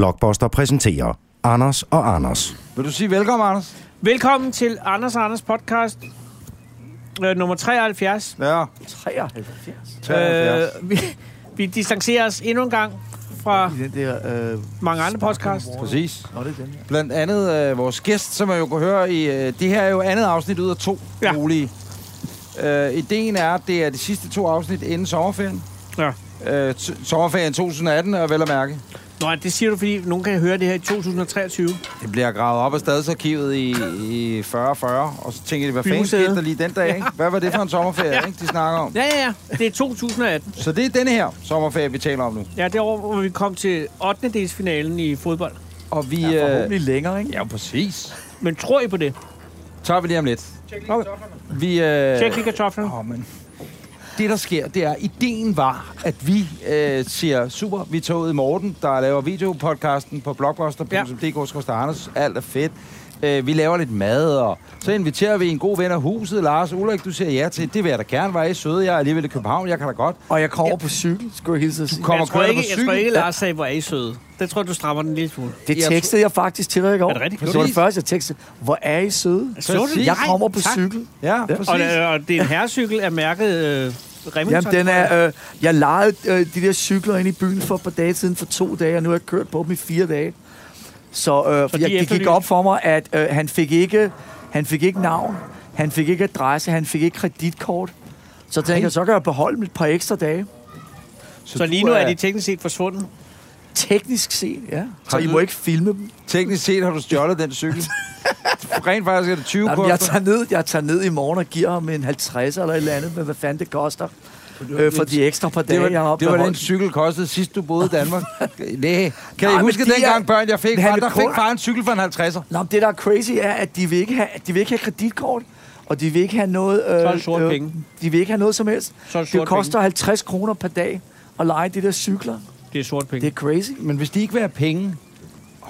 Blockbuster præsenterer Anders og Anders. Vil du sige velkommen, Anders? Velkommen til Anders og Anders podcast øh, nummer 73. Ja. 73. 73. Øh, vi, vi distancerer os endnu en gang fra I den der... Øh, mange andre podcasts. Præcis. Nå, det er den her. Blandt andet øh, vores gæst, som man jo kan høre i... Øh, det her er jo andet afsnit ud af to Ja. ja. mulige. Øh, ideen er, at det er de sidste to afsnit inden sommerferien. Ja. Øh, t- sommerferien 2018 er vel at mærke. Nå, det siger du, fordi nogen kan høre det her i 2023. Det bliver gravet op af stadsarkivet i, i 40-40, og så tænker de, hvad fanden Bymuseet. skete der lige den dag? Ikke? Hvad var det for en sommerferie, Ja. ikke, de snakker om? Ja, ja, ja. Det er 2018. Så det er denne her sommerferie, vi taler om nu. Ja, det er over, hvor vi kom til 8. delsfinalen i fodbold. Og vi... Ja, Ja, øh, forhåbentlig længere, ikke? ja præcis. Men tror I på det? Tager vi lige om lidt. Vi... Øh, Tjek lige kartoflerne. Åh, men det, der sker, det er, ideen var, at vi øh, siger, super, vi tog ud i Morten, der laver videopodcasten på blogbuster.dk, ja. Anders, alt er fedt. Øh, vi laver lidt mad, og så inviterer vi en god ven af huset, Lars Ulrik, du siger ja til. Det vil jeg da gerne være i søde. Jeg er alligevel i København, jeg kan da godt. Og jeg kommer over på cykel, skulle jeg hilse at sige. Kommer jeg tror kørende ikke, på jeg cykel. tror ikke, Lars sagde, hvor er I søde. Det tror jeg, du strammer den en lille smule. Det Jeg tekstede jeg faktisk til dig i går. Er det rigtigt? Det var det Præcis. første, jeg tekstede. Hvor er I søde? Så du det? Jeg Nej, kommer på tak. cykel. Ja, Ja. øh, præcis. Og, det- og det er en herrecykel af mærket øh, Remington. Jamen, den er, øh, jeg lejede øh, de der cykler ind i byen for et par dage siden for to dage, og nu har jeg kørt på dem i fire dage. Så, øh, de jeg, det gik efterlyst- op for mig, at øh, han, fik ikke, han fik ikke navn, han fik ikke adresse, han fik ikke kreditkort. Så tænkte jeg, så kan jeg beholde mit par ekstra dage. Så lige du nu er de teknisk set forsvundet. Teknisk set, ja. Så Har I du- må ikke filme dem. Teknisk set har du stjålet den cykel. Rent faktisk er det 20 Jamen, koster. jeg, tager ned, jeg tager ned i morgen og giver ham en 50 eller et eller andet, men hvad fanden det koster øh, for de ekstra par dage, Det jeg har var, det var den opbeholdt. cykel kostede sidst du boede i Danmark. Næh. Kan Nej, I men huske de er- dengang børn, jeg fik Men han far, er der fik kun- far en cykel for en 50'er? Nå, men det, der er crazy, er, at de vil ikke have, de vil ikke have kreditkort, og de vil ikke have noget... Øh, Så er det sorte penge. De vil ikke have noget som helst. Så er det Det sorte koster 50 kroner per dag at lege de der cykler. Det er sort penge. Det er crazy. Men hvis de ikke vil have penge...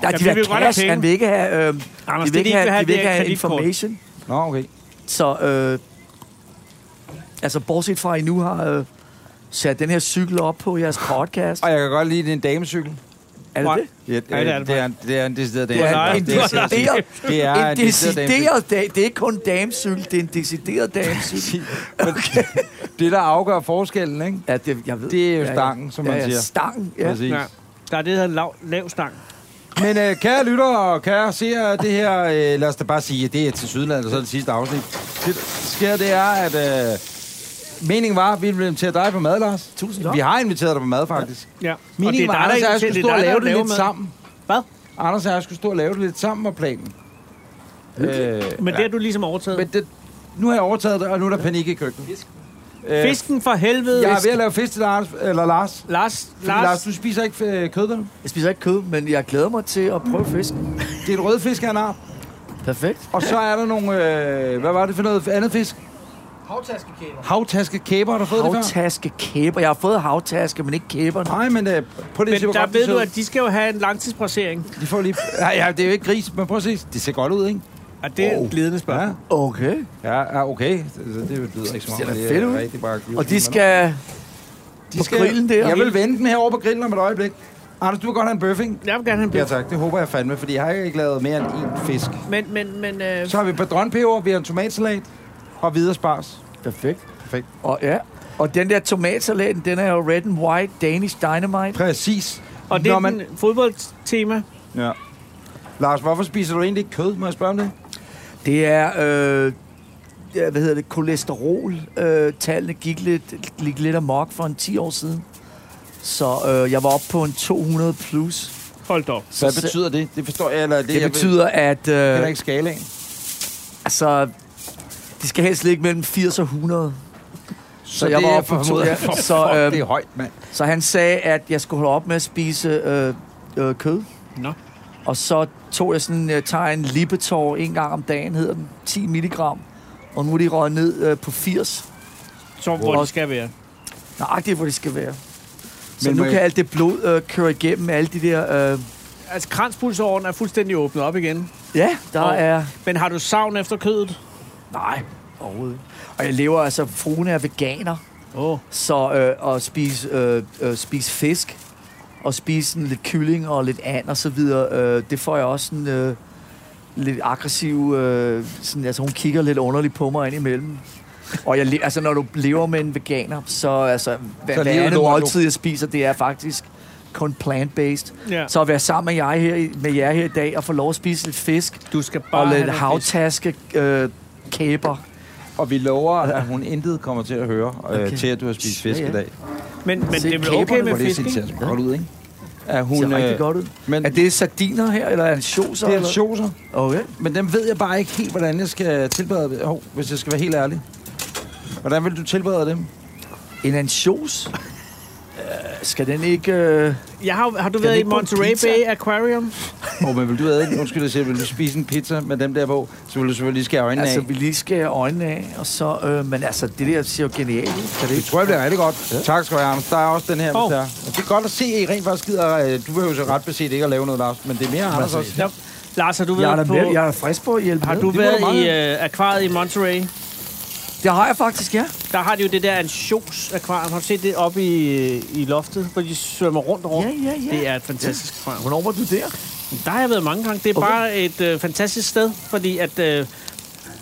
Ja, Jamen, vi de vil have vil godt have cash. penge. Han vil ikke have... Øh, Anders, det, de vil de ikke have, de vil det ikke er have kreditkort. information. Nå, okay. Så øh, altså, bortset fra, at I nu har øh, sat den her cykel op på jeres podcast. Og jeg kan godt lide, det er en damecykel. Er det det? Ja, Ja, det er det det, er, en- det er en decideret dame. Det er nej, en det er decideret, det er en en decideret dame. decideret dag. Det er ikke kun en damecykel, det er en decideret damecykel. Okay. det, der afgør forskellen, ikke? Ja, det, jeg ved. Det er jo Ja, ja. stangen, som ja, man ja, siger. Stangen, ja. Præcis. Ja. Der er det, der hedder lav, lav stang. Men øh, kære lytter og kære seere, det her, øh, lad os da bare sige, at det er til Sydland, og så er det sidste afsnit. Det, der sker, det er, at øh, meningen var, at vi ville invitere dig på mad, Lars. Tusind tak. Vi har inviteret dig på mad, faktisk. Ja. Min det var, Anders og jeg skulle stå og lave det lidt med. sammen. Hvad? Anders og jeg skulle stå og lave det lidt sammen var planen. Øh, Men det har du ligesom overtaget. men det, nu har jeg overtaget det, og nu er der panik i køkkenet. Øh, Fisken for helvede. Jeg er ved at lave fisk til Lars. Eller Lars. Lars, Lars. Lars, Lars, du spiser ikke øh, kød, vel? Jeg spiser ikke kød, men jeg glæder mig til at prøve fisk. Det er et rødfisk af en art. Perfekt. Og så er der nogle... Øh, hvad var det for noget andet fisk? Havtaskekæber. Havtaskekæber, har du fået det før? Havtaske, kæber. Jeg har fået havtaske, men ikke kæberne. Nej, men øh, prøv lige at men se, hvor der godt de ved ser du, ud. at de skal jo have en langtidsbracering. De får lige... Nej, ja, det er jo ikke gris, men prøv at se. Det ser godt ud, ikke? Og det er Wow. et ledende spørgsmål. Ja, Okay. ja, ja okay. Altså, Det, det lyder ikke så ser meget. da fedt ud. rigtig bare Og de skal... på grillen der? Jeg vil vende den her over på grillen om et øjeblik. Anders, du vil godt have en bøffing. Jeg vil gerne have en Ja bøf. tak, det håber jeg fandme, fordi jeg har ikke lavet mere end én fisk. Men, men, men... Øh, Så har vi padronpeber, vi har en tomatsalat og hvide spars. Perfekt. Perfekt. Og ja. Og den der tomatsalaten, den er jo red and white Danish Dynamite. Præcis. og det Når er man- man... fodboldtema. Ja. Lars, hvorfor spiser du egentlig ikke kød? Må jeg spørge om det? Det er, øh, ja, hvad hedder det, kolesterol-tallene øh, tallene gik lidt, gik lidt amok for en 10 år siden. Så øh, jeg var oppe på en 200 plus. Hold da op. Så Hvad betyder det? Det forstår jeg, eller det, det? Det jeg betyder, at Ved, øh, heller ikke skalaen. altså, de skal helst ligge mellem 80 og 100. Så, jeg var oppe for- på to- ja, for- så, fuck, øhm, det er højt, mand. Så han sagde, at jeg skulle holde op med at spise øh, øh, kød. Nå. Og så tog jeg sådan, jeg tager en libetor en gang om dagen, hedder den, 10 milligram. Og nu er de røget ned øh, på 80. Så hvor Wow. det skal være. Nej, det er, hvor det skal være. Så Men må nu kan jeg- alt det blod øh, køre igennem alle de der... Øh, Altså, kranspulsåren er fuldstændig åbnet op igen. ja, der Og- er... Men har du savn efter kødet? Nej, overhovedet ikke. Og jeg lever altså... Fruen er veganer, Åh. Oh. så øh, at spise, øh, øh, spise fisk og spise sådan lidt kylling og lidt and og så videre. Øh, det får jeg også sådan øh, lidt aggressiv... Øh, sådan, altså, hun kigger lidt underligt på mig indimellem. Og jeg, le- altså, når du lever med en veganer, så altså, hvad, Så så hvad lever andet du- måltid, jeg spiser, det er faktisk kun plant-based. Ja. Så at være sammen med, jeg her, i- med jer her i dag og få lov at spise lidt fisk Du skal bare og have lidt noget havtaske øh, kæber. Og vi lover, at hun intet kommer til at høre øh, Okay. til, at du har spist Ja, fisk ja. i dag. fisk. Men, men Se, det er vel kæberne okay Hvor med det fisk, ser ikke? ser godt ud, ikke? Er hun, Det ser rigtig øh, godt ud. Men Er det sardiner her, eller er det choser? det er eller? ansjoser, Okay. men dem ved jeg bare ikke helt, hvordan jeg skal tilberede det. Hov, hvis jeg skal være helt ærlig. Hvordan vil du tilberede dem? En ansjos? øh, skal den ikke... Øh... Jeg har, har du Kan været det i ikke på en Monterey pizza? Bay Aquarium? Åh, oh, men vil du æde den? Undskyld, jeg siger, vil du spise en pizza med dem der på? Så vil du selvfølgelig skære øjnene Altså, altså, af. vi lige skærer øjnene af, og så... Øh, men altså, det der ser jo genialt ud. Kan det Det ikke? tror jeg bliver rigtig godt. Ja. Tak skal du have, Anders. Der er også den her, Hov. oh. der. Det er godt at se, at I rent faktisk gider... øh, Du behøver så ret beset ikke at lave noget, Lars, men det er mere Anders også. Ja. Lars, har du Jeg er, været på... da med, jeg er da frisk på at hjælpe Har med. du Det må da været meget i gerne. øh, akvariet i Monterey? Det har jeg faktisk, ja. Der har de jo det der ansjos akvarium. Har du set det oppe i, i loftet, hvor de svømmer rundt og rundt? Ja, ja, ja. Det er et fantastisk akvarium. Hvornår var du der? Der har jeg været mange gange. Det er okay. Okay. bare et øh, fantastisk sted, fordi at... Øh,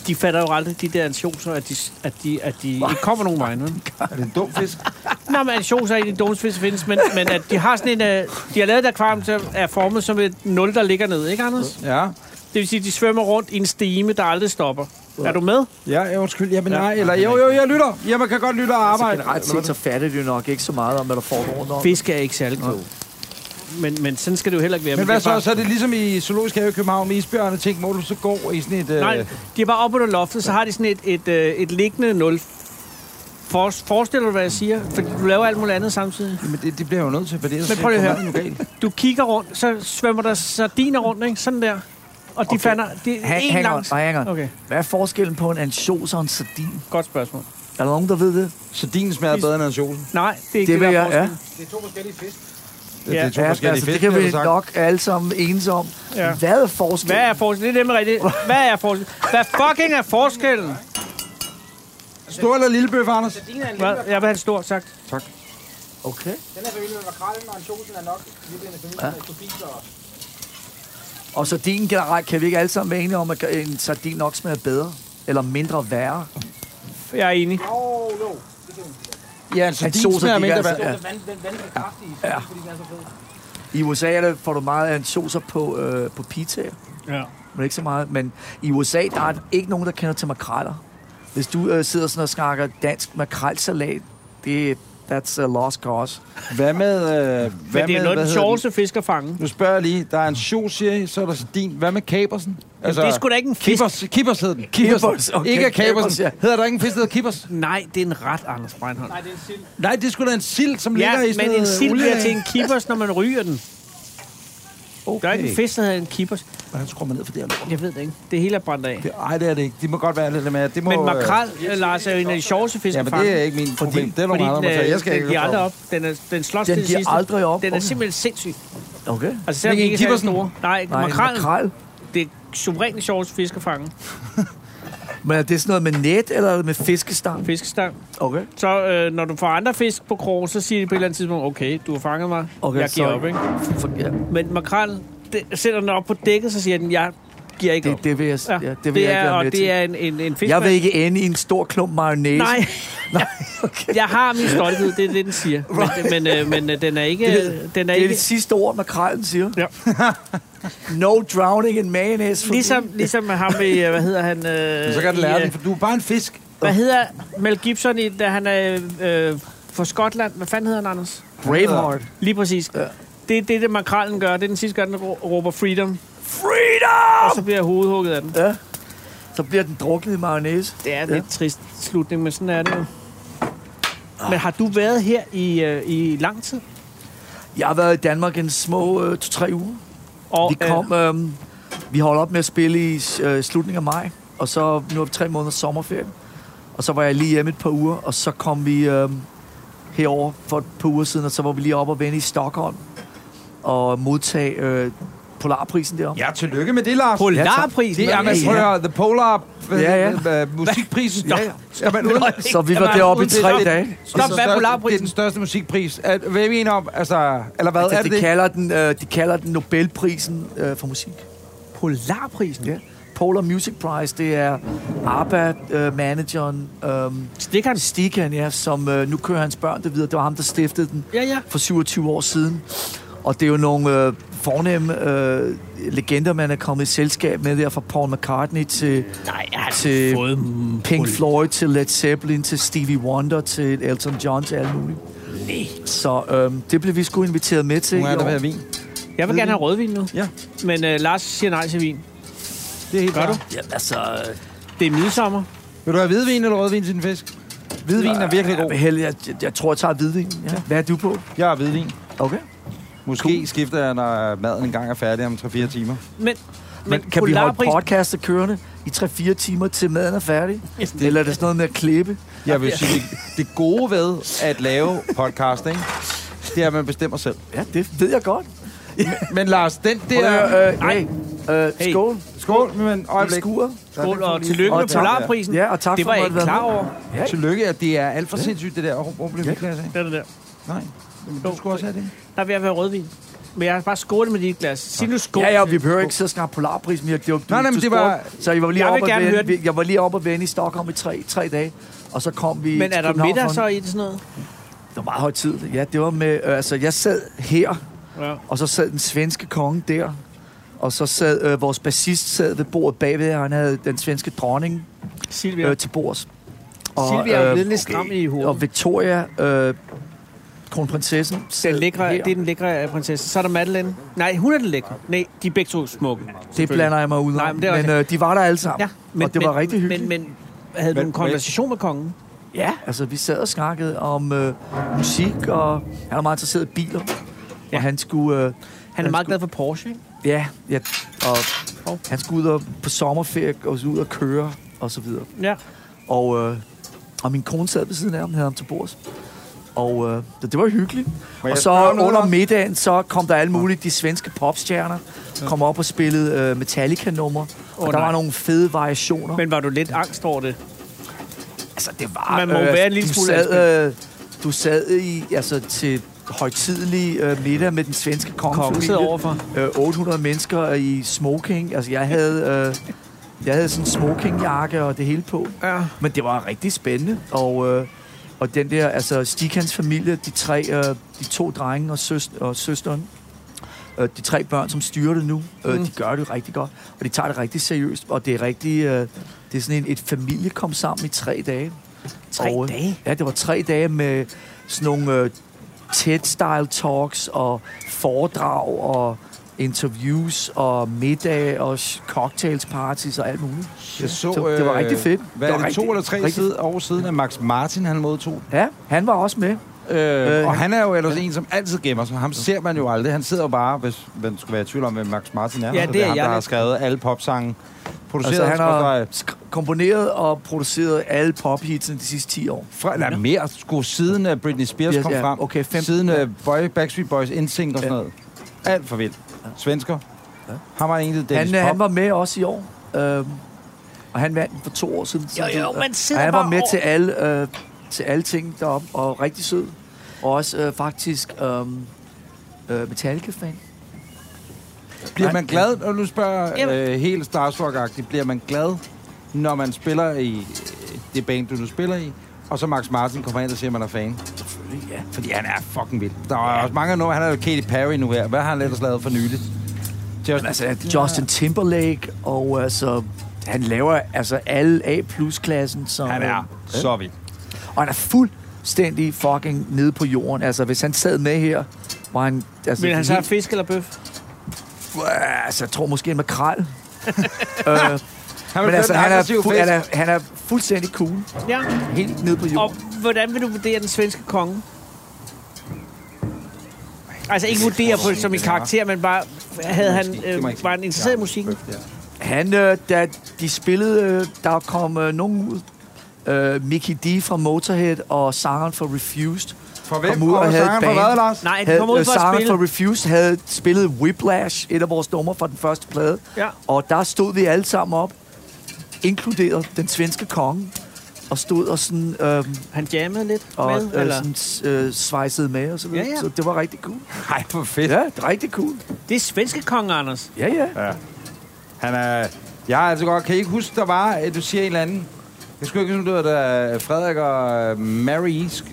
de fatter jo aldrig, de der ansjoser, at de, at de, at de ikke kommer nogen vegne. vel? Er det en dum fisk? Nå, men ansjoser er egentlig dumt, hvis det findes, men, men at de har sådan en... Øh, de har lavet et akvarium, der er formet som et nul, der ligger ned, ikke, Anders? Ja. Det vil sige, at de svømmer rundt i en stime, der aldrig stopper. Er du med? Ja, ja, undskyld. Jamen nej, eller jo, jo, jeg lytter. Ja, man kan godt lytte og Altså, arbejde. generelt Eller hvad set, så fatter de jo nok ikke så meget om, hvad der foregår rundt om. Fisk er ikke særlig klog. Men, men sådan skal det jo heller ikke være. Men hvad det er så? bare- Så er det ligesom i Zoologisk Have i København med isbjørne ting, hvor du så går i sådan et... Øh, Nej, de er bare oppe under loftet, så har de sådan et, et, øh, et liggende nul. For, forestil dig, hvad jeg siger, for du laver alt muligt andet samtidig. Men det, det, bliver jeg jo nødt til, for det Men ellers prøv lige at går høre. maden jo galt. Du kigger rundt, så svømmer der sardiner rundt, ikke? Sådan der. Og de okay. fander... Det er Hang, en hang on, lang... nej, hang on. Okay, Hvad er forskellen på en ansjos og en sardin? godt spørgsmål. Er der nogen, der ved det? Så din smager bedre end ansjosen. Nej, det er ikke Det det, vil der er jeg, ja. forskellen. Det, det Ja. er to forskellige altså, fisk, det kan har du vi sagt. nok alle sammen enes om. Ja. Ja. Hvad er forskellen? Hvad er forskellen? Det er nemlig rigtigt. Hvad er forskellen? Hvad fucking er forskellen? Stor eller lille bøf, Anders? Hvad? Jeg vil have det stort sagt. Okay. Den er familie med makrellen, og ansjosen er nok virkelig en familie med kubik og... Og sardinen generelt, kan vi ikke alle sammen være enige om, at en sardin nok smager bedere? Eller mindre værre? Jeg er enig. Åh, oh, jo. Ja, så Han din så sig smager ikke, mindre altså. værd. Det Ja. er den vand, den vand er kraftig, Ja. fordi den er så fed. I USA er det, får du meget ansjoser på, øh, på pizzaer, Ja. men ikke så meget. Men i USA, der er ikke nogen, der kender til makreller. Hvis du øh, sidder sådan og snakker dansk makrelsalat, det that's a lost cause. Hvad med... Øh, hvad Hvad Men det er med, noget, hvad den hedder sjoveste fisk at fange. den? Nu spørger jeg lige. Der er en sjov, siger I, så er der sardin. Hvad med kabersen? Altså, det er sgu da ikke en fisk. Kippers, kippers hed den. Kippers, okay, Ikke af Kippers, kabersen. ja. Hedder der ikke en fisk, der hedder kippers? Nej, det er en ret, Anders Breinholt. Nej, det er en sild. Nej, det er sgu da en sild, som ligger i Ja, sådan men en noget sild olie. bliver til en kippers, når man ryger den. Okay. Der er ikke en fisk, der hedder en kippers. Hvordan skruer man ned for det her lort? Jeg ved det ikke. Det hele er brændt af. Det- Ej, det er det ikke. Det må godt være lidt mere. Det må, Men øh, makrel, øh, Lars, er jo en af de sjoveste fisk Ja, at men fange. det er ikke min problem. det er nogle andre, man den, tager. øh, Jeg skal den ikke giver ud aldrig for op. Den, er, den slås Den til det giver sidste. aldrig op. Den er Okay. simpelthen sindssyg. Okay. Altså, selvom Men de en ikke er særlig kippersen? store. Nej, Nej, makrel, makrel. det er suverænt det sjoveste fisk at fange. Men er det sådan noget med net, eller er det med fiskestang? Fiskestang. Okay. Så øh, når du får andre fisk på krog, så siger de på et eller andet tidspunkt, okay, du har fanget mig, Okay, jeg giver sorry. op, ikke? For, ja, Men makrel, det, sætter den op på dækket, så siger den, jeg giver ikke op. det, det vil jeg, ja, det vil jeg ikke det er, være og med til. det er en, en, en fisk. Jeg vil ikke ende i en stor klump mayonnaise. Nej, Nej, okay. jeg har min stolthed, det er det, den siger. Men, men, øh, men øh, den er ikke... Det, den er det er ikke det sidste ord, makrelen siger. Ja. no drowning in mayonnaise. for ligesom, me. ligesom med ham i, øh, hvad hedder han? Øh, Men så kan den lære i, den, øh, for du er bare en fisk. Hvad hedder Mel Gibson, i, da han er øh, for Skotland? Hvad fanden hedder han, Anders? Braveheart. Lige præcis. Ja. Ja. Det er det, det makrallen gør. Det er den sidste gang, den rå- råber freedom. Og Freedom! så bliver jeg hovedhugget af den. Ja. Så bliver den druknet i mayonnaise. Det er en Ja. lidt trist slutning, men sådan er det jo. Men har du været her i, øh, i lang tid? Jeg har været i Danmark en små øh, to-tre uger. Og, Vi kom... Øh, vi holdt op med at spille i øh, slutningen af maj. Og så nu er vi tre måneder sommerferie. Og så var jeg lige hjemme et par uger. Og så kom vi øh, herover for et par uger siden. Og så var vi lige oppe og vende i Stockholm. Og modtage øh, Polarprisen deroppe. Ja, tillykke med det, Lars. Polarprisen. Det er, man Ja, prøv at ja. høre, The Polar øh, Ja, ja, ja. musikprisen. Ja, Ja, ja. ja. Skal man uden, det Så vi var Jamen, deroppe i uden det, tre så- dage. er Stop, den hvad er største- Det er den Polarprisen? største musikpris. Er, hvad er vi enige om? Altså, eller hvad er Altså, det? de, det? kalder den, øh, de kalder den Nobelprisen øh, for musik. Polarprisen? Ja. Polar Music Prize, det er ABBA-manageren øhm, Stikker den? Stikan, ja, som øh, nu kører hans børn det videre. Det var ham, der stiftede den Ja, ja. for 27 år siden. Og det er jo nogle øh, fornemme øh, legender, man er kommet i selskab med der, fra Paul McCartney til Nej, jeg har Til fået... mm, Pink pol- Floyd, til Led Zeppelin, til Stevie Wonder, til Elton John, til alle mulige. Nej. Så øhm, det blev vi sgu inviteret med til. Nu er i der år. ved vin. Jeg vil gerne have rødvin nu. Ja. Men øh, Lars siger nej til vin. Det er helt Gør klart. du? Ja, altså, øh, Det er midsommer. Vil du have hvidvin eller rødvin til din fisk? Hvidvin er virkelig jeg, god. vil hellere- jeg, jeg, jeg tror, jeg tager hvidvin. Ja. Hvad er du på? Jeg er hvidvin. Okay. Måske skifter jeg, når maden engang er færdig om 3-4 timer. Men, Men, kan vi holde podcastet kørende i 3-4 timer, til maden er færdig? Det- Eller er det sådan noget med at klippe? Jeg vil sige, det, det gode ved at lave podcast, ikke? det er, at man bestemmer selv. Ja, det ved jeg godt. Men Lars, den Det der... er, øh, nej. hey, øh, Hey. skål. Skål, men Vi øjeblik. skuer. Skål og tillykke Og med tak. Polarprisen. Ja, og tak det for, var at jeg du ikke måtte klar være over. Ja. Tillykke, at det er alt for sindssygt, det der. Åh, Hvor blev vi ikke af? Det er det der. Nej. Jamen, du skulle også have det. Der er ved at være rødvin. Men jeg har bare skålet med dit glas. Sig nu skål. Ja, ja, vi behøver ikke sidde og snakke polarpris mere. Det var, Nej, nej, men du det var- spurgte, Så jeg var lige Jeg vil oppe at gerne høre vende, den. jeg var lige oppe at vende i Stockholm i tre, tre dage, og så kom vi Men er til der København middag for- så i det sådan noget? Det var meget højtidligt. Ja, det var med... Øh, altså, jeg sad her, Ja. og så sad den svenske konge der, og så sad øh, vores bassist sad ved bordet bagved, og han havde den svenske dronning Silvia. øh, til bords. øh, Silvia er jo blevet lidt stram i hovedet. Og Victoria, øh, kronprinsessen, sad Den lækre, her. det er den lækre øh, prinsesse. Så er der Madeleine. Nej, hun er den lækre. Nej, de er begge to smukke. det selvfølgelig. blander jeg mig ud af. Nej, men men, det er også- øh, de var der alle sammen, Ja, men, og det var rigtig hyggeligt. Men, men havde du Men- en konversation med kongen? Ja, altså vi sad og snakkede om øh, musik, og han er meget interesseret i biler. Ja. Ja. Og han skulle... Øh, Han er meget glad for Porsche, ikke? Ja, ja, og Hov. han skulle ud og, på sommerferie og så ud og køre, og så videre. Ja. Og, øh, og min kone sad ved siden af ham, havde ham til bords. Og øh, det, det var hyggeligt. jeg spørge Og så om noget, under Lars? middagen, så kom der alle mulige de svenske popstjerner, kom op og spillede øh, Metallica-numre. Og Åh, der nej. var nogle fede variationer. Men var du lidt angst over det? Altså, det var... Man må jo være en lille du smule sad, øh, Du sad i, altså, til højtidelig øh, middag med den svenske Kongen kongefamilie. sidder overfor. Øh, 800 mennesker i smoking. Altså, jeg havde... Øh, jeg havde sådan en smokingjakke og det hele på. Ja. Men det var rigtig spændende. Og, øh, og den der, altså Stikans familie, de tre, øh, de to drenge og, søs, og søsteren, øh, de tre børn, som styrer det nu, øh, Mm. de gør det rigtig godt. Og de tager det rigtig seriøst. Og det er rigtig, øh, det er sådan en, et familie kom sammen i tre dage. Tre Og, øh, dage? Ja, det var tre dage med sådan nogle øh, TED-style talks og foredrag og interviews og middag og sh- cocktails parties og alt muligt. Jeg så, øh, Så det var rigtig fedt. Hvad Det er var det, rigtig- to eller tre rigtig- side, år siden, at Max Martin han modtog? Ja, han var også med. Øh, Øh, og han er jo ellers en, som altid gemmer sig. Ham ser man jo aldrig. Han sidder jo bare, hvis man skulle være i tvivl om, hvem Max Martin er. Ja, så det er ham, jeg der har lidt. skrevet alle popsange. Produceret Altså, han har har... sk- komponeret og produceret alle pophitsene de sidste 10 år. Fra, eller mere, sgu siden uh, Britney Spears Ja, kom ja, frem. okay, fem- siden ja. uh, Boy, Backstreet Boys, NSYNC og sådan noget. Alt for vildt. Svensker. Han var egentlig Dennis Han, øh, Pop. han var med også i år, øhm, og han vandt den for to år siden. Jo, som jo, du- man sidder og han var bare med over- til alle, øh, til alle ting deroppe, og rigtig sød. Og også øh, faktisk øh, øh, Metallica-fan. Bliver Nej. man glad, og nu spørger Jamen. jeg øh, helt starstruck bliver man glad, når man spiller i øh, det band, du nu spiller i, og så Max Martin kommer ind og siger, at man er fan? Selvfølgelig, ja. Fordi han er fucking vild. Der er også mange af nu, han er jo Katy Perry nu her. Hvad har han ellers lavet for nyligt? Just, Altså, Justin Timberlake, og altså, han laver altså alle A-plus-klassen. Som, øh, han er så vild. Og han er fuldstændig fucking nede på jorden. Altså, hvis han sad med her, var han... Altså, Men han så have helt- fisk eller bøf? Øh, altså, jeg tror måske en makrel. Øh, Han Men føre altså, den han er, aggressive fu- fest. han, er, han er fuldstændig cool. Ja. Helt nede på Og jorden. hvordan vil du vurdere den svenske konge? Altså ikke vurdere på det som en karakter, men bare havde han, Det må jeg ikke øh, sige. var han interesseret i musikken? Han, øh, da de spillede, øh, der kom øh, nogen ud. Øh, Mickey D fra Motorhead og sangeren fra Refused For hvem? kom ud og havde et sangeren fra band. hvad, Lars? Nej, de havde, kommer ud øh, for at sangeren spille. for Refuse havde spillet Whiplash, et af vores numre fra den første plade. Ja. Og der stod vi alle sammen op, inkluderet den svenske konge, og stod og sådan... Øh, Han jammede lidt og med, øh, eller? sådan, øh, svejsede med og så videre. Ja, Ja, ja. ja. Så det var rigtig cool. Nej, hvor fedt. Ja, det er rigtig cool. Det er svenske kong, Anders. Ja, ja. Ja. Han er... Jeg er altså godt... Kan I ikke huske, der var... øh, Du siger en eller anden... Jeg skulle ikke huske, om det var da Frederik og øh, Mary Isk...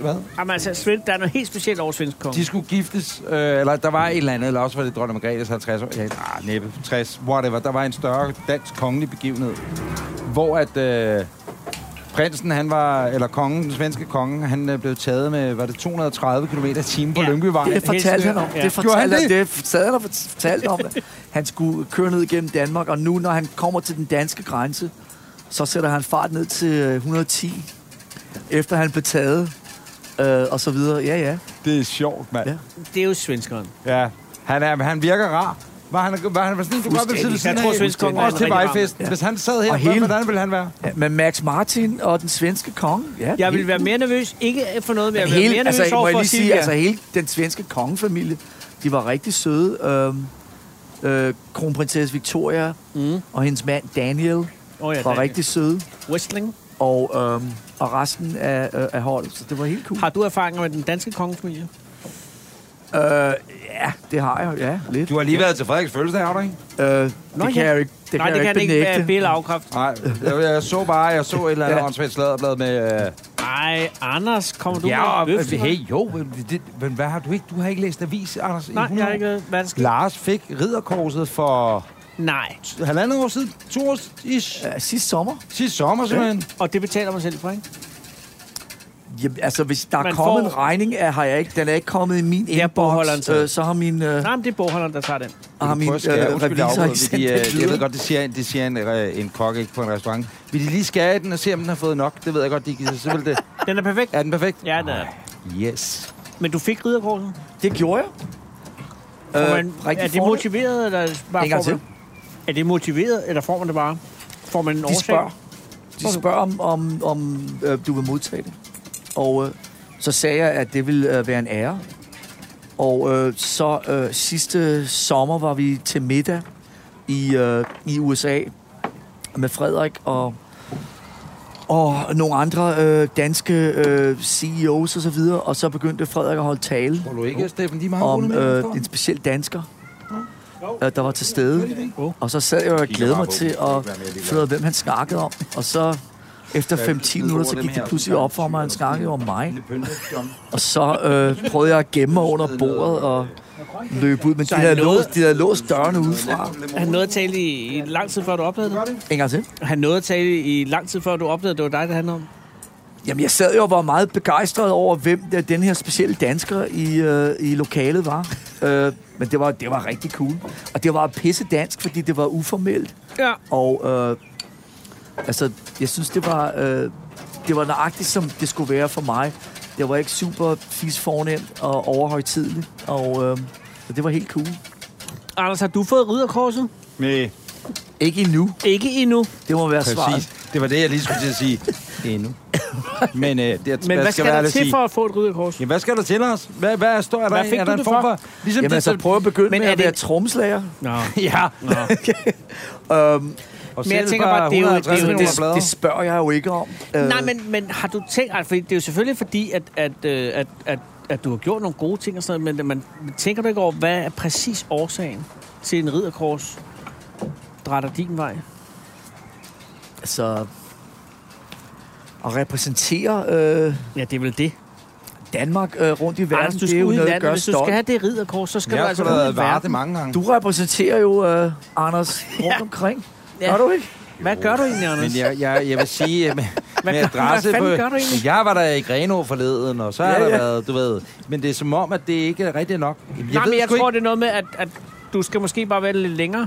Hvad? Jamen, altså, Svend, der er noget helt specielt over svenske kong. De skulle giftes, øh, eller der var et eller andet, eller også var det dronning Margrethes 50 år. Ja, ah, næppe, 60, whatever. Der var en større dansk kongelig begivenhed, hvor at øh, prinsen, han var, eller kongen, den svenske konge, han øh, blev taget med, var det 230 km i timen på Ja. ja. Lyngbyvej. Det fortalte han om. Ja. Det Gjorde han fortalte han, det? det sad han og fortalte om. at Han skulle køre ned igennem Danmark, og nu, når han kommer til den danske grænse, så sætter han fart ned til øh, 110, efter han blev taget, øh, og så videre. Ja, ja. Det er sjovt, mand. Ja. Det er jo svenskeren. Ja. ja. Han, er, han virker rar. Var han, var han var sådan en, du godt ville sidde ved Jeg siden tror, af, svensk konge er også til rigtig rar. vejfesten. Ja. Hvis han sad her, Og hele- hvordan ville han være? ja. Men Max Martin og den svenske konge. Ja, Jeg helt- vil være mere nervøs. Ikke for noget, men jeg vil være hele, mere nervøs altså, må over jeg for lige at sige, sige, altså hele den svenske kongefamilie, de var rigtig søde. Øhm, øh, kronprinsesse Victoria Mm. og hendes mand Daniel var Åh, ja, Daniel. rigtig søde. Wrestling. Og, øhm, og resten af, øh, af holdet, så det var helt cool. Har du erfaringer med den danske kongefamilie? Øh, ja, det har jeg, ja, lidt. Du har lige været til Frederiks fødselsdag, har du ikke? Øh, det Nå, kan ja. jeg jo ikke, det Nej, kan det kan jeg jo ikke ikke være benægte. Bill afkræft. Nej, jeg, jeg, så bare, jeg så et eller andet Ja. åndssvagt sladderblad med... Øh, Nej, Anders, kommer du ja, og, altså, med bøf? hey, jo, men, det, men hvad har du ikke? Du har ikke læst avis, Anders? i Nej, 100 jeg har år. ikke været vanskelig. Lars fik ridderkorset for Nej, halvandet år siden, to år ish, Øh, sidste sommer? sidste sommer simpelthen. og det betaler mig selv for, ikke? Jamen, altså, hvis der Man er kommet en får- regning, er, har jeg ikke, den er ikke kommet i min bogholderen inbox, til. øh, så har min, øh, Nej, men det er bogholderen, der tager den. har min øh, revisor ikke sendt de, øh, det Jeg ved videre. godt, det siger, en- det siger en, øh, en kok ikke på en restaurant. Vil de lige skære i den og se, om den har fået nok? Det ved jeg godt, de giver sig. Det. Den er perfekt. Er den perfekt? Ja, den er. Yes. Men du fik ridderkorset? Det gjorde jeg. Øh, Får man, er det fornemt. motiveret, eller bare En får gang til. man, Er det motiveret, eller får man det bare? Får man en De årsag? spørger, de spørger om, om, om øh, du vil modtage det. Og øh, så sagde jeg, at det ville øh, være en ære. Og øh, så øh, sidste sommer var vi til middag i, øh, i USA med Frederik og, og nogle andre øh, danske øh, CEOs og så videre. Og så begyndte Frederik at holde tale Tror du ikke, Steffen? De er meget om rolige med øh, det, en speciel dansker, øh, der var til stede. Og så sad jeg og glædede mig til at finde ud af, hvem han snakkede om. Og så efter 5-10 minutter, så gik det pludselig op for mig, at han snakkede om mig. Og så øh, prøvede jeg at gemme mig under bordet og løbe ud. Men de han havde, nåede- låst, de havde låst dørene udefra. Han nåede at tale i, i lang tid, før du opdagede det. En gang til. Han nåede at tale i lang tid, før du opdagede, det var dig, det handlede om. Jamen, jeg sad jo og var meget begejstret over, hvem der, den her specielle dansker i, øh, i lokalet var. Øh, men det var, det var rigtig cool. Og det var pisse dansk, fordi det var uformelt. Ja. Og øh, altså, jeg synes, det var, øh, det var nøjagtigt, som det skulle være for mig. Det var ikke super fis fornemt og overhøjtidligt, og øh, så det var helt cool. Anders, har du fået ridderkorset? Nej, Ikke endnu. Ikke endnu. Det må være svaret. præcis. Det var det, jeg lige skulle til at sige. Endnu. Men, øh, det, Men hvad, hvad skal være der at til sige? for at få et ridderkors? Jamen, hvad skal der til, Lars? Hvad, hvad er, står, er, Hvad der, fik er du der en det form for? for? Ligesom Jamen altså, prøv at begynde Men men med er at det- være tromslager. Nå. Ja. Nå. Øhm, Og Men jeg sælge tænker for bare, det er jo- 150 det er jo- millioner det, blade. det spørger jeg jo ikke om. Øh, Nej, men, men har du tænkt... Altså, fordi det er jo selvfølgelig fordi, at, at, øh, at, at, at du har gjort nogle gode ting og sådan noget, men man, tænker du ikke over, hvad er præcis årsagen til en ridderkors drætter din vej? Altså, at repræsentere øh, Ja, det er vel det. Danmark øh, rundt i verden, Anders, du det er skal jo ud i noget, der landet. gør Hvis du skal stolt. have det ridderkors, så skal Jeg du har altså sgu ud da været i vare det verden. mange gange. Du repræsenterer jo, øh, Anders, rundt omkring. Ja. Ja. Gør du ikke? Hvad gør du egentlig, Anders? Men jeg, jeg, jeg vil sige, øh, med, med gør- adresse hvad fanden på... gør du egentlig? jeg var der i Grenå forleden, og så har Ja, der ja. været, du ved... Men det er som om, at det ikke er rigtigt nok. Jeg Nej, men jeg sgu tror, ikke. det er noget med, at, at du skal måske bare være lidt længere.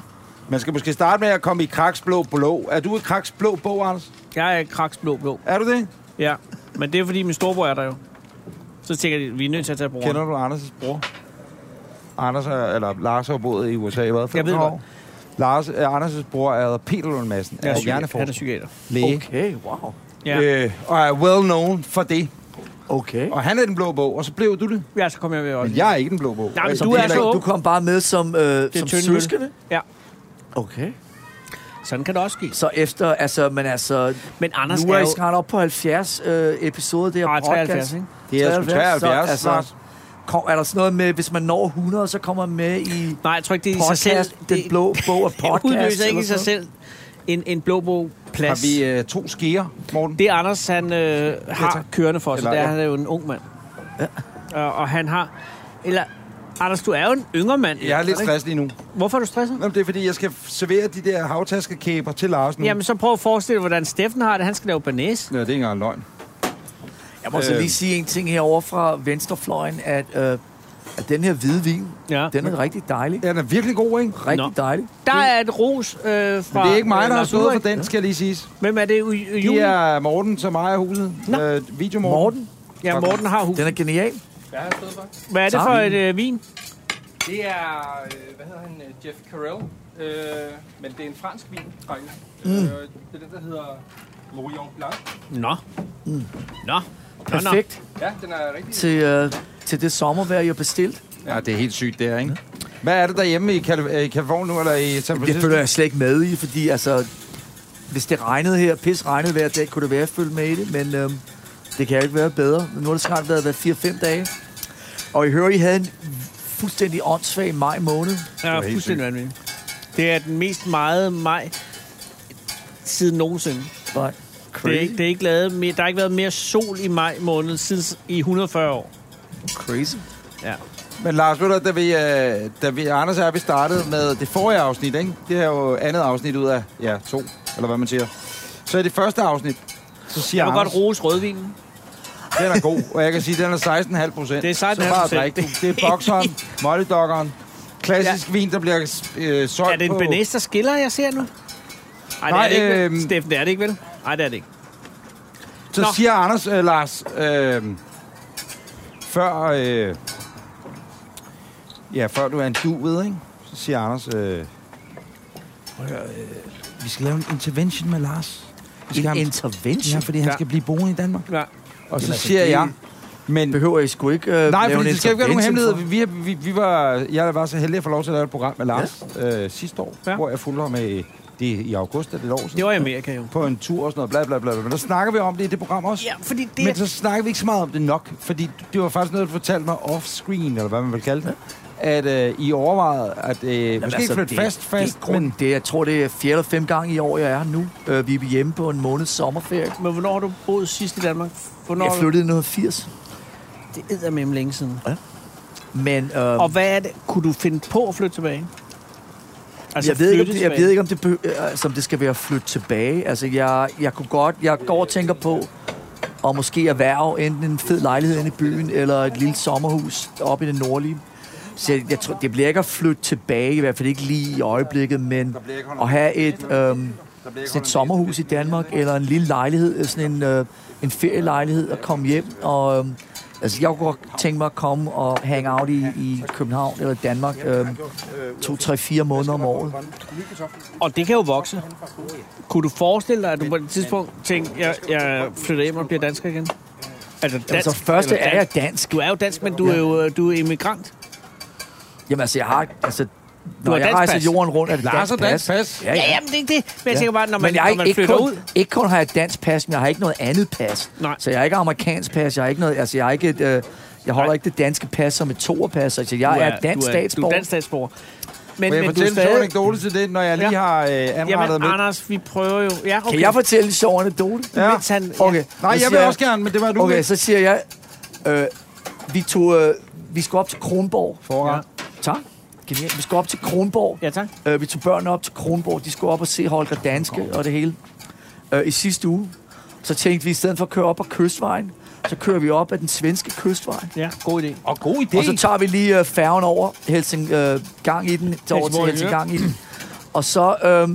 Man skal måske starte med at komme i Kraks blå blå. Er du i Kraks blå bog, Anders? Jeg er kraks blå blå. Er du det? Ja, men det er fordi min storebror er der jo. Så tænker de, vi er nødt til at tage broren. Kender du Anders' bror? Anders er, eller Lars har boet i USA i hvad? 15 ved år? godt. Lars, øh, Anders' bror er Peter Lund Madsen. Ja, er Øh, psyki- han er hjerneforsker. psykiater. Læge. Okay, wow. Ja. Øh, og er well known for det. Okay. Og han er den blå bog, og så blev du det. Ja, så kommer jeg med også. Men jeg er ikke den blå bog. Nej, men Altså, du det er så Du ung. kom bare med som, øh, som tynde søskende? Ja, Okay. sådan kan det også ske. Så efter, altså, men altså, Men Anders nu er er I jo... snart op på 70 øh, episoder, det her Nej, podcast. 73, ikke? altså- Det er sgu 73 snart. kom, er der sådan noget med, hvis man når 100, så kommer man med i Nej, jeg tror ikke, det er i sig podcast, selv. den blå bog af podcast. podcast. Det udløser ikke eller i sig sådan selv en, en blå bog Har plads. vi øh, to skeer, Morten? Det Anders, han øh, har kørende for sig, Eller- der er ja. han er jo en ung mand. Ja. Og, og han har... Eller, Anders, du er jo en yngre mand. Jeg er lidt ikke? stresset lige nu. Hvorfor er du stresset? Jamen, det er, fordi jeg skal servere de der havtaskekæber til Lars nu. Mm. Jamen, så prøv at forestille dig, hvordan Steffen har det. Han skal lave banæs. Ja, det er ikke engang løgn. noget? Jeg må så lige Øh. sige en ting herovre fra venstrefløjen, at, øh, at den her hvide vin, Ja. den er rigtig dejlig. Ja, den er virkelig god, ikke? Rigtig Nå. dejlig. Der er et ros øh, fra... Men det er ikke mig, øh, der har Lars stået Ulrik. for den, skal lige siges. Hvem er det? U- U- Det Jul? er Morten, som ejer huset. Nå. Øh, video Morten. Morten, Ja, Morten har hus. den er genial. Hvad er det for Tager et vi øh, vin? Det er, øh, hvad hedder han, øh, Jeff Carell, øh, men det er en fransk vin, faktisk. Mm. Øh, det er den, der hedder Morillon Blanc. Nå. Nå. Nå, nå. Perfekt Ja, den er rigtig... til, øh, til det sommervejr, jeg har bestilt. Ja, det er helt sygt, det er, ikke? Hvad er det derhjemme i Calif- øh, i Californien nu, eller i San Det Francisco? følger jeg slet ikke med i, fordi altså, hvis det regnede her, pis regnede hver dag, kunne det være, at jeg følte med i det, men øhm, det kan jo ikke være bedre. Nu har det snart været, været 4-5 dage. Og I hører, I havde en fuldstændig åndssvag maj måned. Ja, helt fuldstændig vanvittigt. Det er den mest meget maj siden nogensinde. Nej. Det er, ikke, det er ikke lavet mere, der har ikke været mere sol i maj måned siden i 140 år. Crazy. Ja. Men Lars, ved du, da vi, øh, da vi, Anders og jeg, vi startede med det forrige afsnit, ikke? Det er jo andet afsnit ud af, ja, to, eller hvad man siger. Så i det første afsnit, så siger Jeg må Anders, godt rose rødvinen. den er god, og jeg kan sige, den er 16,5 procent. Det er 16,5%. Så bare drik, du. Det er bokseren, mollydokkeren, klassisk ja. vin, der bliver øh, solgt Er det en på... Benes, der skiller, jeg ser nu? Ej, det Nej, er det ikke, øhm. vel? Steffen, det er det ikke, vel? Nej, det er det ikke. Så Nå. Nå. siger Anders, øh, Lars, øh, før, øh, ja, før du er en duvet, ikke? så siger Anders, øh, prøv at høre, øh, vi skal lave en intervention med Lars. Vi skal En have ham- ja, intervention? fordi han Ja. ja. skal blive boende i Danmark. Ja. Og så Jamen, altså, siger det- jeg, men... Behøver I sgu ikke øh, Nej, lave fordi en det skal jo ikke være nogen hemmelighed. intervention Vi, vi, vi var, jeg var så heldig at få lov til at lave et program med Lars ja. øh, sidste år, Ja. ja. hvor jeg fulgte ham med det i august af det år siden. Det var i Amerika jo. På en tur og sådan noget, bla bla bla. bla. Men der snakker vi om det i det program også. Ja, fordi det Men er... så snakker vi ikke så meget om det nok, fordi det var faktisk noget, du fortalte mig off-screen, eller hvad man vil kalde det, at øh, I overvejede, at øh, måske for- Altså, altså, flytte det- fast, det, fast, er grund- men det, jeg tror, det er fjerde eller fem gange i år, jeg er her nu. Øh, vi er hjemme på en måneds sommerferie. Men hvornår har du boet sidst i Danmark? Hvornår Jeg har du- flyttede i 1980. Det er med længe siden. Men øh, Og hvad er det? Kunne du finde på at flytte tilbage? Altså, jeg, ved ikke, om det, jeg tilbage? ved ikke, om det, behø- øh, som det skal være at flytte tilbage. Altså, jeg, jeg kunne godt, jeg går og tænker på at måske erhverve enten en fed lejlighed inde i byen, eller et lille sommerhus oppe i det nordlige. Så jeg, jeg tror, det bliver ikke at flytte tilbage, i hvert fald ikke lige i øjeblikket, men at have et, øhm, sådan et sommerhus i Danmark, eller en lille lejlighed, øh, sådan en, øh, en ferielejlighed, og komme hjem. Og, øhm, altså, jeg kunne godt tænke mig at komme og hang out i, i København eller Danmark øhm, to, tre, fire måneder om året. Og det kan jo vokse. Kunne du forestille dig, at du på et tidspunkt tænkte, jeg, jeg flytter hjem og bliver dansker igen? Altså dansk, Altså, først eller er jeg dansk. dansk. Du er jo dansk, men du er jo øh, du er immigrant. Jamen, altså, jeg har... Altså, når har jeg dansk rejser pas. jorden rundt, er det Lars dansk og dansk pas. pas. Ja, ja. jamen det er ikke det. Men jeg tænker bare, når man, men jeg har når man ikke, ikke, flytter kun, ud... ikke kun har jeg et dansk pas, men jeg har ikke noget andet pas. Nej. Så jeg har ikke amerikansk pas, jeg har ikke noget... Altså, jeg har ikke et... Øh, jeg holder Nej. ikke det danske pas som et toerpas. Altså, jeg du er, dansk du Du statsborger. er dansk statsborger. Men, Må jeg men du er fortælle en sjov stadig... anekdote til det, når jeg lige Ja. har øh, anrettet Jamen, med? Anders, vi prøver jo... Ja, okay. Kan jeg fortælle en sjov anekdote? Ja. Mens han, ja. Okay. Nej, så jeg vil siger også gerne, men det var du. Okay, ikke. så siger jeg... Øh, vi tog... Øh, vi skulle op til Kronborg. Forret. Tak. Genialt. Vi skulle op til Kronborg. Ja, tak. Øh, vi tog børnene op til Kronborg. De skulle op og se Holger Danske og det hele. Øh, I sidste uge, så tænkte vi, i stedet for at køre op ad kystvejen, så kører vi op ad den svenske kystvej. Ja, god idé. Og god idé. Og så tager vi lige øh, færgen over Helsing, øh, gang i den, til over til Helsingborg, Helsinggang i den. Og så, øh,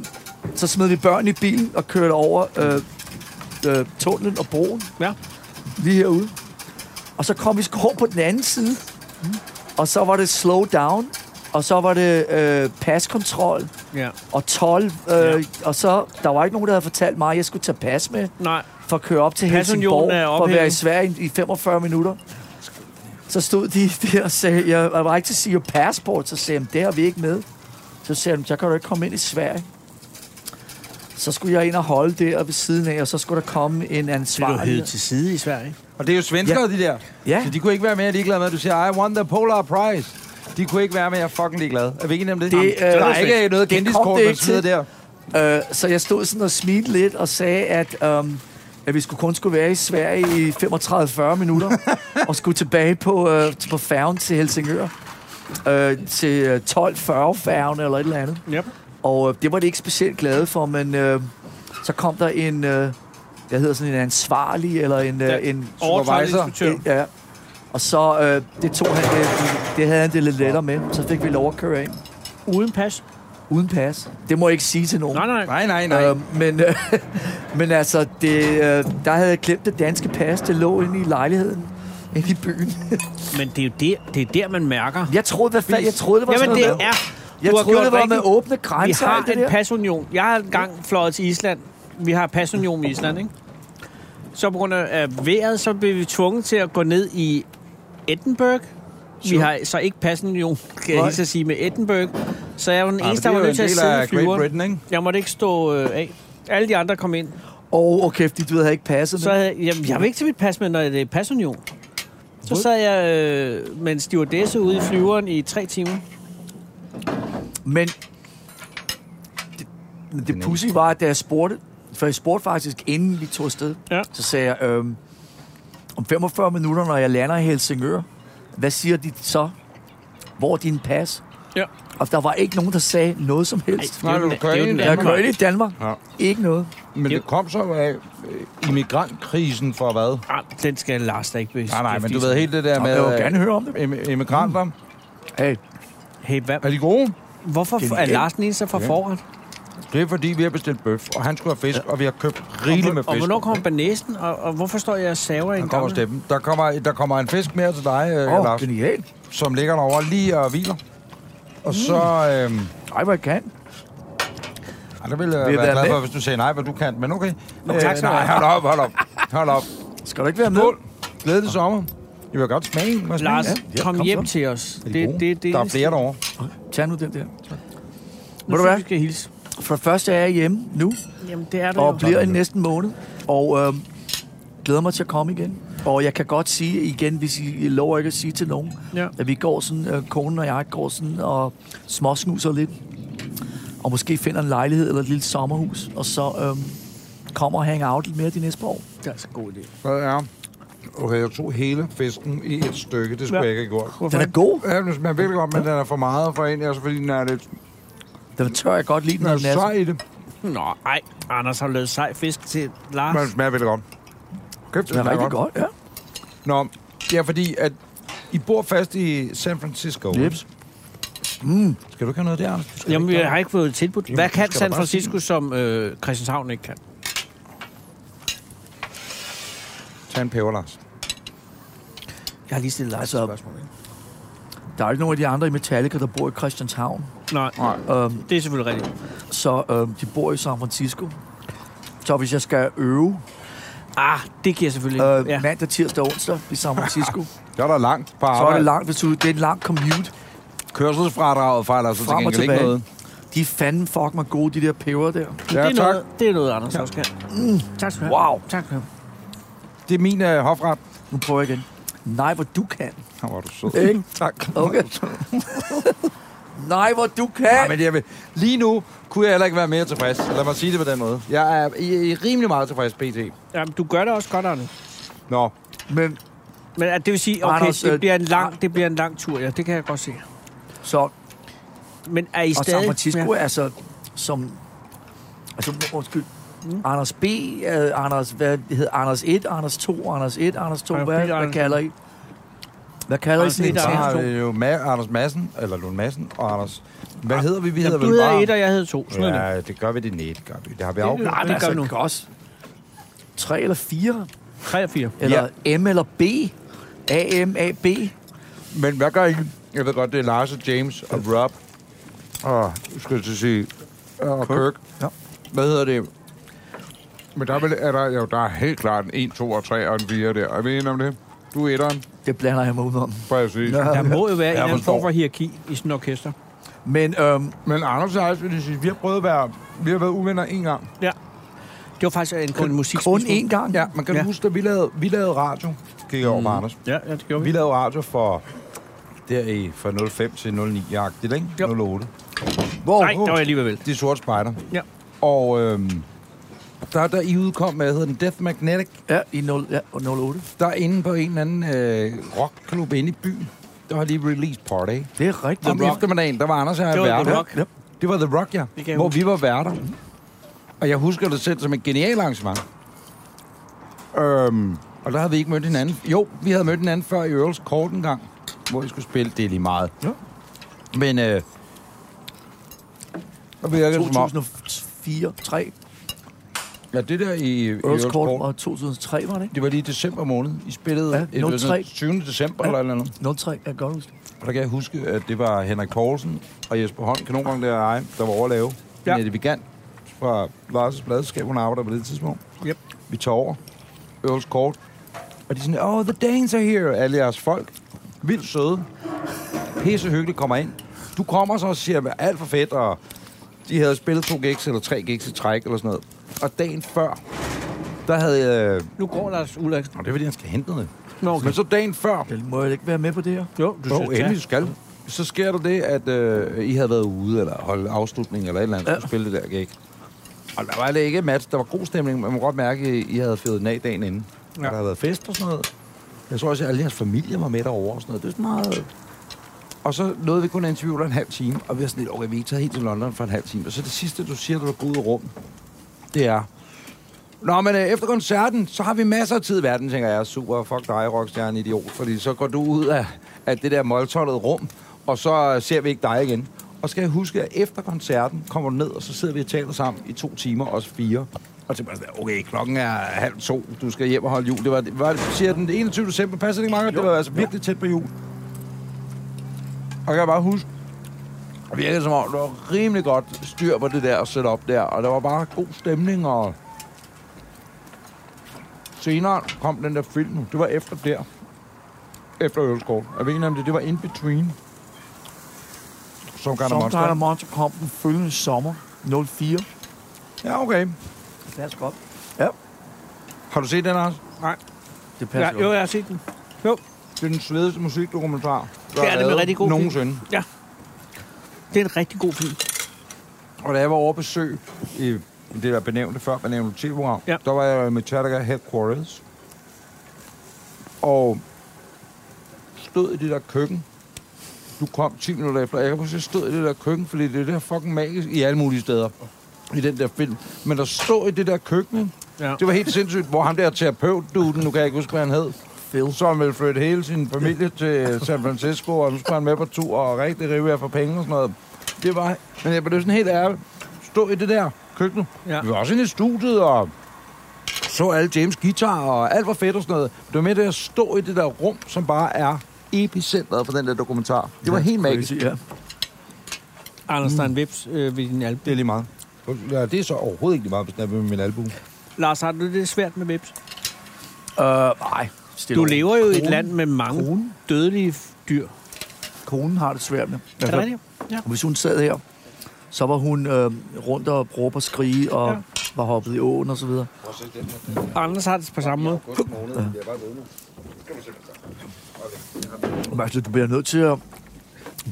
så smed vi børn i bilen og kørte over øh, øh, tunnelen og broen Ja. lige herude. Og så kom vi sgu over på den anden side. Og så var det slow down, og så var det øh, paskontrol ja. og 12. Øh, Ja. Og så, der var ikke nogen, der havde fortalt mig, at jeg skulle tage pas med. Nej, for at køre op til Helsingborg Pasunionen er for at være i ophævet. Sverige i 45 minutter. Så stod de der og sagde, jeg var ikke til at sige your passport, så sagde jeg, "Men det har vi ikke med. Så sagde de, jeg kan jo ikke komme ind i Sverige. Så skulle jeg ind og holde der ved siden af, og så skulle der komme en Blev du ansvarlig. hævet til side i Sverige? Og det er jo svenskere, ja. de der. Ja. Så de kunne ikke være mere ligeglade med, at du siger, I won the Polar Prize. De kunne ikke være mere fucking ligeglade. Er vi ikke enige om det? Det, Jamen, øh, der er det- ikke noget det kom kendiskort, det man ikke sidder til. der. Øh, så jeg stod sådan og smilede lidt og sagde, at, øhm, at vi skulle kun skulle være i Sverige i 35-40 minutter, og skulle tilbage på, øh, på færgen til Helsingør. Øh, til øh, 12.40-færgen eller et eller andet. Yep. Og øh, det var det ikke specielt glade for, men øh, så kom der en, øh, jeg hedder sådan en ansvarlig, eller en... Øh, en Overtrædelsesinstruktør. en- ja. Og så øh, det tog han, det, det havde han det lidt lettere med. Så fik vi lov at køre ind Uden pas? uden pas. Det må jeg ikke sige til nogen. Nej, nej. Nej, nej, nej. Øh, men, øh, men altså, det, øh, der havde jeg glemt det danske pas. Det lå inde i lejligheden. Inde i byen. Men det er jo der, det er der man mærker. Jeg troede, hvad fanden, jeg troede, det var Jamen, sådan det noget med- er... Jeg du har troede, gjort det var med rigtigt. åbne Vi grænser. og har alt det en der. pasunion. Jeg har engang fløjet til Island. Vi har pasunion med Island, ikke? Så på grund af af vejret, så blev vi tvunget til at gå ned i Edinburgh. Vi Sure. har så ikke pasunion, kan jeg Nej. lige så sige, med Edinburgh. Så jeg var den Ah, men eneste, der var det er jo nødt en til at del sidde i af Great flyveren. Britain, ikke? Jeg måtte ikke stå øh, af. Alle de andre kom ind. Åh, oh, okay, fordi du havde ikke passet Så så... havde jeg, jamen, jeg vil ikke til mit pas med, når det er pasunion. Så sad jeg øh, med en stewardesse ude i flyveren i tre timer. Men det- men det pussy var, at da jeg spurgte, for jeg spurgte faktisk, inden vi tog afsted, Ja. så sagde jeg, øhm, om 45 minutter, når jeg lander i Helsingør, hvad siger de så? Hvor er din pas? Ja. Og der var ikke nogen, der sagde noget som helst. Nej, du kører ind i Jeg kører ind i Danmark. Ja. Ikke noget. Men det kom så af øh, immigrantkrisen for hvad? Ah, den skal Lars da ikke Nej, nej, men du beskæftige ved sig helt det der Nå, med jeg vil øh, gerne høre om det. im- immigranter. Hey, Hey, hvad, Er de gode? hvorfor Det er er igen. Lars den eneste, der får Ja. forret? Det er fordi, vi har bestilt bøf, og han skulle have fisk, og vi har købt rigeligt med Og fisk. hvornår kommer banæsen, og, og hvorfor står jeg og saver i Han en kommer gammel? Steffen. Der kommer, der kommer en fisk mere til dig, øh, åh, oh, oh, Lars, genialt. som ligger derovre lige og hviler. Og så... Øh, Ej, hvor jeg kan. ej, der ville jeg Vil I være være glad for, med? hvis du sagde nej, hvad du kan. Men okay. Øh, Nå, tak skal du nej, have. hold op, hold op. Hold op. Skal du ikke være med? Skål. Glæde til sommer. I vil godt smage en. Må jeg smage Lars, en? ja, kom, kom hjem så. til os. Er Det, de det, gode? det, det der er flere derovre. Tag nu den der. Ved du hvad? Vi skal hilse. For det første er jeg hjemme nu, Jamen, det er du og jo. bliver i næsten måned. Og øh, glæder mig til at komme igen. Og jeg kan godt sige igen, hvis I lover ikke at sige til nogen, Ja. at vi går sådan, øh, konen og jeg går sådan og småsnuser lidt. Og måske finder en lejlighed eller et lille sommerhus. Og så øh, kommer og hang out lidt mere de næste par år. Det er altså en god idé. Hvad er? Okay, jeg tog hele fisken i et stykke. Det skulle Ja. ja. jeg ikke have gjort. Den er god. Ja, den smager virkelig godt, men den er for meget for en. Altså, fordi den er lidt Den tør jeg godt lide, den når er den er sej i det. Nå, ej. Anders har lavet sej fisk til Lars. Men den smager virkelig godt. Kæft, Den er rigtig godt, ja. Nå, ja, fordi at I bor fast i San Francisco. Jeps. Mm. Skal du ikke have noget der, Anders? Du skal Jamen, ikke jeg have har ikke fået tilbudt. Jamen, Hvad du kan skal da San bare Francisco, som øh, Christianshavn ikke kan? noget. Tag en peber, Lars. Jeg har lige stillet Lars. Altså, der er ikke nogen af de andre i Metallica, der bor i Christianshavn. Nej, Nej. Øhm, det er selvfølgelig rigtigt. så øhm, de bor i San Francisco. Så hvis jeg skal øve Ah, det giver selvfølgelig. øh, ja. ja. mandag, tirsdag og onsdag i San Francisco, Der er der langt på så er det arbejde. langt, hvis du, det er en lang commute. Kørselsfradraget fejler så til Frem og gengæld ikke tilbage. noget. De er fanden fuck mig gode, de der peber der. Ja, det, er tak. noget, det er noget, Anders også kan. Mm. Tak skal du have. Wow. Tak skal du have. Det er min øh, hofret. Nu prøver jeg igen. Nej, hvor du kan. Her var du sød. Ikke? Tak. Okay. Nej, hvor du Nej, kan. men jeg vil, lige nu kunne jeg heller ikke være mere tilfreds. Lad mig sige det på den måde. Jeg er i, i rimelig meget tilfreds, PT. Jamen, du gør det også godt, Anders. Nå, Men Men at det vil sige, okay, Anders, Anders, det, øh, bliver en Ar- lang, det bliver en lang tur, ja, det kan jeg godt se. så Men er I Og stadig... San Francisco ja. ja. er så som... Altså, undskyld. Mm. Anders B, uh, Anders, hvad det hedder, Anders 1, Anders 2, Anders 1, Anders 2, Anders hvad, B, hvad Anders- kalder I? Hvad kalder I Anders sådan en et, der ting? Anders- har to. vi jo Ma- Anders Madsen, eller Lund Madsen, og Anders... Hvad hedder vi? Vi hedder Jamen, vel du hedder bare... et, og jeg hedder to. Sådan ja. Ja, det gør vi det net, gør vi. Det har vi Det afgjort. lyder- Nej, men det gør altså, nu. kan også tre eller fire, Tre og fire. eller M eller B, A, M, A, B. Men hvad gør I? Jeg ved godt, det er Lars og James og Rob og, skal jeg til at sige, og Kirk. Ja. Hvad hedder det? Men der er, vel, er der, jo, der er helt klart en 1, 2 og 3 og en 4 der. Er vi enige om det? Du er etteren, Det blander jeg mig udenom. præcis. Nå. Ja. Der må jo være en eller anden forstår. form for hierarki i sådan et orkester. Men øhm, Men Anders og jeg, vil lige sige, vi har prøvet at være... Vi har været uvenner en gang. Det var faktisk en, kun en musik. kun én gang. Ja, man kan ja. Ja. huske, at vi lavede, vi lavede radio. Mm. Kigger over på Anders. Ja, ja, det gjorde Vi vi. lavede radio for der i fra 05 til 09 jagtigt, ikke? Jo. 08. Hvor, Nej, der var jeg alligevel. De sorte spejder. Ja. Og øhm, der, der I udkom med, hedder den Death Magnetic, Ja, i 0, ja, 08. der er inde på en eller anden øh, rockklub inde i byen. Der var lige release party. Det er rigtigt. Om eftermiddagen, der var Anders og jeg Det var værter. The Rock. Ja. Det var The Rock, ja. Det kan jeg Hvor huske. vi var værter. Og jeg husker det selv som et genialt arrangement. Øhm, og der havde vi ikke mødt hinanden. Jo, vi havde mødt hinanden før i Earls Court en gang, hvor vi skulle spille det er lige meget. Ja. Men øh, der virkede det som om, 2004, 3. ja, det der i i Earls Earls Court Court, var 2003, var det ikke? det var lige i december måned. I spillede Ja, ja, det var sådan 03. 20. december Ja. eller eller andet. 03, jeg kan godt huske. det. Og der kan jeg huske, at det var Henrik Poulsen og Jesper Holm, kanongang der ej, der var overlave. Ja. Ja. Nette Vigant fra Lars' Bladskab, hun arbejder på det tidspunkt. Yep. Vi tager over. Earls Court. Og de er sådan, oh, the Danes are here, alle jeres folk. Vildt søde. Pisse hyggeligt kommer ind. Du kommer så og siger, "Men alt for fedt, og de havde spillet to gigs eller tre gigs i træk eller sådan noget. Og dagen før, der havde jeg... Øh, Nu går Lars Ulrik. nå, det er fordi, han skal hente noget. Nå, Okay. Men så dagen før, Jeg må jeg ikke være med på det her? Jo, du jo, synes, endelig du det skal. Så sker der det, at øh, I havde været ude, eller holdt afslutning, eller et eller andet, ja. Ja. skulle spille det der gig. Og der var det ikke et match. Der var god stemning, men man må godt mærke, at I havde fyret den af dagen inden. Ja. Ja. Der havde været fest og sådan noget. Jeg tror også, at alle jeres familie var med derovre og sådan noget. Det er sådan meget... Og så nåede vi kun at interviewe dig en halv time, og vi har sådan lidt, okay, vi er ikke taget helt til London for en halv time. Og så det sidste, du siger, da du går ud af rummet, det er, Nå, men øh, efter koncerten, så har vi masser af tid i verden, tænker jeg. Super, fuck dig, rockstjerne, idiot. Fordi så går du ud af, af det der måltollede rum, og så øh, ser vi ikke dig igen. Og skal jeg huske, at efter koncerten kommer du ned, og så sidder vi og taler sammen i to timer, os fire. Og så bare sådan, okay, klokken er halv to, du skal hjem og holde jul. Det var, det var siger den 21. december, passer det ikke meget? godt? Det var altså virkelig tæt på jul. Og jeg kan bare huske, det virkede som om, der var rimelig godt styr på det der setup der, og der var bare god stemning, og senere kom den der film, det var efter der, efter Ølskort. Jeg ved ikke, om det, det var In Between, som gør Som Tyler monster. Monster kom den følgende sommer, 04. Ja, okay. Det passer godt. Har du set den også? Det Ja, passer jo, godt. jeg har set den. Det er den svedeste musikdokumentar, der Det er er nemlig lavet rigtig god film. nogensinde. Det er en rigtig god film. Og da jeg var over besøg i det, der benævnte før, benævnte TV-program, ja. Ja. der var jeg med Metallica Headquarters. Og stod i det der køkken. Du kom 10 minutter efter. Jeg kan huske, jeg stod i det der køkken, fordi det er det her fucking magisk i alle mulige steder i den der film. Men der stod i det der køkken, ikke? Ja. det var helt sindssygt, hvor ham der terapeut-duden, nu kan jeg ikke huske, hvad han hed, Phil. som ville flytte hele sin familie til San Francisco, og nu skulle han med på tur og rigtig rive jer for penge og sådan noget. Det var... Men jeg blev sådan helt ærlig. Stå i det der køkken. Ja. Ja. Vi var også inde i studiet og så alle James guitar og alt var fedt og sådan noget. Det var med det at stå i det der rum, som bare er epicentret for den der dokumentar. Det var helt magisk. Ja. Anders, der er en vips øh, ved din album. Det er lige meget. Ja, det er så overhovedet ikke lige meget, hvis den er ved min album. Lars, har du det lidt svært med vips? Øh, nej. Stille Du og roligt. lever jo i et Konen- land med mange Konen, dødelige Altså- dyr. konen har det svært med. Er det rigtigt? Ja. Og Hvis hun sad her, så var hun øh, rundt og råbe og skrige, og Ja. ja. var hoppet i åen og så videre. Anders har det på samme måde. Men altså, du bliver nødt til at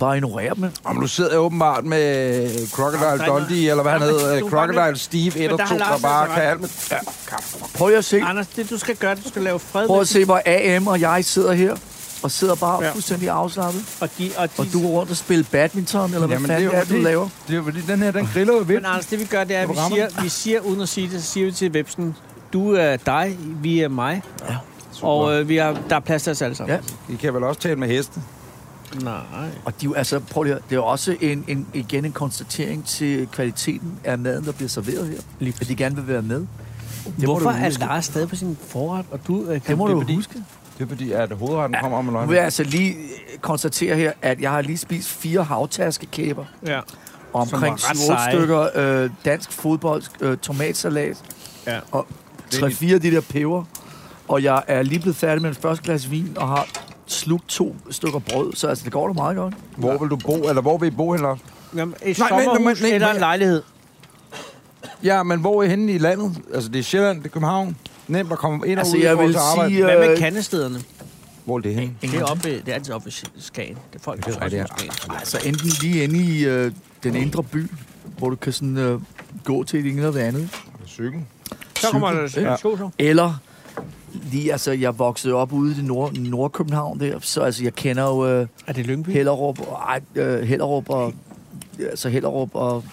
bare ignorere dem. ikke? Jamen, du sidder jeg åbenbart med Crocodile Dundee, eller hvad han Jamen, hedder, du er bare Crocodile nødt- Steve 1 Men og der 2, har der Lars bare altså kan ret. alt med... Ja, Prøv at se, Anders, det du skal gøre, du skal lave fred prøv med at se, hvor AM og jeg sidder her, og sidder bare Ja. ja. fuldstændig afslappet. dem, og de, og de, Og du går rundt og spiller badminton, eller hvad Jamen, fanden det er det er, jo fordi- du laver. Det er fordi, den her, den griller jo vildt. Men Anders, det vi gør, det er, at vi Rammer siger, vi siger, uden at sige det, så siger vi til Vepsen, du er dig, vi er mig. Ja. Og øh, vi har, der er plads til os alle sammen. Ja. I kan vel også tale med heste? Nej. Og de, er jo- altså, prøv lige, at- det er jo også en, en, igen en konstatering til kvaliteten af maden, der bliver serveret her. Lige At de gerne vil være med. Det må Hvorfor du er huske. Lars stadig på sin forret, og du øh, kan Det må Det er du fordi- huske. Det er fordi, at hovedretten kommer om en Nu løgn. vil jeg altså lige øh, konstatere her, at jeg har lige spist fire havtaskekæber. Ja. Og Som var omkring ret 7 seje. stykker øh, dansk fodbold, øh, tomatsalat, Ja. Og tre fire af de der peber. Og jeg er lige blevet færdig med en første glas vin, og har slugt to stykker brød. Så altså, det går da meget godt. Hvor vil du bo, eller hvor vil I bo hen, Lars? Jamen, et Nej, nej, men- sommerhus men- men- eller en men- lejlighed. Ja, men hvor er I henne i landet? Altså, det er Sjælland, det er København. Nemt at komme ind og Altså, ud i jeg forhold vil til arbejde. sige, Hvad med øh, kandestederne? Hvor er det henne? Det er, oppe ved, det er altid oppe ved Skagen. Det er folk, der tror, det er Skagen. Altså enten lige inde i øh, den indre by, hvor du kan sådan øh, gå til det ene eller det andet. Cykel. Så kommer der Cykel, ja. ja. så. Eller lige, altså jeg voksede op ude i det nord, Nordkøbenhavn der, så altså jeg kender jo øh, Er det Lyngby? Hellerup, og, ej, øh, Hellerup og, altså Hellerup og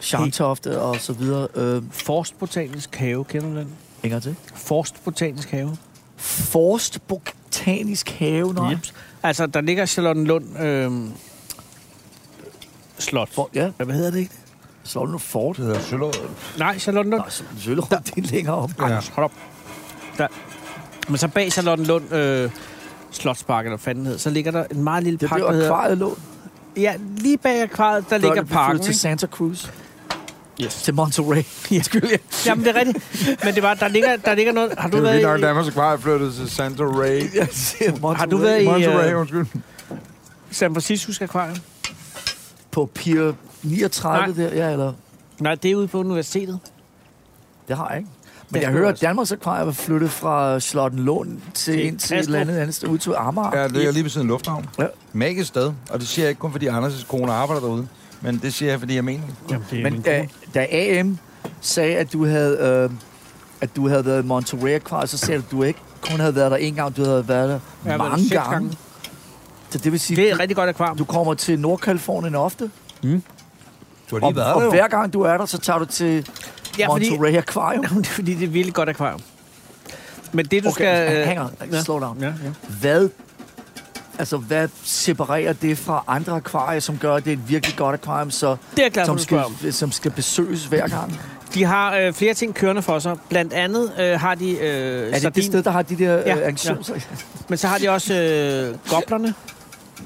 Scharntofte og så videre. Øh, Forst Botanisk Have, kender du den? hænger til. Forst Botanisk Have. Forst Botanisk Have, nej. Jeps. Altså, der ligger Charlottenlund øh, Slot. For, ja, Hvad hedder det ikke? så er det nu Fort. Det hedder Søllerød. Nej, Charlottenlund. Nej, så Søllerup, det er længere op. Ja. Hold op. Der. Men så bag Charlottenlund øh, Slotspark, eller hvad fanden den hed, så ligger der en meget lille Det park, blev der hedder... akvariet lå. Ja, lige bag akvariet, der ligger Børnene blev flyttet parken. til ikke? Santa Cruz. Yes. Til Monterey. Ja. Jamen, det er rigtigt. Men det var, der ligger, der ligger noget... Har Det du er jo været vildt nok, i, Danmarks Akvarie flyttet til Santa Ray. Jeg siger Monterey. har du været Monterey, i øh, undskyld. San Francisco Aquarium? på Pier 39 Nej. der? Ja, eller? Nej, det er ude på universitetet. Det har jeg ikke. Det Men jeg skulle hører, jeg at Danmarks Akvarium er flyttet fra Slottenlund til, Til ind til et eller Kastrup. andet andet sted, ud til Amager. Ja, Ja. det ligger lige ved siden af Lufthavn. Ja. Magisk sted. Og det siger jeg ikke kun, fordi Anders' kone arbejder derude. Men det siger jeg, fordi jeg mener det. Jamen, det Men da, da AM sagde, at du havde, øh, at du havde været i Monterey Akvarium, så sagde du, at du ikke kun havde været der en gang, du havde været der Jeg har været der mange seks gange. gange. Så det vil sige, det er et rigtig godt akvarium. du kommer til Nordkalifornien ofte, Du har og, og hver gang du er der, så tager du til Ja, fordi, Monterey Akvarium. det er fordi det er et virkelig godt akvarium. Men det, du Okay, skal... øh, hang on. Slow down. Ja, ja. Hvad, altså, hvad separerer det fra andre akvarier, som gør, at det er et virkelig godt akvarium, så, Det er jeg glad for, som, du spørger om. skal, som skal besøges hver gang? De har øh, flere ting kørende for sig. Blandt andet øh, har de... Øh, er Er det det sted, der har de der Ja, ja, øh, arrangementer? Ja. Men så har de også øh, goblerne.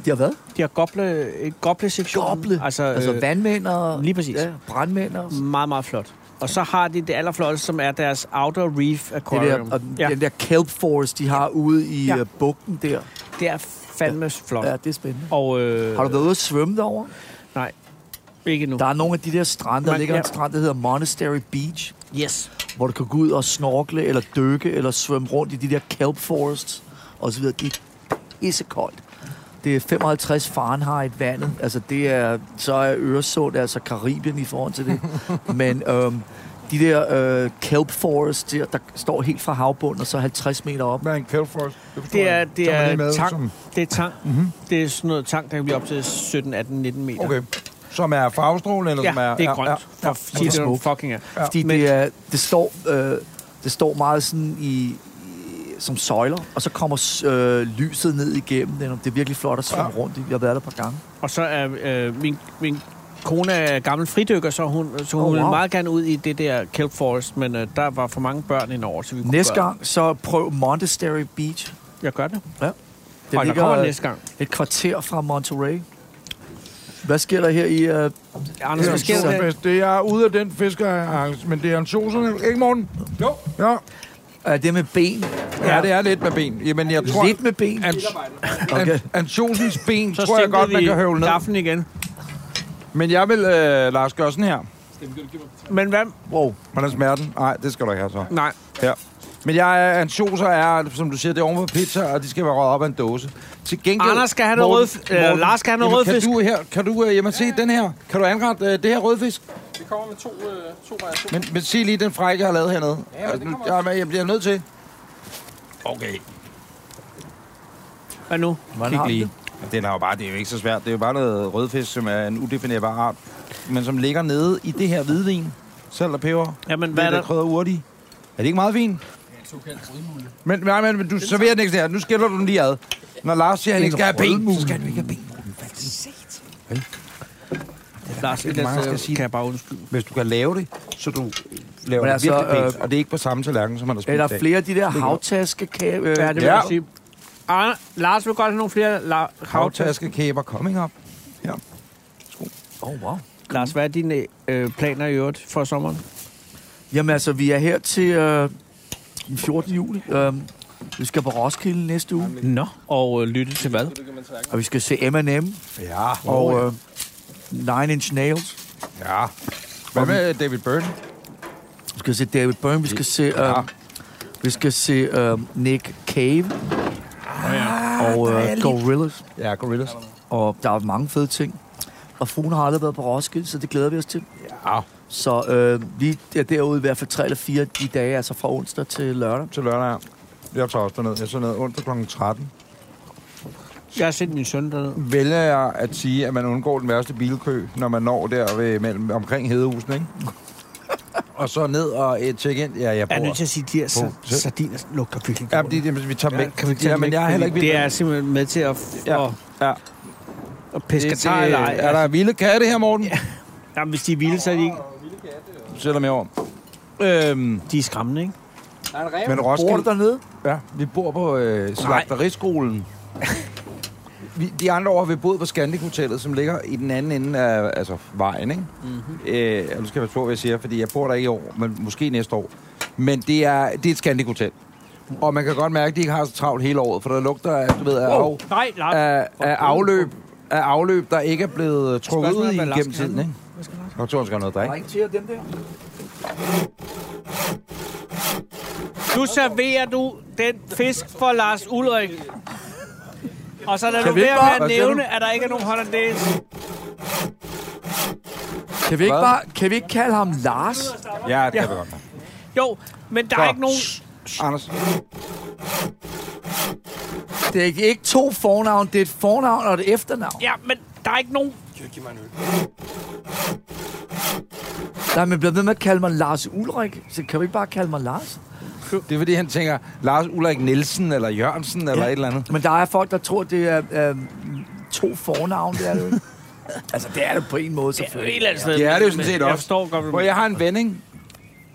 De har hvad? De har goble, øh, goble-sektionen. Goble. Altså, altså øh, vandmænd og lige præcis. Mm. Ja, brandmænd og sådan. meget, meget flot. Og så har de det allerflotteste, som er deres Outer Reef Det Aquarium. der, og den- ja, den der kelp forest, de har ude i Ja. ja. bugten der. det er fandme flot. Ja, det er spændende. Og, øh, Har du været ude at svømme derovre? Nej, ikke nu. Der er nogle af de der strande, der Man- ligger ja. ja. en strand, der hedder Monastery Beach, Yes. hvor du kan gå ud og snorkle, eller dykke, eller svømme rundt i de der kelp forests, og så videre. Det er pissekoldt. Det er 55 Fahrenheit vandet. Altså det er, så er Øresund, altså Karibien i forhold til det. Men øhm, de der øh, kelp forests, der, der står helt fra havbunden, og så 50 meter op. Hvad er en kælfrost? Det er, det er tang. Som, Det er tang. Mhm. Mm-hmm. Det er sådan noget tang, der kan blive op til 17, 18, 19 meter. Okay. Som er farvestrålen, eller Ja, som er... det er Ja, grønt. ja, For sig det, smukt. er fucking er. Ja, fordi men- det, er, det, står, øh, det står meget sådan i, i som søjler, og så kommer øh, lyset ned igennem den, og det er virkelig flot at svømme rundt i. Jeg har været der et par gange. Og så er øh, min, min kone er gammel fridykker, så hun, så hun oh, Oh, wow. ville meget gerne ud i det der kelp forest, men øh, der var for mange børn indover, så vi kunne Næste gøre. gang, så prøv Montessori Beach. Jeg gør det. Ja. Det Det og der ligger kommer øh, næste gang. et kvarter fra Monterey. Hvad sker der her i... Øh, Anders, hvad sker der? det, det er ude af den fiskerarrangement, men det er en soserne. Ikke, morgen? Jo. Ja. er det med ben? ja. ja, det er lidt med ben. Jamen, jeg tror... Lidt med ben? Ans, Okay. ans, Ansjosens ben Så tror jeg godt, man kan høvle ned. gaffen igen. Men jeg vil, øh, Lars, gøre sådan her. Men hvad? Wow. Hvordan smager den? Nej, det skal du ikke have så. Nej. Ja. Men jeg er ansjoser er, som du siger, det er ovenpå pizza, og de skal være røget op af en dåse. Til gengæld... Anders skal have noget rød- øh, Lars skal have noget jamen, rødfisk. Kan du, her, kan du øh, jamen, se den her? Kan du anrette øh, det her rødfisk? Vi kommer med to, øh, to variationer. Men, men sig lige den frække, jeg har lavet hernede. Ja, men det kommer også. jeg, jeg bliver nødt til. Hvad nu? Hvordan Kig har lige. det? Den er jo bare, det er jo ikke så svært. Det er jo bare noget rødfisk, som er en udefinerbar art, men som ligger nede i det her hvidvin. Salt og peber. Jamen, hvad Hvad er der? krydder urte i. Er det ikke meget fint? Men, nej, men, men du serverer den ikke sådan her. Nu skiller du den lige ad. Når Lars siger, at han ikke skal have ben, så skal han jo ikke have ben. Lars, det er mange, der skal der, sige kan jeg bare undskylde. Hvis du kan lave det, så du laver Men det altså, virkelig pænt, øh, og det er ikke på samme tallerken, som man har spist Er der i dag. flere af de der havtaskekage? Øh, Ja, det vil Ja. jeg sige. Arne, Lars vil godt have nogle flere la- havtas. Havtaskekæber coming up. Ja. Oh, wow. Lars, hvad er dine øh, planer i øvrigt for sommeren? Jamen altså, vi er her til øh, den 14. juli. Øh, vi skal på Roskilde næste uge, Nå, og øh, lytte til hvad? og vi skal se M&M Ja. og øh, Nine Inch Nails. Ja. Hvad med David Byrne? Vi skal se David Byrne, vi skal se, øh, vi skal se øh, Nick Cave Ah, og øh, Gorillaz. Ja, Gorillaz. Og der er mange fede ting. Og fruen har aldrig været på Roskilde, så det glæder vi os til. Ja. Så øh, lige der, derude i hvert fald tre eller fire de dage, altså fra onsdag til lørdag. Til lørdag. Jeg tager også derned. Jeg tager ned onsdag kl. 13. Jeg har sendt min søn derned. Vælger jeg at sige, at man undgår den værste bilkø, når man når der ved, mellem, omkring Hedehusen, ikke? og så ned og et tjekke ind. Ja, jeg Jeg er bor. nødt til at sige, at de her sa- På- sardiner lugter virkelig Ja, godt. men det, det, vi tager dem væk. kan vi ikke tage ja, dem men væk, jeg er heller ikke fordi vild Det med er simpelthen med til at, f- Ja. at, Ja. at det. piske Det- teg eller ej. det- Er der vilde katte her, Morten? Ja. Jamen, hvis de er vilde, så er de, ikke, Selvom jeg over. Øhm, de er skræmmende, ikke? Der er en ræv. men Bor du Roskilde, dernede? ja, vi bor på øh, slagteriskolen. vi, de andre år har vi boet på Scandic Hotellet, som ligger i den anden ende af altså, vejen. Ikke? Mhm. Mm-hmm. Øh, og nu skal jeg passe på, hvad jeg siger, fordi jeg bor der ikke i år, men måske næste år. Men det er, det er et Scandic Hotel. Og man kan godt mærke, at de ikke har så travlt hele året, for der lugter af, du ved, af, wow. Nej, nej. af, af afløb, af afløb, der ikke er blevet trukket ud Spørgsmålet i er, hvad Lars gennem skal tiden. have Ikke? Nå, Toren skal have noget at drikke. Ring til dem der. Nu serverer du den fisk for Lars Ulrik. Og så lad Kan du vi ikke være med bare- at nævne, at der ikke er nogen hollandaise. Kan vi ikke Hvad? bare, kan vi ikke kalde ham Lars? Ja, det kan Ja. ja. vi godt. Jo, men der er Så. ikke nogen... Anders, Det er ikke, ikke to fornavn, det er et fornavn og et efternavn. Ja, men der er ikke nogen... Der er man blevet ved med at kalde mig Lars Ulrik, så kan vi ikke bare kalde mig Lars? det er fordi, han tænker, Lars Ulrik Nielsen eller Jørgensen eller ja. et eller andet. Men der er folk, der tror, det er øh, to fornavn, det er det jo ikke. Altså, det er det på en måde, Ja, et selvfølgelig. eller andet sted. Det er det jo men- sådan men set Jeg også. forstår godt, hvad du Hvor jeg har en ven, ikke?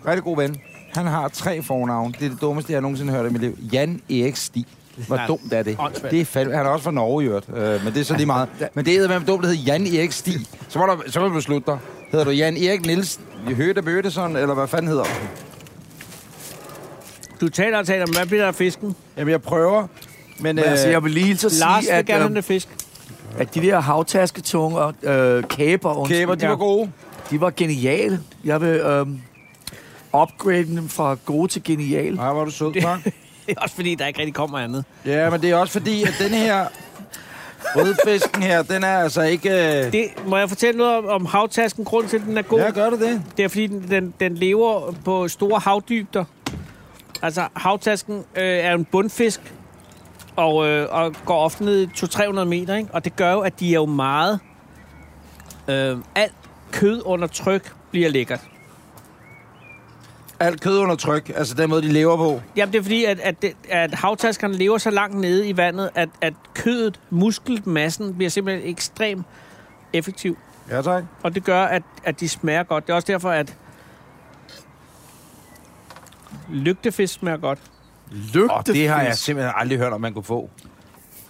Rigtig god ven. Han har tre fornavne. Det er det dummeste, jeg nogensinde har hørt i mit liv. Jan Erik Stig. Hvor Nej, dumt er det? åndssvagt. det er fandme, han er også fra Norge, i øvrigt. Øh, men det er så lige meget. Men det hedder, hvem dumt, der hedder Jan Erik Stig. Så må, der, så må du beslutte dig. Hedder du Jan Erik Nielsen, Høde Bøttesson, eller hvad fanden hedder du? Du taler og taler, men hvad bliver der af fisken? Jamen, jeg prøver. Men, Men øh, altså, jeg vil lige så Lars sige, vil at, gerne have øh, den fisk. at de der havtasketunge og øh, kæber, undskyld, Kæber, de var gode. de var geniale. Jeg vil øh, upgrade dem fra gode til geniale. Nej, var du sød, tak. Det er også fordi, der ikke rigtig kommer andet. Ja, men det er også fordi, at den her rødfisken her, den er altså ikke... Øh... Det, må jeg fortælle noget om, om havtasken? Grunden til, at den er god, Ja, gør du det? det er, fordi den, den, den lever på store havdybder. Altså, havtasken øh, er en bundfisk, og, øh, og går ofte ned 200-300 meter, ikke? Og det gør jo, at de er jo meget... Øh, alt kød under tryk bliver lækkert. Alt kød under tryk, altså den måde, de lever på. Jamen, det er fordi, at, at, det- at havtaskerne lever så langt nede i vandet, at, at kødet, muskelmassen, bliver simpelthen ekstremt effektiv. Ja, tak. Og det gør, at, at de smager godt. Det er også derfor, at lygtefisk smager godt. Lygtefisk. Og det har jeg simpelthen aldrig hørt, om man kunne få.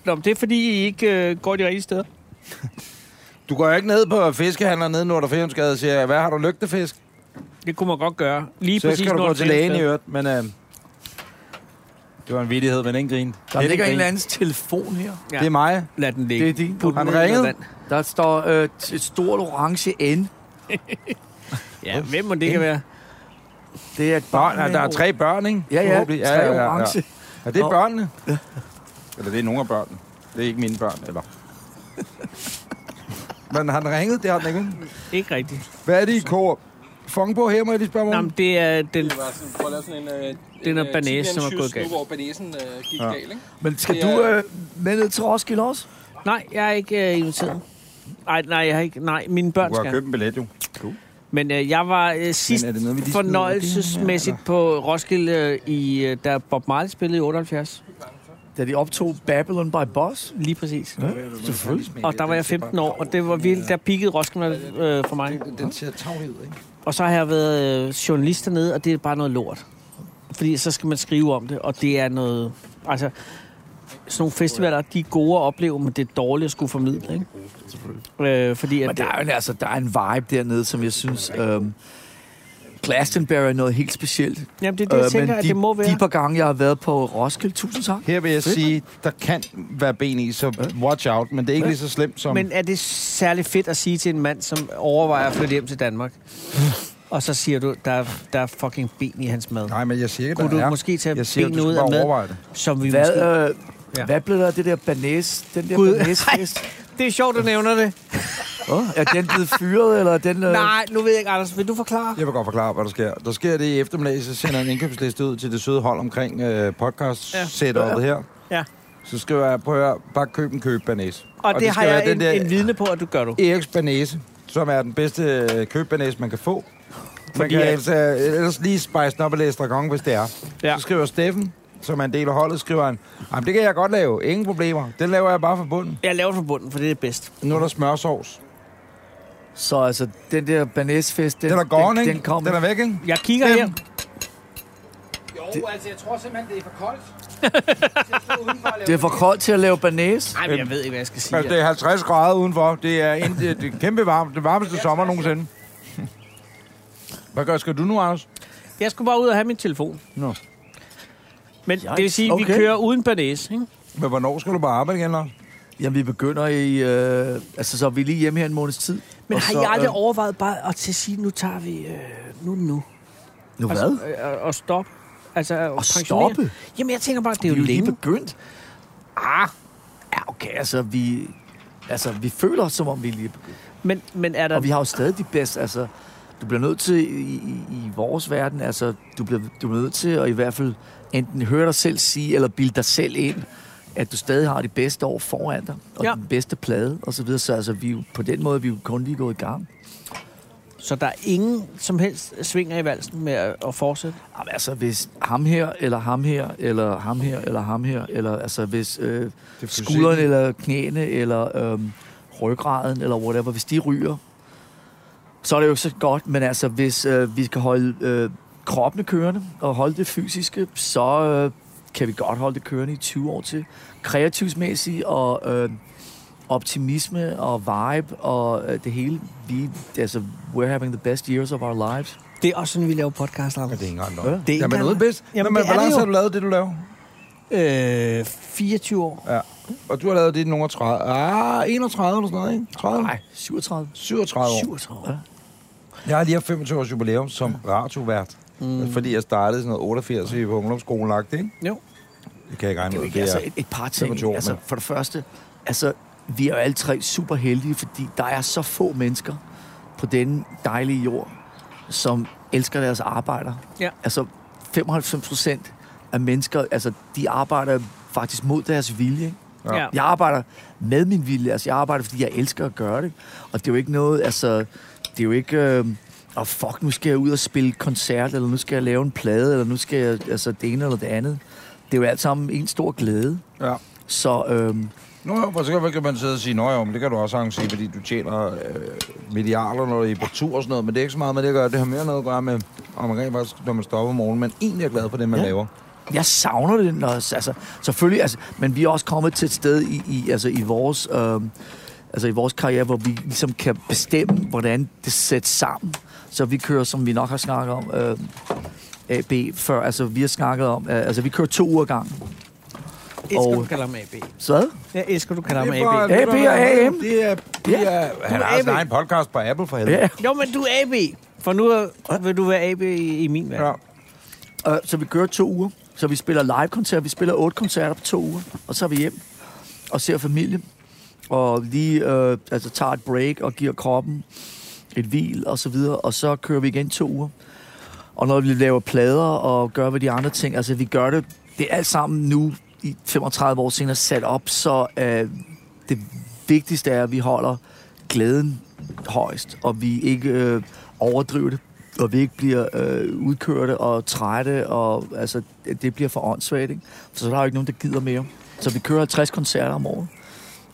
Nå, men det er fordi, I ikke øh, går de rigtige steder. Du går jo ikke ned på fiskehandler nede i Nordafriansgade og siger, hvad har du lygtefisk? Det kunne man godt gøre. Lige Så præcis skal du når gå det til finder lægen i sted. øvrigt, men øh, det var en vittighed, men ingen grin. Der ligger en eller andens telefon her. Ja. Det er mig. Lad den ligge. Det er din. Put den Han ned i noget ringede. vand. Der står øh, t- et stort orange N. Ja, hvem må det kan være? Det er et barn. Børn, altså, der er tre børn, ikke? Ja, ja. Forhåbentlig. Tre ja, ja, ja, ja. orange. Ja, det er Nå. børnene. Eller det er nogle af børnene. Det er ikke mine børn, eller... Men han ringede, det har den ikke. Ikke rigtigt. Hvad er det i kor? Fong på her, må jeg lige spørge Nå, om. men det er den... Det var sådan, prøv at lave sådan en... Øh, er noget banæse, som er gået galt. Nu, hvor banæsen øh, gik ja. galt, ikke? Men skal Det du er- øh, med ned til Roskilde også? Nej, jeg er ikke øh, inviteret. Nej, nej, jeg har ikke. Nej, mine børn Du har skal. købt en billet, jo. Men øh, jeg var øh, sidst er det noget, vi lige smider fornøjelsesmæssigt på Roskilde, øh, i, øh, da Bob Marley spillede i 78. Da de optog Babylon by Boss? Lige præcis. Selvfølgelig. Og der var jeg 15 år, og det var virkelig, der pikkede Roskilde øh, for mig. Den ser tavlig ud, ikke? Og så har jeg været øh, journalist dernede, og det er bare noget lort. Fordi så skal man skrive om det, og det er noget... Altså, sådan nogle festivaler, de er gode at opleve, men det er dårligt at skulle formidle, ikke? Øh, fordi at, Men der er jo en- altså, der er en vibe dernede, som jeg synes... Øh, øhm, Glastonbury er noget helt specielt. Det, Jamen, det er det, Øh, jeg tænker, men at de, det må være. de par gange, jeg har været på Roskilde, tusind tak. Her vil jeg Fedt. sige, der kan være ben i, så watch out. Men det er ikke lige så slemt som... Men er det særlig fedt at sige til en mand, som overvejer at flytte hjem til Danmark, og så siger du, der er, der er fucking ben i hans mad, Nej, men jeg siger ikke, Kunne der du er. måske tage jeg siger, benene du skal ud af bare maden? overveje det. som vi Hvad, måske... øh, Ja. ja. hvad blev der af det der banæs? Den der Gud, banæsfest? Det er sjovt, du nævner det. Oh, er den blevet fyret, eller er den... Øh, Nej, nu ved jeg ikke, Anders. Vil du forklare? Jeg vil godt forklare, hvad der sker. Der sker det i eftermiddag, så sender jeg en indkøbsliste ud til det søde hold omkring øh, podcast-setupet ja. her. Ja. Så skriver jeg, prøv at høre, bare køb en køb banæs. Og, og det, det har skal være jeg en, den der... der- en vidne på, at du gør du. Eriks banæse, som er den bedste øh, købbanæse, man kan få. Man Fordi kan at- ellers, øh, ellers lige spice den op og læse dragon, hvis det er. Ja. Ja. Så skriver Steffen, som er en del af holdet, skriver han, Jamen, det kan jeg godt lave, ingen problemer. Den laver jeg bare fra bunden. Jeg laver det fra bunden, for det er det bedste. Nu er der smørsovs. Så altså, den der banæsfest, den, Den er gone, den, ikke? den kom. Den er væk, ikke? Jeg kigger Fem. her. Jo, altså, jeg tror simpelthen, det er for koldt. Det er for koldt til at lave banæs. Nej, men jeg ved ikke, hvad jeg skal sige. Altså, det er 50 grader udenfor. Det er, en, det, det er kæmpe varmt. Det varmeste sommer nogensinde. Hvad gør, skal du nu, Anders? Jeg skulle bare ud og have min telefon. Nå. Men det vil sige, at vi okay. kører uden banæs, ikke? Men hvornår skal du bare arbejde igen, Lars? Jamen, vi begynder i... Øh, altså, så er vi lige hjemme her en måneds tid. Men Og har så, I aldrig øh, overvejet bare at til at sige, nu tager vi... Øh, nu er det nu. Nu hvad? Altså, øh, og stoppe. Altså, at pensionere. stoppe? Jamen, jeg tænker bare, at det vi er er jo jo lige længe. begyndt. Ah, ja, okay, altså, vi... Altså, vi føler os, som om vi er lige begyndt. Men, men er der... Og vi har jo stadig de bedste, altså... Du bliver nødt til, i, i, i vores verden, altså, du bliver, du bliver nødt til at i hvert fald enten høre dig selv sige, eller bilde dig selv ind, at du stadig har de bedste år foran dig, og Ja. ja. den bedste plade, og så videre. Så altså, vi, er jo- på den måde, vi er jo kun lige gået i gang. Så der er ingen som helst svinger i valsen med at, at fortsætte? Jamen, altså, hvis ham her, eller ham her, eller ham her, eller ham her, eller altså, hvis øh, skuldrene, eller knæene, eller øh, ryggraden, eller whatever, hvis de ryger, så er det jo ikke så godt, men altså, hvis øh, vi skal holde øh, kroppene kørende, og holde det fysiske, så øh, kan vi godt holde det kørende i 20 år til. Kreativsmæssigt, og øh, optimisme, og vibe, og øh, det hele. Vi, altså, we're having the best years of our lives. Det er også sådan, vi laver podcast, Ja, det Anders. er ikke engang Ja. noget. Det er Jamen, engang- noget bedst. Jamen, Jamen, Jamen det er hvor lang det tid jo. har du lavet det, du laver? Øh, 24 år. Ja. Og du har lavet det i nogen 30. Ah, 31 eller sådan noget, ikke? 30? Nej, 37. 37 år. 37 år. Jeg har lige haft 25 års jubilæum som radiovært. Mm. Fordi jeg startede i sådan noget 88 i på ungdomsskolen lagt, ikke? Jo. Det kan jeg ikke regne Det er ud. jo ikke, altså et, et par ting. 25 år, altså, men- for det første, altså, vi er jo alle tre super heldige, fordi der er så få mennesker på denne dejlige jord, som elsker deres arbejder. Ja. Altså 95 procent af mennesker, altså de arbejder faktisk mod deres vilje. ikke? Ja. Jeg arbejder med min vilje, altså jeg arbejder, fordi jeg elsker at gøre det. Og det er jo ikke noget, altså, det er jo ikke, øh, oh fuck, nu skal jeg ud og spille koncert, eller nu skal jeg lave en plade, eller nu skal jeg, altså det ene eller det andet. Det er jo alt sammen en stor glæde. Ja. Så øh, Nå, jo, for så kan man sidde og sige, nå jo, men det kan du også arrangere, fordi du tjener øh, milliarder, når du er på tur og sådan noget, men det er ikke så meget med det at gøre. Det har mere noget at gøre med, om man rent faktisk, når man stopper om morgenen, men egentlig er glad for det, man ja. Ja. laver. jeg savner det, når, altså, selvfølgelig, altså, men vi er også kommet til et sted i, i, altså, i vores... Øh, altså i vores karriere, hvor vi ligesom kan bestemme, hvordan det sættes sammen. Så vi kører, som vi nok har snakket om, øh, AB før, altså vi har snakket om, øh, altså vi kører to uger gang. Jeg elsker, Og- du kalder ham AB. Så hvad? Jeg elsker, du kalder ham Det er for- AB. AB og AM. Det er, det Ja. er, han er har sin AB. egen podcast på Apple for helvede. Ja. Jo, men du er AB. For nu er- vil du være AB i, i min verden. Ja. Ja. Øh, så vi kører to uger. Så vi spiller live-koncerter. Vi spiller otte koncerter på to uger. Og så er vi hjem og ser familie. Og lige øh, altså, tager et break og giver kroppen et hvil og så videre. Og så kører vi igen to uger. Og når vi laver plader og gør hvad de andre ting, altså vi gør det, det er alt sammen nu i 35 år senere sat op, så øh, det vigtigste er, at vi holder glæden højst, og vi ikke øh, overdriver det, og vi ikke bliver øh, udkørte og trætte, og altså, det bliver for åndssvagt, ikke? Så der er jo ikke nogen, der gider mere. Så vi kører 50 koncerter om året,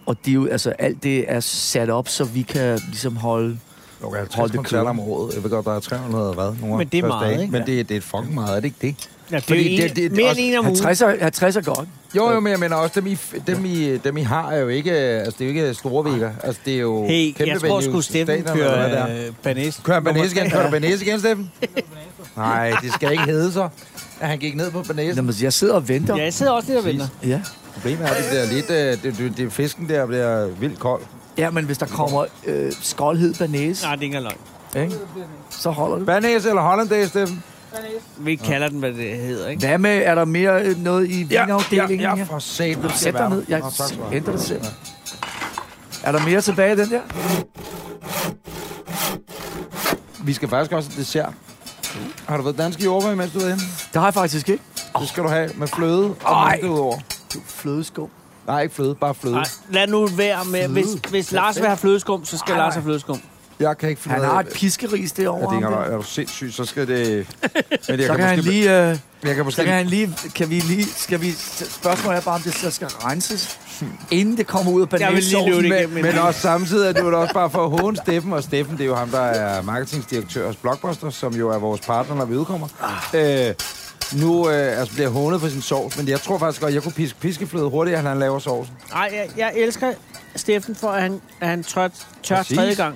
og det er jo, altså, alt det er sat op, så vi kan ligesom holde Okay, Hold 50 det koncerter kørende. om året. Jeg ved godt, der er 300 og hvad? Nogle Men det er første meget, dage. ikke? Men det, er- det er fucking meget, er det ikke det? Ja, det er Fordi jo en, det- det er mere end også en om ugen. 50 er, 50 er godt. Jo, jo, men jeg mener også, dem I, dem I, dem I har er jo ikke, altså det er jo ikke store vægger. Altså det er jo Hey, jeg tror venues, sgu, Steffen stadioner, eller hvad det er. kører øh, banæs. Kører han Banese igen? Kører du Banese igen, Steffen? Nej, det skal ikke hedde sig, at han gik ned på Nå, banæsen. men jeg sidder og venter. Ja, jeg sidder også lidt og venter. Ja. Problemet er, at det bliver lidt, øh, det, det, det, fisken der bliver vildt kold. ja, men hvis der kommer øh, skoldhed banæs, Nej, det er ikke engang ikke, så holder det. Banæs eller hollandaise, Steffen? løgn. Vi kalder den, hvad det hedder, ikke? Hvad med, er der mere øh, noget i vinafdelingen ja, her? ja, for satan. Vil du sætte dig ned? Jeg Nå, tak skal du have. henter det selv. Er der mere tilbage i den der? Vi skal faktisk også have dessert. Har du været dansk i jordbær, mens du var inde? Det har jeg faktisk ikke. Det skal du have med fløde og Ej. mælk udover. Du flødeskum. Nej, ikke fløde, bare fløde. Nej, lad nu være med. Hvis, hvis Lars vil have flødeskum, så skal Lars have flødeskum. Jeg kan ikke finde Han ud af- har et piskeris Ja, derovre. det er, ham ikke der. engang- er du sindssyg, så skal det... Men jeg Så kan han måske- lige... Øh, Jeg kan måske... Så kan han lige, kan vi lige, skal vi, spørgsmålet er bare, om det så skal renses, inden det kommer ud af Jeg vil lige løbe banæssovsen. det men, igennem. men også samtidig er det jo også bare for at håne Steffen, og Steffen, det er jo ham, der er marketingdirektør hos Blockbuster, som jo er vores partner, når vi udkommer. Øh, nu øh, altså bliver hånet for sin sovs, men jeg tror faktisk godt, jeg kunne piske piskefløde hurtigere, end han laver sovsen. Nej, jeg, jeg elsker Steffen for, at han, at han tør, tør Præcis. tredje gang.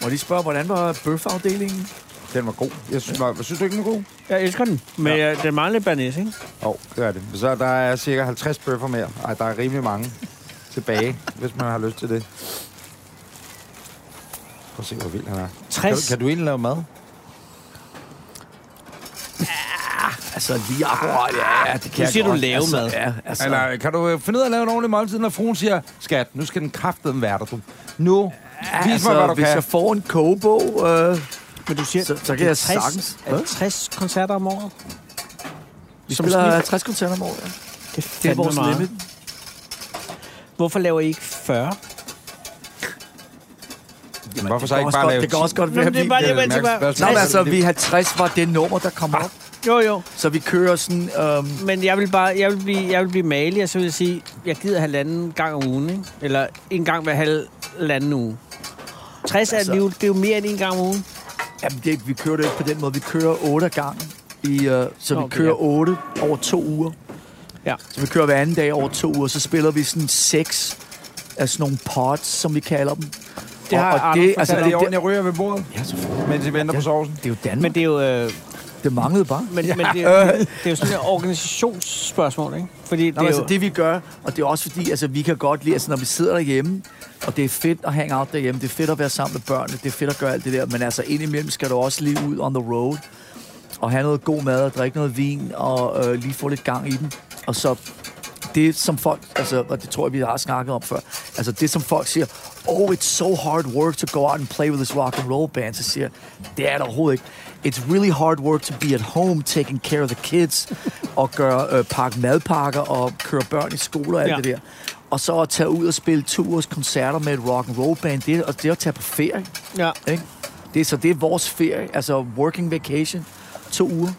Må jeg lige spørge, hvordan var bøfafdelingen? Den var god. Jeg synes, var, synes du ikke, den var god? Jeg elsker den. øh, Men ja. den mangler banæs, ikke? Jo, oh, det er det. Så der er cirka 50 bøffer mere. Ej, der er rimelig mange tilbage, hvis man har lyst til det. Prøv at se, hvor vild han er. Kan, 60. du- kan du egentlig lave mad? Altså lige akkurat, ja, ja, det kan Nu jeg siger du godt. lave altså, mad. Ja, altså, Eller kan du øh, finde ud af at lave en ordentlig måltid, når fruen siger, skat, nu skal den kraftedeme være der, du. Nu, vis altså, mig, hvad du hvis kan. jeg får en kogebog, øh, Men du siger, så, så kan jeg sagtens... Hvad? 60 koncerter om året. Vi som spiller snit. 50 koncerter om året, ja. Det Det er vores limit. Hvorfor laver I ikke 40? Jamen, Hvorfor Det så kan ikke også bare godt- lave Det kan også godt Nå, være, men det er bare vi... det, man skal bare... Nå, men Nå, altså, vi 50 var det nummer, der Ah. kom op. Jo, jo. Så vi kører sådan... Øhm, Men jeg vil bare, jeg vil blive, jeg vil blive malig, og så vil jeg sige, jeg gider halvanden gang om ugen, ikke? Eller en gang hver halvanden uge. 60 altså. Altså. er, jo, det er jo mere end en gang om ugen. Jamen, det, vi kører det ikke på den måde. Vi kører otte gange. I, øh, så Nå, Nå, vi okay, kører ja. otte over to uger. Ja. Så vi kører hver anden dag over to uger. Så spiller vi sådan seks af sådan nogle pods, som vi kalder dem. Det har Anders altså, er det, det i orden, det, jeg ryger ved bordet, ja, selvfølgelig. mens I venter på sovsen? det er jo Danmark. Men Men det er jo, øh, det manglede bare. men, men det, er, jo- det er jo sådan et organisationsspørgsmål, ikke? Fordi Nå, det er altså, jo, det vi gør, og det er også fordi, altså, vi kan godt lide, altså, når vi sidder derhjemme, og det er fedt at hang out derhjemme, det er fedt at være sammen med børnene, det er fedt at gøre alt det der, men altså indimellem skal du også lige ud on the road, og have noget god mad, og drikke noget vin, og øh, lige få lidt gang i den, og så det som folk, altså, og det tror jeg, vi har snakket om før, altså det som folk siger, oh, it's so hard work to go out and play with this rock and roll band, så siger jeg, det er det overhovedet ikke. It's really hard work to be at home, taking care of the kids, og gøre øh, pakke madpakker, og køre børn i skole og alt Ja. ja. det der. Og så at tage ud og spille to års koncerter med et rock and roll band, det er, og det er at tage på ferie. ja. Ikke? Det, er- så det er vores ferie, altså working vacation, to uger.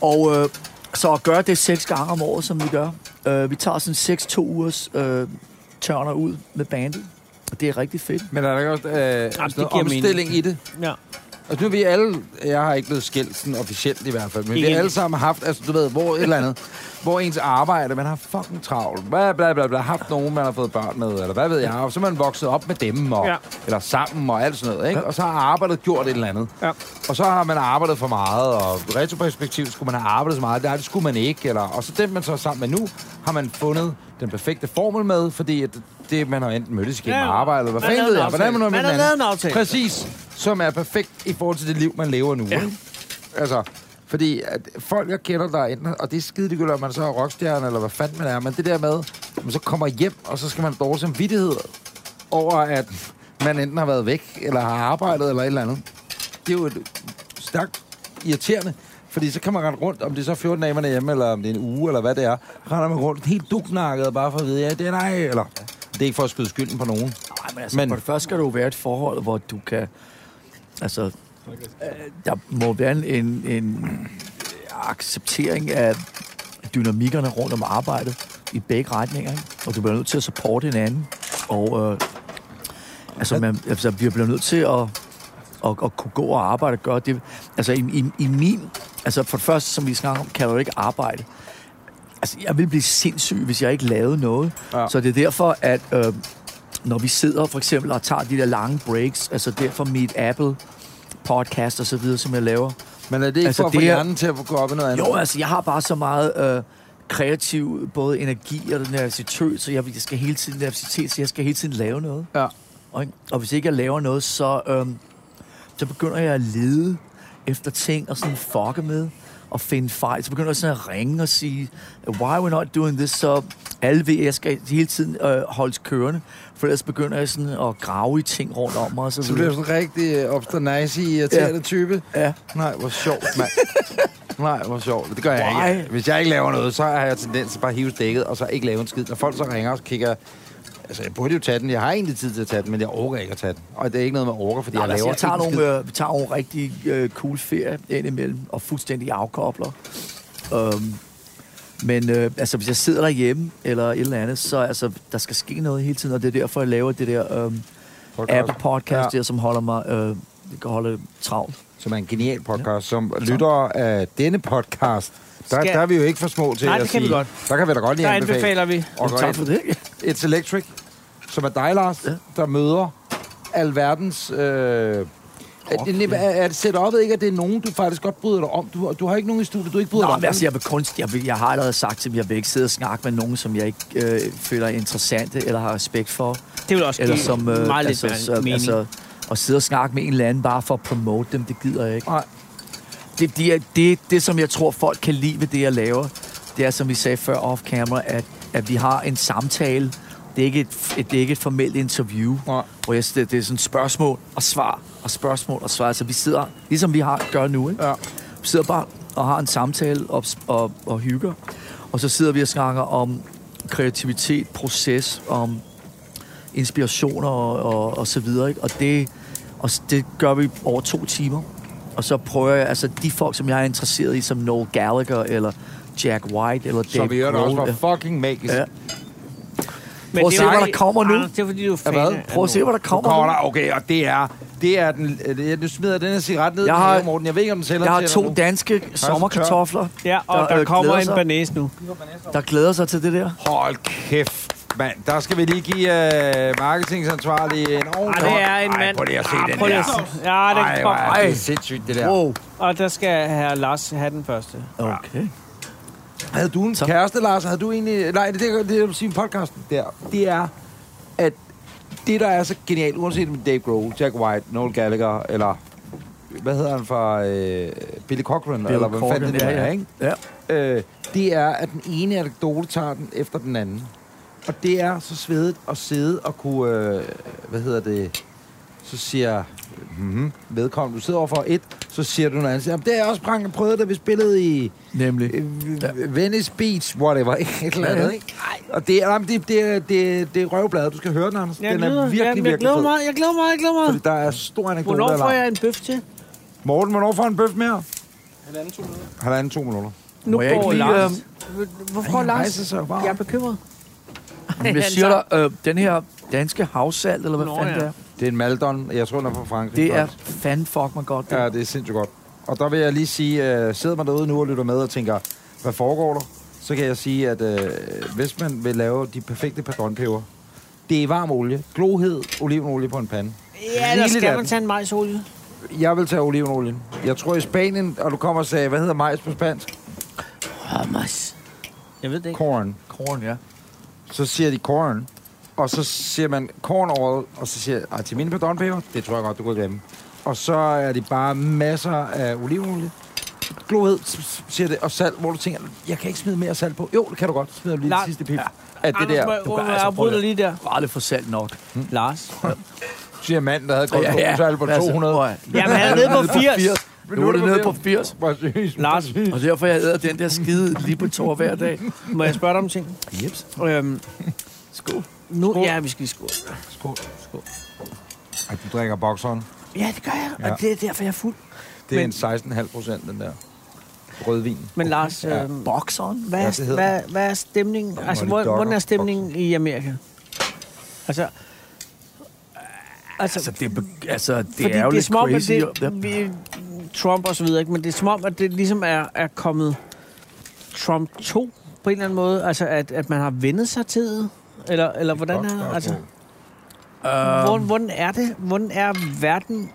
Og øh, så at gøre det seks gange om året, som vi gør. Øh, vi tager sådan seks to ugers øh, tørner ud med bandet. Og det er rigtig fedt. Men er der ikke også øh, det noget giver mening. omstilling i det? ja. Altså nu er vi alle, jeg har ikke blevet skilt sådan officielt i hvert fald, men vi Ikke har alle endnu. sammen haft, altså du ved, hvor et eller andet, hvor ens arbejde, man har fucking travlt, bla bla bla, bla haft nogen, man har fået børn med, eller hvad ved jeg, og så er man vokset op med dem, og, Ja. ja. eller sammen og alt sådan noget, ikke? Og så har arbejdet gjort et eller andet. Ja. Og så har man arbejdet for meget, og retroperspektivt skulle man have arbejdet så meget, nej, det skulle man ikke, eller, og så den, man så er sammen med nu, har man fundet den perfekte formel med, fordi at det, man har enten mødtes igennem Ja, ja. arbejde, eller hvad Man fanden lavede ved en jeg, hvordan aftale. man nu er med Man har hinanden. lavet en aftale. Præcis, som er perfekt i forhold til det liv, man lever nu. Ja. Altså, fordi at folk, jeg kender, der er enten, og det er skide ligegyldigt, om man så er rockstjerne, eller hvad fanden man er, men det der med, at man så kommer hjem, og så skal man have dårlig samvittighed over, at man enten har været væk, eller har arbejdet, eller et eller andet. Det er jo et stærkt irriterende, fordi så kan man rende rundt, om det er så 14 dage, man er hjemme, eller om det er en uge, eller hvad det er, render man rundt helt duknakket, bare for at vide, ja, det er nej, eller... Det er ikke for at skyde skylden på nogen. Nej, men altså, Men- men... for det første skal du jo være i et forhold, hvor du kan... Altså, øh, der må være en, en, en acceptering af dynamikkerne rundt om arbejdet i begge retninger, ikke? og du bliver nødt til at supporte hinanden. Og øh, altså, man, altså, vi bliver nødt til at, at, at kunne gå og arbejde og gøre det. Altså, i, i, i min... Altså, for det første, som vi snakker om, kan du ikke arbejde. Altså, jeg ville blive sindssyg, hvis jeg ikke lavede noget. Ja. Ja. Så det er derfor, at... Øh, når vi sidder for eksempel og tager de der lange breaks, altså der fra Meet Apple podcast og så videre, som jeg laver. Men er det ikke altså, Altså, for at få det er- hjernen til at gå op i noget andet? Jo, altså, jeg har bare så meget øh, kreativ, både energi og den nervositet, så jeg, jeg skal hele tiden nervositet, så jeg skal hele tiden lave noget. Ja. Og, og hvis ikke jeg laver noget, så, øhm, så begynder jeg at lede efter ting og sådan fucke med og finde fejl. Så begynder jeg sådan at ringe og sige, why are we not doing this? Så alle ved, at jeg skal hele tiden øh, holdes kørende, for ellers begynder jeg sådan at grave i ting rundt om mig. Og så, Så bliver du videre. sådan en rigtig øh, obsternacey, irriterende ja. type. Ja. Nej, hvor sjovt, mand. Nej, hvor sjovt. Det gør jeg Why? ikke. Hvis jeg ikke laver noget, så har jeg tendens til bare at hive dækket, og så ikke lave en skid. Når folk så ringer og så kigger... Altså, jeg burde jo tage den. Jeg har egentlig tid til at tage den, men jeg orker ikke at tage den. Og det er ikke noget, man orker, fordi Jeg, jeg laver altså, jeg tager ikke en nogle, øh, vi tager nogle rigtig øh, cool ferie indimellem, og fuldstændig afkobler. Um, men øh, altså, hvis jeg sidder derhjemme, eller et eller andet, så altså, der skal ske noget hele tiden, og det er derfor, jeg laver det der øh, podcast, Apple Podcast Ja. ja. der, som holder mig øh, kan holde travlt. som er en genial podcast, som lyttere af denne podcast. Der, Skal- der er vi jo ikke for små til Nej, at det kan vi sige. godt. Der kan vi da godt lige Der anbefale. anbefaler vi. Og Jamen, tak for det. It's Electric, som er dig, Lars, ja. Ja. der møder alverdens... Øh, er, det, er, er det setupet ikke, at det er nogen, du faktisk godt bryder dig om? Du, du har ikke nogen i studiet, du ikke bryder Nå, men dig om. altså, jeg, vil kun, jeg, vil, jeg har allerede sagt til dem, jeg vil ikke sidde og snakke med nogen, som jeg ikke øh, føler er interessante eller har respekt for. Det vil også Eller give som, øh, meget lidt altså, altså, som, mening. Altså, altså, at sidde og snakke med en eller anden bare for at promote dem, det gider jeg ikke. Nej. Det, det, er, det, det, som jeg tror, folk kan lide ved det, jeg laver, det er, som vi sagde før off-camera, at, at vi har en samtale. Det er ikke et, et, det er ikke et formelt interview, Nej. hvor jeg, det, det er sådan spørgsmål og svar, og spørgsmål og svar. Altså, vi sidder, ligesom vi har, gør nu, ikke? Ja. Vi sidder bare og har en samtale og, og, og hygger. Og så sidder vi og snakker om kreativitet, proces, om inspirationer og, og, og så videre. Ikke? Og, det, og s- det gør vi over to timer. Og så prøver jeg, altså de folk, som jeg er interesseret i, som Noel Gallagher, eller Jack White, eller Dave Som vi hørte også Grohl, var ja. fucking magisk. Ja. Ja. prøv at se, hvad der kommer nu. Ah, det er fordi, du er fan hvad? af Prøv at se, hvad der kommer. Kommer nu. der, okay, og det er... Det er den... øh, det er- Nu smider jeg den her cigaret ned, Jeg jeg har- har, Morten. Jeg ved ikke, om den sælger Jeg har til dig to nu. danske sommerkartofler, Ja, og der, der, der øh, kommer glæder en sig. banæs nu. der glæder sig til det der. Hold kæft, mand. Der skal vi lige give øh, marketingansvarlig en Ej, ordentlig det er en hånd. Ej, mand. prøv lige at se Ah, den prøv lige der. at se. Ja, den Ej, hvor kommer. er det sindssygt, det der. Wow. Og der skal herre Lars have den første. Okay. Havde du en så. kæreste, Lars? Havde du egentlig... Nej, det er det, det, du siger i podcasten der. Det er, at det, der er så genialt, uanset om det er Dave Grohl, Jack White, Noel Gallagher, eller... Hvad hedder han fra... Øh, Billy Cochran, Bill eller hvad fanden det nu ja, er, ja. ikke? Ja. Øh, det er, at den ene anekdote tager den efter den anden. Og det er så svedigt at sidde og kunne... Øh, hvad hedder det? Så siger mm-hmm, vedkommende, du sidder overfor et, så siger du noget andet. Jamen, det er også Frank prøvet, da vi spillede i... Nemlig. Øh, Ja. Venice Beach, whatever, ikke? et eller andet, ikke? Og det, er- nej, men det, det, er- det, er- det er røvbladet, du skal høre den, Anders. Jeg den er glæder, virkelig, jeg, jeg virkelig glæder fed. mig, jeg glæder mig, jeg glæder mig. Fordi der er stor anekdote. Hvornår får alarm. jeg en bøf til? Morten, hvornår får jeg en bøf mere? Halvanden, to minutter. Halvanden to minutter. Nu jeg ikke går lige, Lars. Hvorfor går Han Lars? rejser sig jo bare Jeg op. er bekymret. Men jeg siger dig, øh, den her danske havsalt, eller hvad Nå, fanden ja. det er, Det er en Maldon, jeg tror, den er fra Frankrig. det er faktisk. fanden fuck mig godt. Det. Ja, det er sindssygt godt. Og der vil jeg lige sige, øh, sidder man derude nu og lytter med og tænker, hvad foregår der? Så kan jeg sige, at øh, hvis man vil lave de perfekte padronpeber, det er varm olie, glohed, olivenolie på en pande. Ja, der Rigeligt af skal den. man tage en majsolie. Jeg vil tage olivenolien. Jeg tror i Spanien, og du kommer og sagde, hvad hedder majs på spansk? Hamas. Jeg ved det ikke. Corn. Korn, ja. Så siger de corn. Og så siger man corn oil, og så siger jeg, "Ej, til mine padronpeber, det tror jeg godt, du kan glemme. Og så er det bare masser af olivenolie. Glohed, s- s- siger det, og salt, hvor du tænker, jeg kan ikke smide mere salt på. Jo, det kan du godt. Smider du lige det Nej. sidste pip. Ja. At det Anders, der, må du kan jeg- altså jeg afbryder prøve lige der. Du har aldrig fået salt nok. Lars. siger manden, der havde kun Ja, ja. ja, salt på Altså, 200. prøv at- Jamen, han er nede på 80. Nu er det nede på 80. Præcis. Lars, Og derfor jeg æder den der skide lige på tår hver dag. må jeg spørge dig om ting? Jeps. Øhm, Skål. nu, ja, vi skal lige skåle. Skål. Skål. Ej, du drikker bokseren. Ja, det gør jeg, og Ja. det er derfor, jeg er fuld. Det Men- er Men... en 16,5 procent, den der rødvin. Men Lars, Ja. øhm, Bokseren? Hvad, Ja, ja, det hedder hvad, hvad er stemningen? Nå, altså, hvor hvor, de dokker. hvordan er stemningen i Amerika? Altså, altså, Altså, det, er be- altså, det fordi er jo det er lidt som om, at crazy. det, Ja. vi, Trump og så videre, ikke? men det er som om, at det ligesom er, er kommet Trump 2 på en eller anden måde. Altså, at, at man har vendet sig til det. Eller, eller hvordan er, altså, Godt hvordan, hvordan er det? Hvordan er verden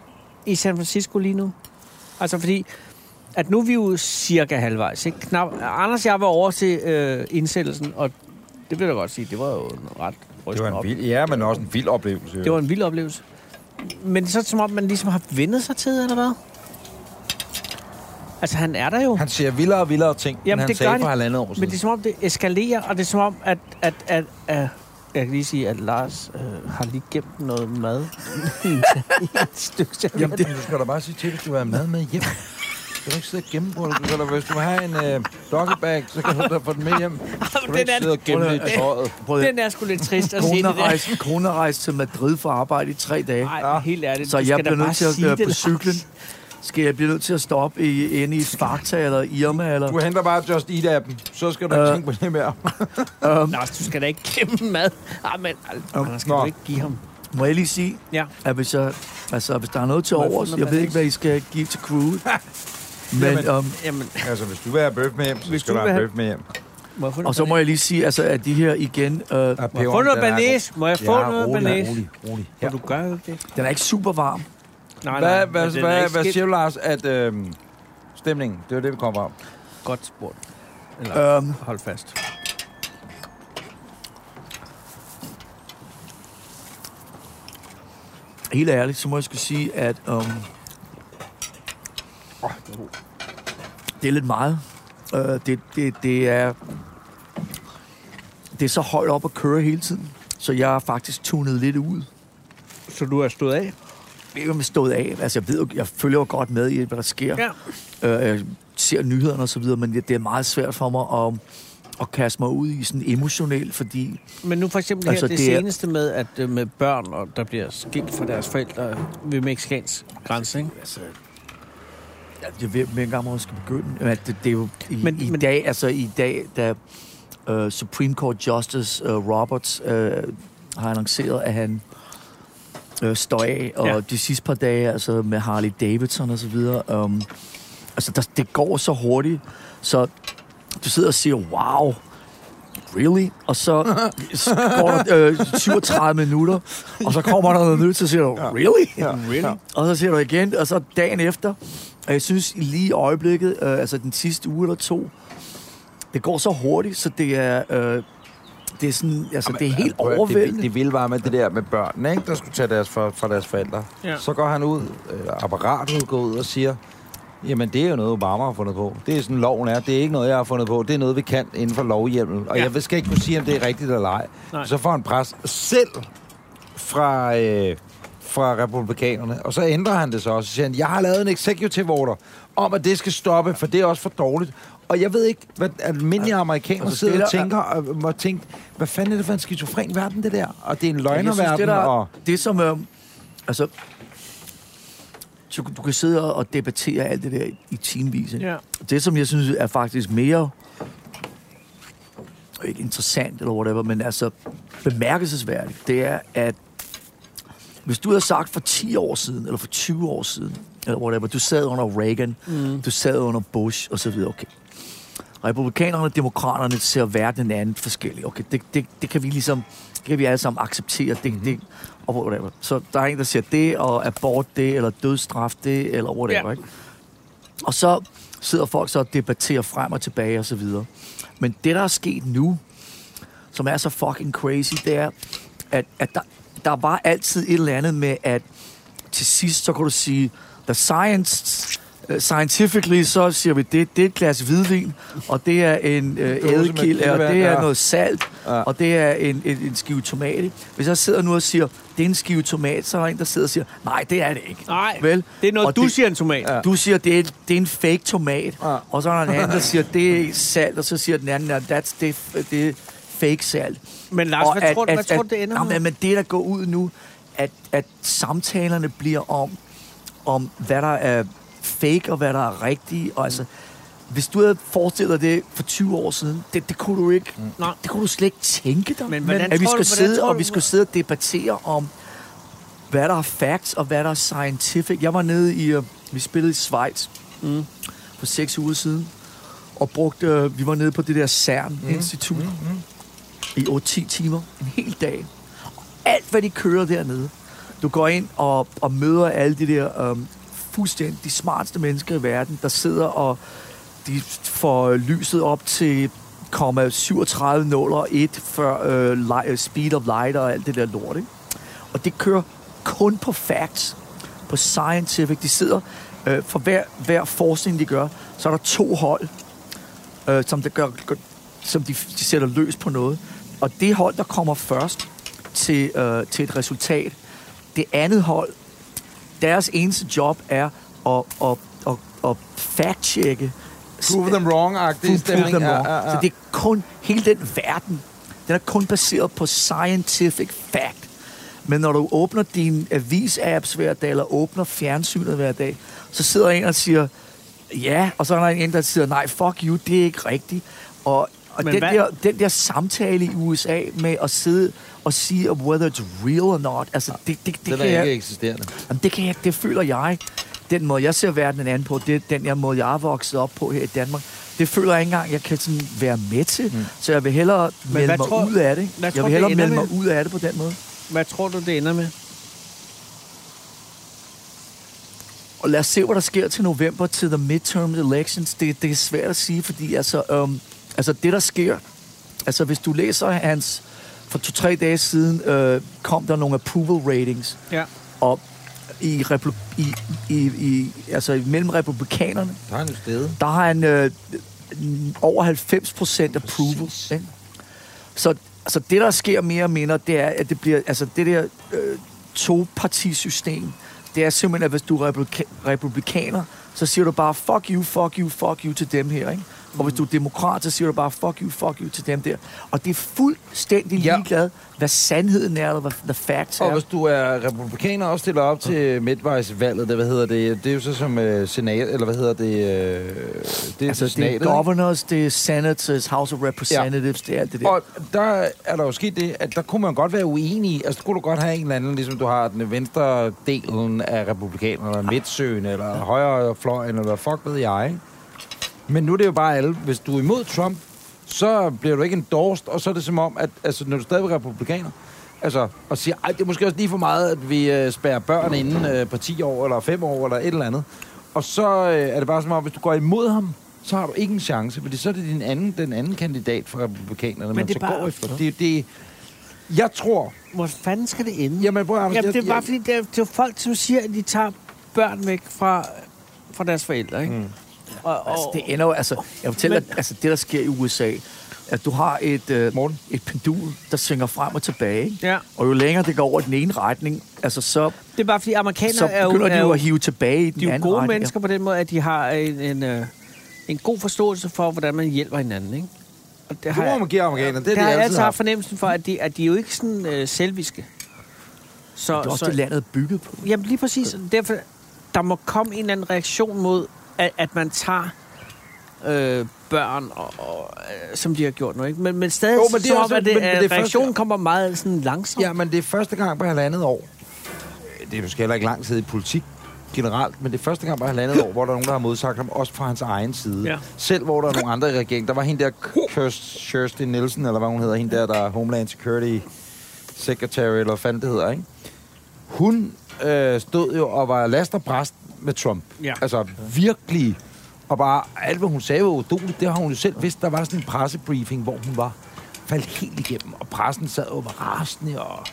i San Francisco lige nu? Altså fordi, at nu er vi jo cirka halvvejs, ikke? Knap, Anders og jeg var over til øh, indsættelsen, og det vil jeg da godt sige, det var jo en ret Det rystende var en op. vild, ja, men også en vild oplevelse. det var en vild oplevelse. Men så er det som om, man ligesom har vendet sig til, det, eller hvad? Altså, han er der jo. Han siger vildere og vildere ting, Jamen, Jamen, end han det sagde gør de. for halvandet år Men siden. det er som om, det eskalerer, og det er som om, at, at, at, at jeg kan lige sige, at Lars øh, har lige gemt noget mad i et stykke Jamen, serveret. det... Du skal da bare sige til, hvis du vil have mad med hjem. Du kan ikke sidde og gemme på det. Du kan da, hvis du vil have en øh, doggybag, så kan du da få den med hjem. Du kan den ikke er- sidde og gemme det i tøjet. Prøv at Den er sgu lidt trist at se det Konen har der. rejst- konen har rejst til Madrid for at arbejde i tre dage. Nej, ja. helt ærligt. Så du jeg skal da bliver bare nødt til at sige være det, på Lars. cyklen. Skal jeg blive nødt til at stoppe i, inde i Sparta eller Irma? Eller? Du henter bare Just Eat-appen, så skal du ikke Øh. tænke på det mere. Lars, du skal da ikke gemme mad. Ah, men Anders, skal Nå. Nå. du ikke give ham? Må jeg lige sige, Ja. at hvis, jeg, altså, hvis der er noget til Må jeg få overs, noget jeg ved bananas? ikke, hvad I skal give til crewet. Men, Jamen. um, Jamen, Altså, hvis du vil have bøf med hjem, så Hvis skal du du have vil bøf med hjem. må jeg få og så må jeg lige sige, altså, at de her igen, øh, Og Må jeg få peberen, noget den er banæs? Må jeg god. få Ja, noget rolig, banæs? rolig, rolig. Ja. Du gør jo ikke det. den er ikke super varm. Nej, Hvad, men hvad, den er hvad, ikke hvad skidt. siger du, Lars, at øh, stemningen, det var det, vi kom frem. Godt spurgt. Øhm, Hold fast. helt ærligt, så må jeg skulle sige, at øhm, det er lidt meget. Øh, det, det, det, er, det er så højt op at køre hele tiden, så jeg er faktisk tunet lidt ud. Så du er stået af? Jeg ved ikke, om jeg er stået af. Altså, jeg, ved, jo- jeg følger jo godt med i, hvad der sker. Ja. øh, jeg ser nyhederne og så videre, men det det er meget svært for mig at, at kaste mig ud i sådan emotionelt, fordi Men nu for eksempel altså, Altså, her, det, det det er- seneste med, at øh, med børn, og der bliver skilt fra deres forældre ved mexikansk grænse, ikke? altså, jeg, jeg ved ikke engang, hvor jeg skal begynde. Men altså, det, det er jo i, Men- men, i men- men, dag, altså i dag, da uh, Supreme Court Justice uh, Roberts uh, har annonceret, at han øh, står af, og Ja. ja. de sidste par dage, altså med Harley Davidson og så videre, um, altså der, det går så hurtigt, så du sidder og siger, wow, really? Og så går der øh, 37 minutter, og så kommer der noget nyt, så siger du, really? Ja. Really? Og så ser du igen, og så dagen efter. Og jeg synes lige i øjeblikket, øh, altså den sidste uge eller to, det går så hurtigt, så det er, øh, det er, sådan, altså, det er helt Prøv at- overvældende. Det, det vilde var med det der med børnene, ikke, der skulle tage deres for, fra deres forældre. Ja. Ja. Så går han ud, øh, apparatet går ud og siger, jamen det er jo noget, Obama har fundet på. Det er sådan, loven er. Det er ikke noget, jeg har fundet på. Det er noget, vi kan inden for lovhjemmel. Og Ja. ja. jeg skal ikke kunne sige, om det er rigtigt eller ej. Nej. Så får han pres selv fra... Øh, fra republikanerne, og så ændrer han det så også. Så siger han, jeg har lavet en executive order om, at det skal stoppe, for det er også for dårligt. Og jeg ved ikke, hvad almindelige amerikanere altså, sidder det og er der- tænker, og øh, må tænke, hvad fanden er det for en skizofren verden, det der? Og det er en Men jeg synes, løgnerverden, det, der, og... det som... Øh, altså, så du kan sidde og- og debattere alt det der i timevis. ikke? Ja. Det, som jeg synes er faktisk mere... Ikke interessant eller whatever, men altså bemærkelsesværdigt, det er, at hvis du havde sagt for 10 år siden, eller for 20 år siden, eller whatever, du sad under Reagan, mm. du sad under Bush, og så videre, okay. Republikanerne og demokraterne ser verden en anden forskellig. Okay, det, det, det kan vi ligesom, det kan vi alle sammen acceptere. Det, det, og whatever. Så der er en, der siger det, og abort det, eller dødsstraf det, eller whatever, Ja. ja. ikke? Og så sidder folk så og debatterer frem og tilbage, og så videre. Men det, der er sket nu, som er så fucking crazy, det er, at, at der, der var altid et eller andet med, at til sidst, så kan du sige, the science, uh, scientifically, så siger vi, det, det er et glas hvidvin, og det er en øh, med eddikilde, og kildevand, det ja. er noget salt, Ja. ja. og det er en, en, en skive tomat. ikke? Hvis jeg sidder nu og siger, det er en skive tomat, så er der en, der sidder og siger, nej, det er det ikke. Nej, Vel? det er noget, Og du det- siger en tomat. Ja. Ja. Du siger, det er, det er en fake tomat. Ja. Ja. Og så er der en anden, der siger, det er salt. Og så siger den anden, at that's, det, er- det er fake salt. Men Lars, Og hvad tror du- hvad tror du, det ender Nå, med? men, men det, der går ud nu, at, at samtalerne bliver om, om hvad der er fake og hvad der er rigtigt. Og altså, hvis du havde forestillet dig det for 20 år siden, det, det kunne du ikke. Nej. Det kunne du slet ikke tænke dig. Men hvordan at vi tror du- skulle hvordan sidde tror og du- vi skulle sidde og debattere om hvad der er facts og hvad der er scientific. Jeg var nede i, øh, vi spillede i Schweiz mm. for seks uger siden, og brugte, øh, vi var nede på det der CERN-institut Mm. mm. i 8-10 timer, en hel dag. Og alt, hvad de kører dernede, Du går ind og, og møder alle de der øhm, fuldstændig de smarteste mennesker i verden, der sidder og de får lyset op til 0,37 nåler 1 før øh, li- øh, speed of light og alt det der lort. Ikke? Og det kører kun på facts, på scientific. De sidder, øh, for hver, hver forskning, de gør, så er der to hold, øh, som, det gør, gør, som de, de sætter løs på noget. Og det hold, der kommer først til, øh, til et resultat, det andet hold, deres eneste job er at, at, at, at fact-checke. Prove them wrong-agtig Prove stemning. them Ja, wrong. ja, ja. Så det er kun hele den verden, den er kun baseret på scientific fact. Men når du åbner din avis-apps hver dag, eller åbner fjernsynet hver dag, så sidder en og siger, ja, og så er der en, der siger, nej, fuck you, det er ikke rigtigt. Og, og Men den, hvad- der, den der samtale i USA med at sidde og sige, om whether it's real or not, altså, det, det, det, Den kan er jeg, ikke eksisterende. Jamen, det, kan jeg, det føler jeg. Den måde, jeg ser verdenen an på, det er den jeg måde, jeg er vokset op på her i Danmark. Det føler jeg ikke engang, jeg kan sådan være med til. Mm. Så jeg vil hellere melde hvad mig tror- ud af det. hvad Jeg tror vil du, hellere det ender melde mig med? ud af det på den måde. Hvad tror du, det ender med? Og lad os se, hvad der sker til november, til the midterm elections. Det, det er svært at sige, fordi altså, øhm, altså det, der sker... Altså, hvis du læser hans... For to-tre dage siden øh, kom der nogle approval ratings. Ja. Og i, replu- i, i, i, altså, mellem republikanerne, Der er han jo stedet. der har han øh, over 90 procent approval. Ikke? Så altså det, der sker mere og mindre, det er, at det bliver, altså det der øh, to-partisystem, det er simpelthen, at hvis du er republika- republikaner, så siger du bare, fuck you, fuck you, fuck you til dem her, ikke? Og hvis du er demokrat, så siger du bare, fuck you, fuck you til dem der. Og det er fuldstændig Ja. ligeglad, hvad sandheden er, eller hvad the facts Og er. hvis du er republikaner og stiller op til midtvejsvalget, det, hvad hedder det, det er jo så som øh, senat, eller hvad hedder det, øh, det er Altså, altså, senatet. det er ikke? governors, det er senators, house of representatives, ja. det er alt det der. Og der er der jo sket det, at der kunne man godt være uenig. Altså, der kunne du godt have en eller anden, ligesom du har den venstre delen af republikanerne, Ah. eller midtsøen, eller højrefløjen, eller fuck ved jeg. ikke? Men nu er det jo bare alle. Hvis du er imod Trump, så bliver du ikke endorsed, og så er det som om, at altså, når du stadigvæk er republikaner, altså, og siger, ej, det er måske også lige for meget, at vi øh, spærrer børn inden øh, på 10 år, eller 5 år, eller et eller andet. Og så øh, er det bare som om, hvis du går imod ham, så har du ikke en chance, fordi så er det din anden, den anden kandidat for republikanerne, Men man det er så bare- går efter. Det, det, jeg tror... Hvor fanden skal det ende? Jamen, prøv, at- Jamen, det jeg- er bare jeg- fordi, det er, det er jo folk, som siger, at de tager børn væk fra, fra deres forældre, ikke? Mm. Og, og, Altså, det ender jo, altså, jeg fortæller, Men- men... altså, det der sker i USA, at du har et, øh, Morten? et pendul, der svinger frem og tilbage, ikke? Ja. og jo længere det går over i den ene retning, altså, så, det er bare fordi, amerikanere så er jo, begynder er de jo, jo at hive tilbage i den de er jo anden gode retning. mennesker på den måde, at de har en, en, øh, en god forståelse for, hvordan man hjælper hinanden, ikke? Og det Det må man give amerikanerne. Det er det det, har jeg jeg altid haft haft. fornemmelsen for, at de, at de er jo ikke sådan øh, selviske. Så, Det er så, også det, landet er bygget på. Jamen lige præcis. og Derfor, der må komme en eller anden reaktion mod, at, at man tager øh, børn, og, og, øh, som de har gjort nu. Ikke? Men, men stadig Jo, jo, men men det er så også- op, at det, men- men at det er reaktionen første- kommer meget sådan langsomt. Ja, men det er første gang på halvandet år. Øh, Det er måske heller ikke lang tid i politik generelt, men det er første gang på halvandet år, hvor der er nogen, der har modsagt ham, også fra hans egen side. Ja. Selv hvor der er nogle andre i regeringen. Der var hende der, Kirst- Kirsten Nielsen, eller hvad hun hedder, hende der, der er Homeland Security Secretary, eller hvad fanden det hedder, ikke? Hun øh, stod jo og var last og præst med Trump. Ja. Altså virkelig. Og bare alt, hvad hun sagde, var udoligt. Det har hun jo selv vidst. Der var sådan en pressebriefing, hvor hun var faldt helt igennem, og pressen sad og var rasende. Og...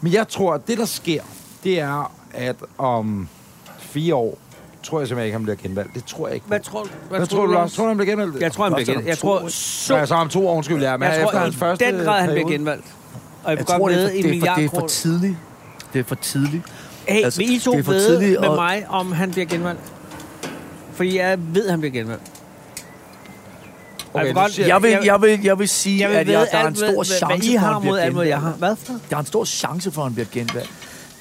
Men jeg tror, at det, der sker, det er, at om fire år, tror jeg simpelthen ikke, han bliver genvalgt. Det tror jeg ikke. Hvad tror, hvad Hvad tror du, Lars? Tror du, han bliver genvalgt? Jeg tror, han bliver Først om genvalgt. Jeg to tror år. så- Ja, så om to år, undskyld, ja. Men Jeg efter tror, hans første i den grad, han bliver periode. genvalgt. Og jeg, Jeg jeg tror, tror, det er, med for, det, en er for, det er for milliard tidligt. Det er for tidligt. kroner. Hey, altså, vil I to det er for ved tidligt med at- mig, om han bliver genvalgt? Fordi jeg ved, han bliver genvalgt. Okay, jeg, nu vil godt, siger- Jeg vil, jeg vil, jeg vil sige, jeg vil at vide jeg, der er en alt, hvad- stor hvad- chance hvad I for, at har han bliver mod alt, hvad jeg har. genvalgt. Hvad for? Der er en stor chance for, at han bliver genvalgt.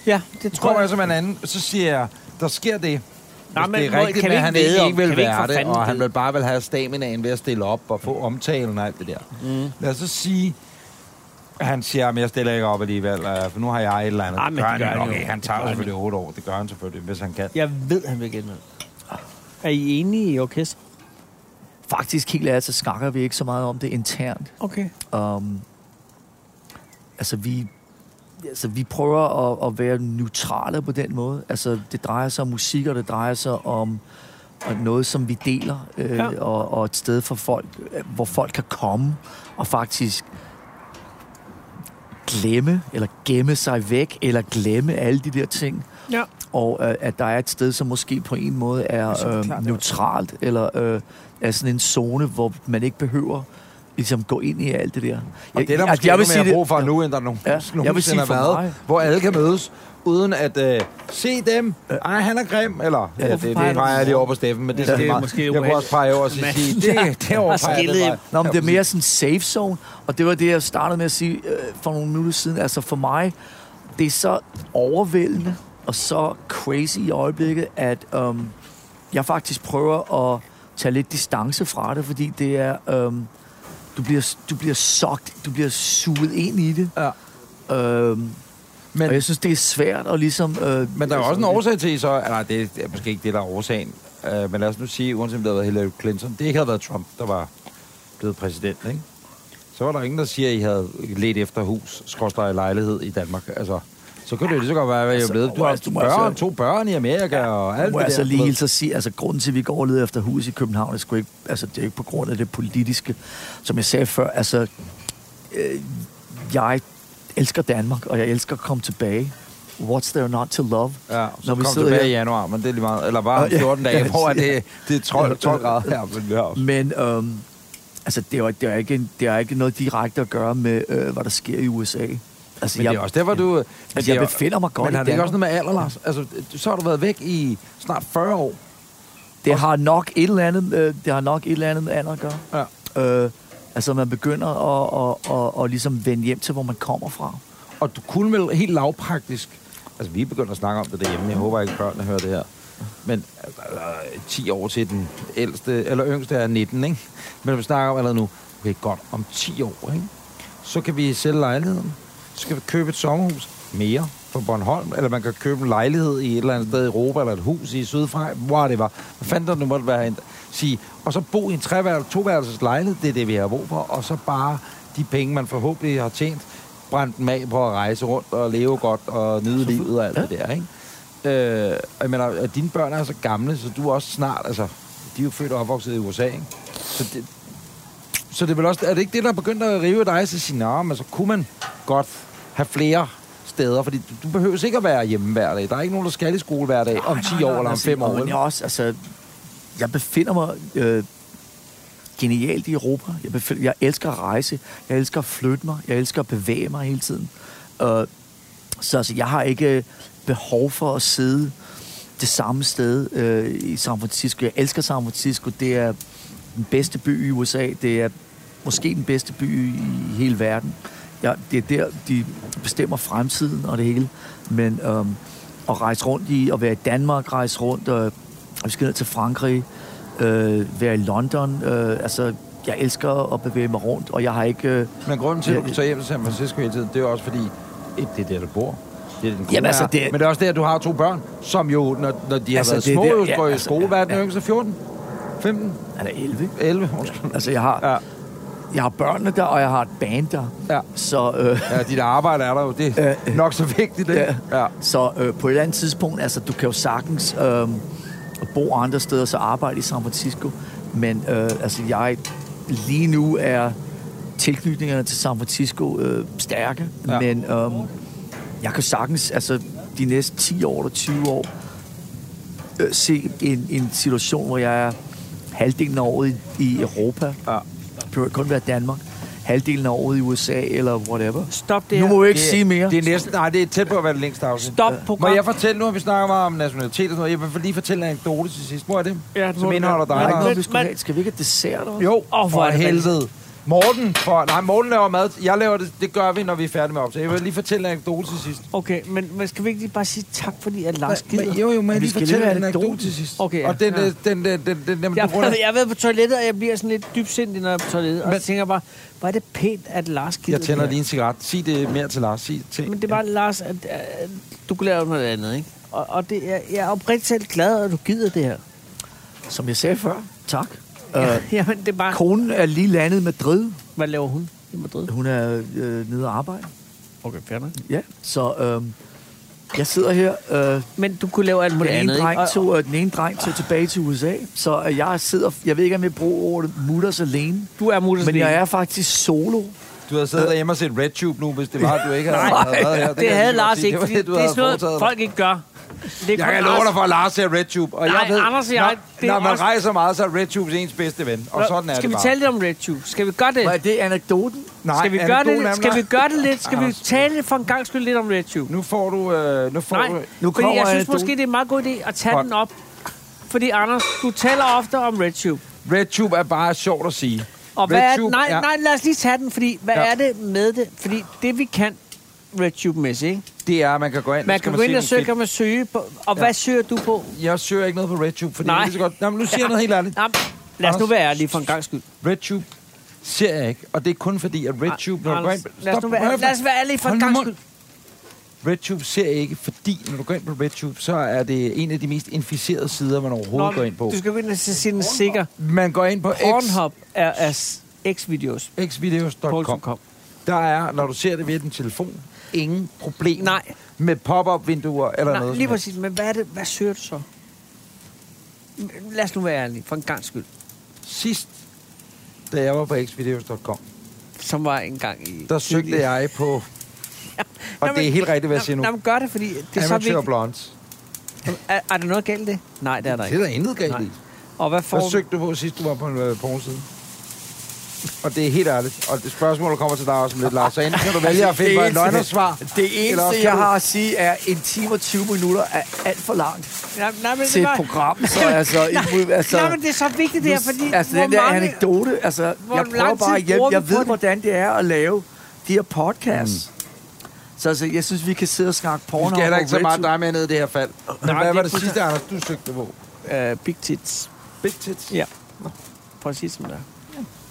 Ja, det tror tror jeg jeg. som en anden, så siger jeg, der sker det. Nej, Hvis men det hvor- er rigtigt, kan vi men ikke han vide ikke, om- ikke vil kan vi ikke for være det, fanden og han vide? vil bare vil have staminaen ved at stille op og få omtalen og alt det der. Mm. Lad os så sige, at han siger, at jeg stiller ikke op alligevel, øh, for nu har jeg et eller andet. Ah, men det gør han, han jo. okay, han Det tager gør han selvfølgelig otte år, det gør han selvfølgelig, hvis han kan. Jeg ved, han bliver genvalgt. Er I enige i orkester? Faktisk, helt ærligt, så snakker vi ikke så meget om det internt. Okay. Um, altså, Øhm, vi, altså, vi prøver at, at være neutrale på den måde. Altså, det drejer sig om musik, og det drejer sig om og noget, som vi deler, øh, Ja. ja. og, og et sted for folk, øh, hvor folk kan komme og faktisk glemme, eller gemme sig væk, eller glemme alle de der ting. Ja. Og øh, at der er et sted, som måske på en måde er synes, det er øh, klart, det er neutralt, eller øh, er sådan en zone, hvor man ikke behøver ligesom gå ind i alt det der. Og det er der altså, måske jeg vil endnu sige mere det- brug for nu, end der nogen, Ja, ja, jeg vil sige nogensinde har for været, mig. hvor alle kan mødes, uden at øh, se dem. Ej, han er grim, eller... Ja, det, det peger du peger jeg på lige over på Steffen, men det, ja, det er måske Jeg kunne også pege over og sige, ubehageligt. det, det, det overpeger jeg Skille. den vej. Nå, men det er mere sådan en safe zone, og det var det, jeg startede med at sige øh, for nogle minutter siden. Altså for mig, det er så overvældende og så crazy i øjeblikket, at øhm, jeg faktisk prøver at tage lidt distance fra det, fordi det er, øhm, du bliver, du bliver sogt, du bliver suget ind i det. Ja. Øhm, men, Men- og jeg synes, det er svært at ligesom... Øh, Men der er jo også en sådan- årsag til, så... Nej, det er måske ikke det, der er årsagen. Uh, men lad os nu sige, uanset om det havde været Hillary Clinton, det ikke havde været Trump, der var blevet præsident, ikke? Så var der ingen, der siger, at I havde let efter hus, skorstræk lejlighed i Danmark. Altså, så kunne det jo lige så godt være, at jeg Altså, blev... Du har altså, du må børn, altså- to børn i Amerika og alt Må det jeg altså der. du lige ved. hilse at sige, altså grunden til, at vi går og leder efter hus i København, er sgu ikke, altså det er ikke på grund af det politiske. Som jeg sagde før, altså, øh, jeg elsker Danmark, og jeg elsker at komme tilbage. What's there not to love? Ja, så Når vi kom sidder tilbage her- i januar, men det er lige meget. Eller bare om Ja, 14 dage, ja, hvor er ja. det, det er 12, 12 grader her. Men, ja. Men øhm, altså, det er, det, er ikke, en- det er ikke noget direkte at gøre med, øh, hvad der sker i USA. Altså, men det er også derfor, du... Altså, jeg befinder mig godt Men i har det ikke Danmark. også noget med alder, Lars? Altså, du- så har du været væk i snart 40 år. Det har nok et eller andet, øh, det har nok et eller andet med andet at gøre. Ja. Øh, altså, man begynder at, at, at, at, at ligesom vende hjem til, hvor man kommer fra. Og du kunne vel helt lavpraktisk... Altså, vi er begyndt at snakke om det derhjemme. Jeg håber ikke, børnene hører det her. Men altså, øh, 10 år til den ældste, eller yngste er 19, ikke? Men vi snakker om allerede nu, okay, godt, om 10 år, ikke? Så kan vi sælge lejligheden. Så kan vi købe et sommerhus mere på Bornholm, eller man kan købe en lejlighed i et eller andet sted i Europa, eller et hus i Sydfra, whatever. Hvad fanden der nu måtte være en, sige, og så bo i en treværelses, toværelses lejlighed, det er det, vi har brug for, og så bare de penge, man forhåbentlig har tjent, brænde dem af på at rejse rundt og leve godt og nyde livet og alt ja. det der, ikke? Øh, og jeg mener, at dine børn er så gamle, så du er også snart, altså, de er jo født og opvokset i USA, ikke? Så det, så det er vel også, er det ikke det, der er begyndt at rive dig til sige, nej, men så kunne man godt have flere steder, fordi du, du behøver ikke at være hjemme hver dag. Der er ikke nogen, der skal i skole hver dag om 10 år eller om 5 år. Men jeg, vel? er også, altså, jeg befinder mig øh, genialt i Europa. Jeg, befinder, jeg elsker at rejse. Jeg elsker at flytte mig. Jeg elsker at bevæge mig hele tiden. Øh, så altså, jeg har ikke behov for at sidde det samme sted øh, i San Francisco. Jeg elsker San Francisco. Det er den bedste by i USA. Det er måske den bedste by i hele verden. Ja, det er der, de bestemmer fremtiden og det hele. Men øhm, at rejse rundt i, at være i Danmark, rejse rundt, øh, vi skal ned til Frankrig, øh, være i London. Øh, altså, jeg elsker at bevæge mig rundt, og jeg har ikke... Øh, Men grunden til, at du Ja, kan tage hjem til San Francisco hele tiden, det er jo også fordi, et, det er der, du bor. Det er den Jamen, altså, altså, det det er- Men det er også der, du har to børn, som jo, når, når de har Altså, altså, været det er små, jo der- ja, går i altså, skole. ja, Hvad er den ja. yngste? 14? 15? han er 11, ikke? 11? Undskyld. Altså, jeg har, Ja. jeg har børnene der, og jeg har et band der. Ja. Så... Øh, Ja, dit arbejde er der jo. Det er nok så vigtigt, ikke? Ja. Ja. Så øh, på et eller andet tidspunkt, altså du kan jo sagtens øh, bo andre steder og så arbejde i San Francisco, men øh, altså jeg lige nu er tilknytningerne til San Francisco øh, stærke, ja. Ja. men øh, jeg kan sagtens, altså de næste 10 år eller 20 år, øh, se en, en situation, hvor jeg er halvdelen af året i, i Europa, Ja. det behøver kun være Danmark, halvdelen af året i USA eller whatever. Stop det Nu her. må vi ikke Det- sige mere. Det er næsten... Nej, det er tæt på at være det længste afsnit. Stop Må program. jeg fortælle nu, at vi snakker meget om nationalitet og sådan noget? Jeg vil lige fortælle en anekdote til sidst. Hvor er det? Ja, det må Som du indeholder gerne. dig. Der Nej, er ikke og- noget, men- vi skulle men- have. Skal vi ikke have dessert? Eller? hvad? Jo, Åh, oh, hvor for er det helvede. Morten, for, nej, Morten laver mad. Jeg laver det, det gør vi, når vi er færdige med optag. Jeg vil lige fortælle en anekdote til sidst. Okay, men, men skal vi ikke lige bare sige tak, fordi at Lars Men- gider? men- Jo, jo, men jeg Vi lige skal lige have fortælle en anekdote anekdote til sidst. Okay, ja. Og den, Ja. øh, den, den, den, den, den, Jeg, den ruller- jeg har været på toilettet, og jeg bliver sådan lidt dybsindig, når jeg er på toilettet. Og Men- så tænker jeg bare, hvor er det pænt, at Lars gider jeg tænder det lige her. en cigaret. Sig det mere til Lars. Sig ting. Men det er bare, Lars, at, at du kunne lave noget andet, ikke? Og, og det, jeg, jeg er oprigtigt selv glad, at du gider det her. Som jeg sagde før, tak. Ja, Øh, jamen, det er bare... konen er lige landet i Madrid. Hvad laver hun i Madrid? Hun er øh, nede og arbejde. Okay, fair nok. Ja, så øh, jeg sidder her. Øh, Men du kunne lave alt muligt den, andet, ene dreng ikke? Og, tog, øh, den ene dreng tog tilbage til USA, så øh, jeg sidder, jeg ved ikke, om jeg bruger ordet mutters alene, du er mutters men jeg alene. er faktisk solo. Du havde siddet derhjemme og set RedTube nu, hvis det var, at du ikke havde, havde været her. Det, det kan jeg havde lige godt Lars sige. ikke, var fordi det, det er havde sådan foretaget noget, dig. folk ikke gør. Det er Jeg kun kan love Lars. dig for, at Lars ser RedTube. Og Nej, jeg ved, Anders og jeg, når, det er når man også- rejser meget, så er RedTube ens bedste ven. Og sådan er Skal det vi bare. tale lidt om RedTube? Skal vi gøre det? Var det anekdoten? Nej, Skal vi gøre anekdoten er- det? Skal vi gøre det lidt? Skal vi Anders. tale for en gang skyld lidt om RedTube? Nu får du... Øh, nu får Nej, du Nu fordi kommer jeg synes anekdoten. måske, det er en meget god idé at tage Fuck. den op. Fordi Anders, du taler ofte om RedTube. RedTube er bare sjovt at sige. Og hvad er det? RedTube Nej, er- nej, lad os lige tage den, fordi hvad Ja. er det med det? Fordi det vi kan RedTube-mæssigt, ikke? Det er, at man kan gå ind, Man så kan gå ind og se søge, nogle kan man søge på, og hvad søger du på? klip. Jeg søger ikke noget på RedTube, fordi Nej. Nej. det er så godt. Nå, men nu siger jeg noget helt ærligt. Jamen, lad os nu Anders. være ærlige for en gang skyld. RedTube ser jeg ikke, og det er kun fordi, at RedTube... når du går Anders, ind... lad os nu Stop, være, hold lad os være ærlige for Hold en nu gang mund. skyld. RedTube ser jeg ikke, fordi når du går ind på RedTube, så er det en af de mest inficerede sider, man overhovedet går ind på. du skal gå ind og sige den sikker. Man går ind på Pornhub er, er s- X-videos. xvideos.com. Poulsen.com. Der er, når du ser det via din telefon, ingen problem Nej. med pop-up-vinduer eller Nej, noget. lige som helst. præcis. Men hvad, er det, hvad søger du så? Lad os nu være ærlige, for en gang skyld. Sidst, da jeg var på xvideos.com, Som var en gang i... der søgte jeg på... Og Nå, men- det er helt rigtigt, hvad jeg siger Nå, nu. nå, men gør det, fordi det er så Amateur vigtigt. blondes. Er, er der noget galt i det? Nej, det er der Det er ikke. der intet galt i. Nej. Og hvad får Hvad du? søgte du på, sidst du var på en øh, pornoside? Og det er helt ærligt. Og det spørgsmål kommer til dig også om lidt, Lars. Så enten kan du Altså, Altså, vælge at finde på et eneste- løgnersvar. Det eller også eneste, kan jeg du- har at sige, er en time og 20 minutter er alt for langt Nej, nej, men til det et var... program. Så altså, I må- altså, Nej, men det er så vigtigt, det her, fordi... altså hvor den der mange- anekdote, altså, jeg hvor lang prøver tid bare hjem. bruger vi Jeg på ved, det? hvordan det er at lave de her podcasts. Så altså, jeg synes, vi kan sidde og snakke Mm. Vi porno. skal heller og ikke så Red meget Tube. dig med ned i det her fald. Men Nej, hvad var det det er sidste, Anders, du søgte på? Øh, big tits. Big tits. Ja. Prøv at sige det, som det er.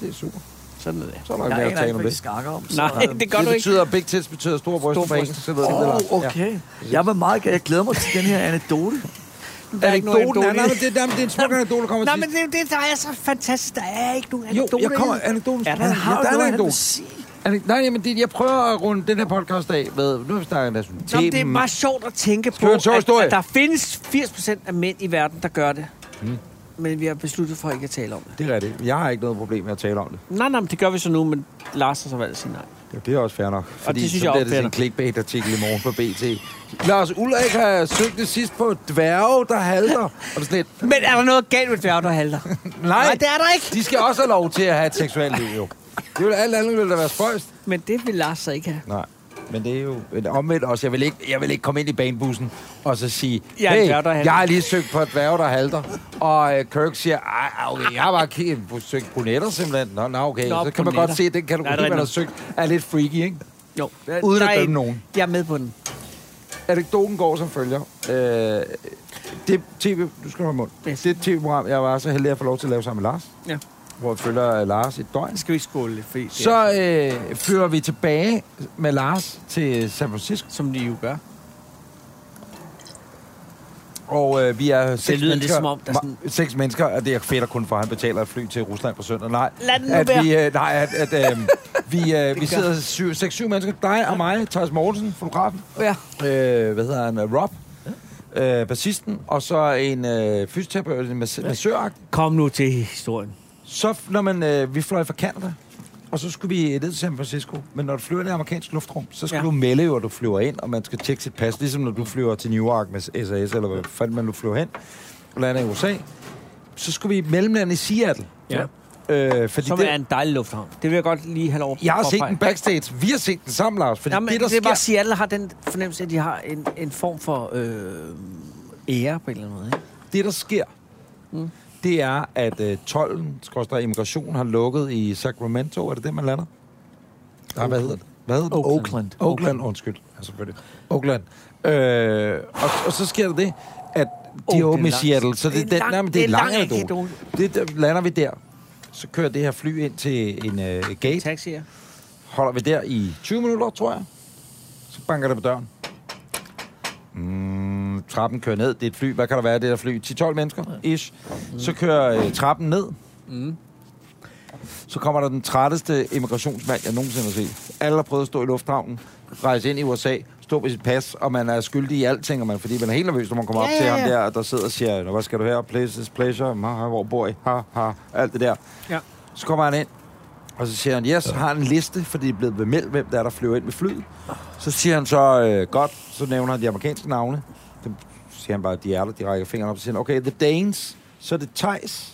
Det er super. Sådan er det. Så er der ikke Jeg mere at aner ikke, tale hvad om vi det. snakker om. så, Nej, øh, det gør det du ikke. betyder, at big tits betyder store bryster Store på engelsk, så ved det, det Åh, Lars. oh, okay. Jeg vil meget gerne. Jeg glæder mig til den her anekdote. Der er ikke nogen Anekdoten er, anekdote. nej, i men det. det, nej, men det er en smuk anekdote, der kommer Nej, til men det, er jo det der er så fantastisk. Der er ikke nogen Jo, anekdote. jeg kommer i det. anekdoten. Ja, Ja, den der har jo er en noget, han anekdote. Ane- Nej, men det, jeg prøver at runde den her podcast af med... Nu snakker jeg nationalitet. Nå, men det er meget sjovt at tænke på, Skriv en sjov at, historie. at der findes 80% af mænd i verden, der gør det. Mm. Men vi har besluttet for ikke at tale om det. Det er rigtigt. Jeg har ikke noget problem med at tale om det. Nej, nej, men det gør vi så nu, men Lars har så valgt at sige nej. Ja, det er også fair nok. Fordi det synes så jeg bliver det også sådan en clickbait-artikel i morgen på BT. Lars Ulrik har søgt det sidst på dværge, der halter. Og det er sådan lidt, Men er der noget galt med dværge, der halter? nej, nej, det er der ikke. de skal også have lov til at have et seksuelt liv, jo. Det vil alt andet ville da være spøjst. Men det vil Lars så ikke have. Nej. Men det er jo men omvendt også. Jeg vil, ikke, jeg vil ikke komme ind i banebussen og så sige, Jeg er en hey, dværg, der halter." jeg har lige søgt på et dværge, der halter. Og øh, Kirk siger, "Ej, okay, jeg har bare kigget på søgt brunetter simpelthen. Nå, nå okay. Nå, Nå, så kan man brunetter. godt se, at den Nej, kategori, det er man har rigtigt. søgt, er lidt freaky, ikke? Jo, Uden der at er dømme en- nogen. Jeg er med på den. Anekdoten går som følger. Øh, det tv... Du skal holde mund. Yes. Det tv-program, jeg var så heldig at få lov til at lave sammen med Lars. Ja. Hvor jeg følger øh, Lars et døgn. Nu skal vi ikke skåle lidt, fordi det er, Så øh, flyver vi tilbage med Lars til øh, San Francisco. som de jo gør. Og øh, vi er seks lyder lidt mennesker, som om, der er sådan- ma- seks mennesker, og det er fedt at kun for, at han betaler et fly til Rusland på søndag. Nej, Lad den nu at være. vi, øh, nej, at, at øh, vi, øh, vi gør- sidder syv, seks, syv mennesker. Dig og mig, Thijs Mortensen, fotografen. Ja. øh, hvad hedder han, Rob, øh, bassisten, og så en øh, fysioterapeut, en mas- massør. Kom nu til historien. Så f- når man, øh, vi fløj fra Canada, og så skulle vi ned til San Francisco. Men når du flyver i det amerikanske luftrum, så skal Ja. ja. du melde jo, at du flyver ind, og man skal tjekke sit pas, ligesom når du flyver til Newark med SAS, eller hvad fanden man nu flyver hen, og lander i USA. Så skulle vi i mellemlandet i Seattle. Ja. Øh, fordi Som det, er en dejlig lufthavn. Det vil jeg godt lige have lov at jeg har set påpege. den backstage. Vi har set den sammen, Lars. Fordi Jamen, det, der det er bare, sker... Seattle har den fornemmelse, at de har en, en form for øh, ære på en eller anden måde. Ikke? Det, der sker, mm. det er, at øh, tollen, skorstræk immigration, har lukket i Sacramento. Er det det, man lander? Nej, hvad hedder det? Hvad hedder det? Oakland. Oakland, Oakland. undskyld. Ja, selvfølgelig. Oakland. Øh, og, og så sker der det, at det de er oh, åbner i langt. Seattle. Så det, Det det er er den, langt- nej, men det er en lang anekdote. anekdote. Det der, lander vi der. Så kører det her fly ind til en øh, gate Taxier. holder vi der i 20 minutter, tror jeg. Så banker det på døren. Mm, trappen kører ned. Det er et fly. Hvad kan der være i det der fly? 10-12 mennesker? Ish. Så kører øh, trappen ned. så kommer der den trætteste immigrationsmand, jeg nogensinde har set. Alle har prøvet at stå i lufthavnen, rejse ind i USA, stå med sit pas, og man er skyldig i alting, og man, fordi man er helt nervøs, når man kommer op Ja, til ja, ham ja. der, og der sidder og siger, "Nå, hvad skal du her? Place is pleasure. Ha, ha, hvor bor I? Ha, ha. Alt det der. Ja. Så kommer han ind, og så siger han, yes, har en liste, fordi det er blevet bemeldt, hvem der er, der flyver ind med flyet. Så siger han så, øh, godt, så nævner han de amerikanske navne. Dem siger han bare, de er der, de rækker fingrene op, og siger han, okay, the Danes, så er det Thijs,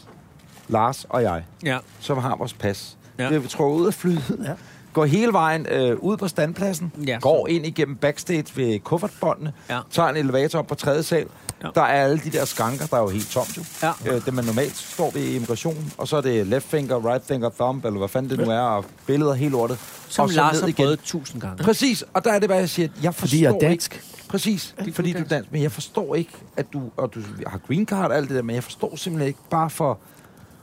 Lars og jeg, Ja. som har vores pas. Ja. Ja. Det tror ud af flyet, Ja. ja. går hele vejen øh, ud på standpladsen, Ja, ja, går ind igennem backstage ved kuffertbåndene, Ja. ja. tager en elevator op på tredje sal. Ja. Ja. Der er alle de der skanker, der er jo helt tomt jo. Ja. Øh, det man normalt står ved i immigration, og så er det left finger, right finger, thumb, eller hvad fanden det nu er, og billeder helt lortet. Som og så Lars ned har igen. prøvet tusind gange. Præcis, og der er det bare, jeg siger, at jeg forstår Fordi jeg er dansk. Ikke. Præcis, fordi du er dansk, men jeg forstår ikke, at du, og du har green card og alt det der, men jeg forstår simpelthen ikke bare for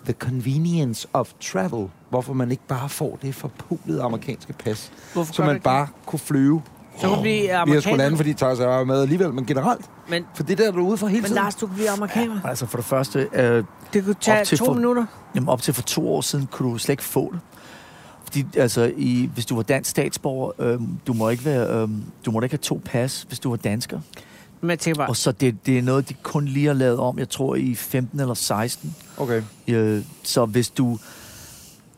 the convenience of travel, hvorfor man ikke bare får det forpulede amerikanske pas, Hvorfor så gør du man ikke bare kunne flyve. Så kan du blive Vi har sgu amerikaner. lande, fordi Thijs er med alligevel, men generelt. Men, For det der, du er ude for hele men tiden. Lars, du kan blive amerikaner. Altså for det første, øh, Det kunne tage Op til to for- minutter. Jamen op til for to år siden kunne du slet ikke få det. Fordi, altså, i, hvis du var dansk statsborger, øhm, du, må ikke være, øhm, du må da ikke have to pas, hvis du var dansker. Men jeg tænker bare, Og så det, det er noget, de kun lige har lavet om, jeg tror, i 15 eller 16. Okay. Øh, så hvis du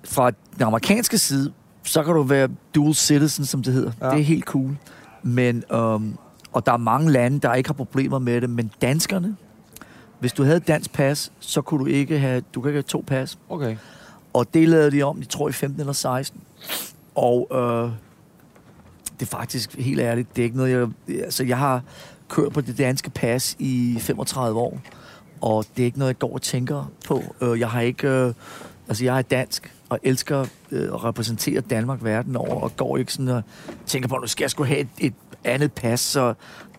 fra den amerikanske side, så kan du være dual citizen, som det hedder. Ja. Ja. Det er helt cool. Men, øhm, og der er mange lande, der ikke har problemer med det, men danskerne, hvis du havde et dansk pas, så kunne du ikke have, du kan ikke have to pas. Okay. Og det lavede de om, jeg tror i 15 eller 16. Og øh, det er faktisk helt ærligt, det er ikke noget, jeg... Altså, jeg har kørt på det danske pas i 35 år, og det er ikke noget, jeg går og tænker på. Øh, jeg har ikke... Øh, altså, jeg er dansk og elsker øh, at repræsentere Danmark verden over, og går ikke sådan og tænker på, nu skal jeg skulle have et, et andet pas, så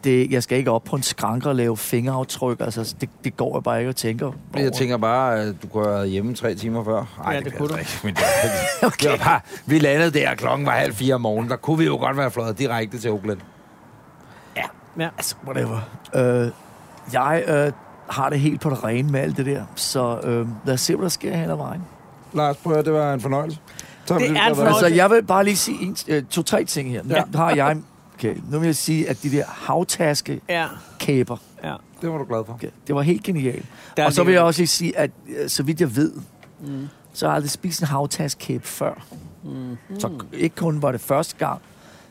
det, jeg skal ikke op på en skranke og lave fingeraftryk. Altså, det, det går jeg bare ikke og tænker Men jeg tænker bare, at du kunne have været hjemme tre timer før. Ej, Ja, det kunne jeg altså Ikke, men det, okay. det var bare, vi landede der, klokken var halv fire om morgenen. Der kunne vi jo godt være fløjet direkte til Oakland. ja. Altså, whatever. Øh, jeg øh, har det helt på det rene med alt det der, så øh, lad os se, hvad der sker hen ad vejen. Lars, prøv at høre, det var en fornøjelse. Tak, Det fordi du er en gad at være med. Altså, jeg vil bare lige sige en, øh, to-tre ting her. Nu Ja. har jeg... Okay, nu vil jeg sige, at de der havtaskekæber, ja, ja. Det var du glad for. okay, det var helt genialt. Der Mm. Og så ligger- vil jeg også lige sige, at øh, så vidt jeg ved, så har jeg aldrig spist en havtaskekæbe før. Så ikke kun var det første gang, men det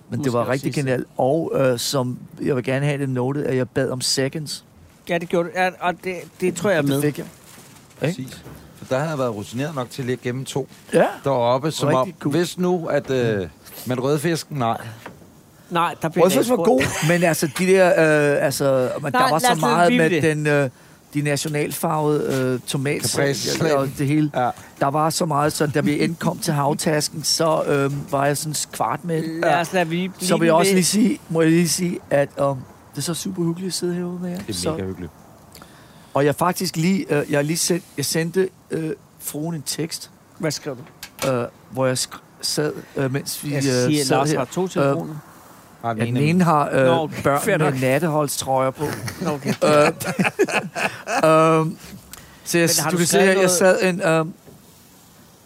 Mm-hmm. Måske var også rigtig sidste. genialt. Og øh, som jeg vil gerne have det notet, at jeg bad om seconds. Ja, det gjorde du. Ja, og det, det tror jeg er Det med. fik jeg. Præcis. For der havde jeg været rutineret nok til lige at gemme to Ja. deroppe, som om, Rigtig cool. hvis nu, at... Øh, men rødfisken, nej. Nej, der bliver Rødfisk var ikke god, spurgt. men altså, de der, øh, altså, men Nej, der lad var så os lade meget blive med ved det. den, øh, de nationalfarvede øh, tomatsal Caprese-slam. og det hele. Ja. Der var så meget, så da vi endkom til havtasken, så øh, var jeg sådan kvart med. Lad os lade vi Så vil jeg også lige sige, må jeg lige sige, at øh, det er så super hyggeligt at sidde herude med jer. Det er så, mega hyggeligt. og jeg faktisk lige, øh, jeg har lige sendt, jeg sendte øh, fruen en tekst, Hvad skrev du? øh, hvor jeg sk- sad, øh, mens vi øh, Jeg sad siger, Lars her. har to telefoner. Har Ja, den ene har øh, Nå, okay, fair børn nok. med natteholdstrøjer på. Nå, okay. Øh, Øhm, så jeg, Men har du du kan se, skrevet jeg, jeg noget? sad en... Øhm,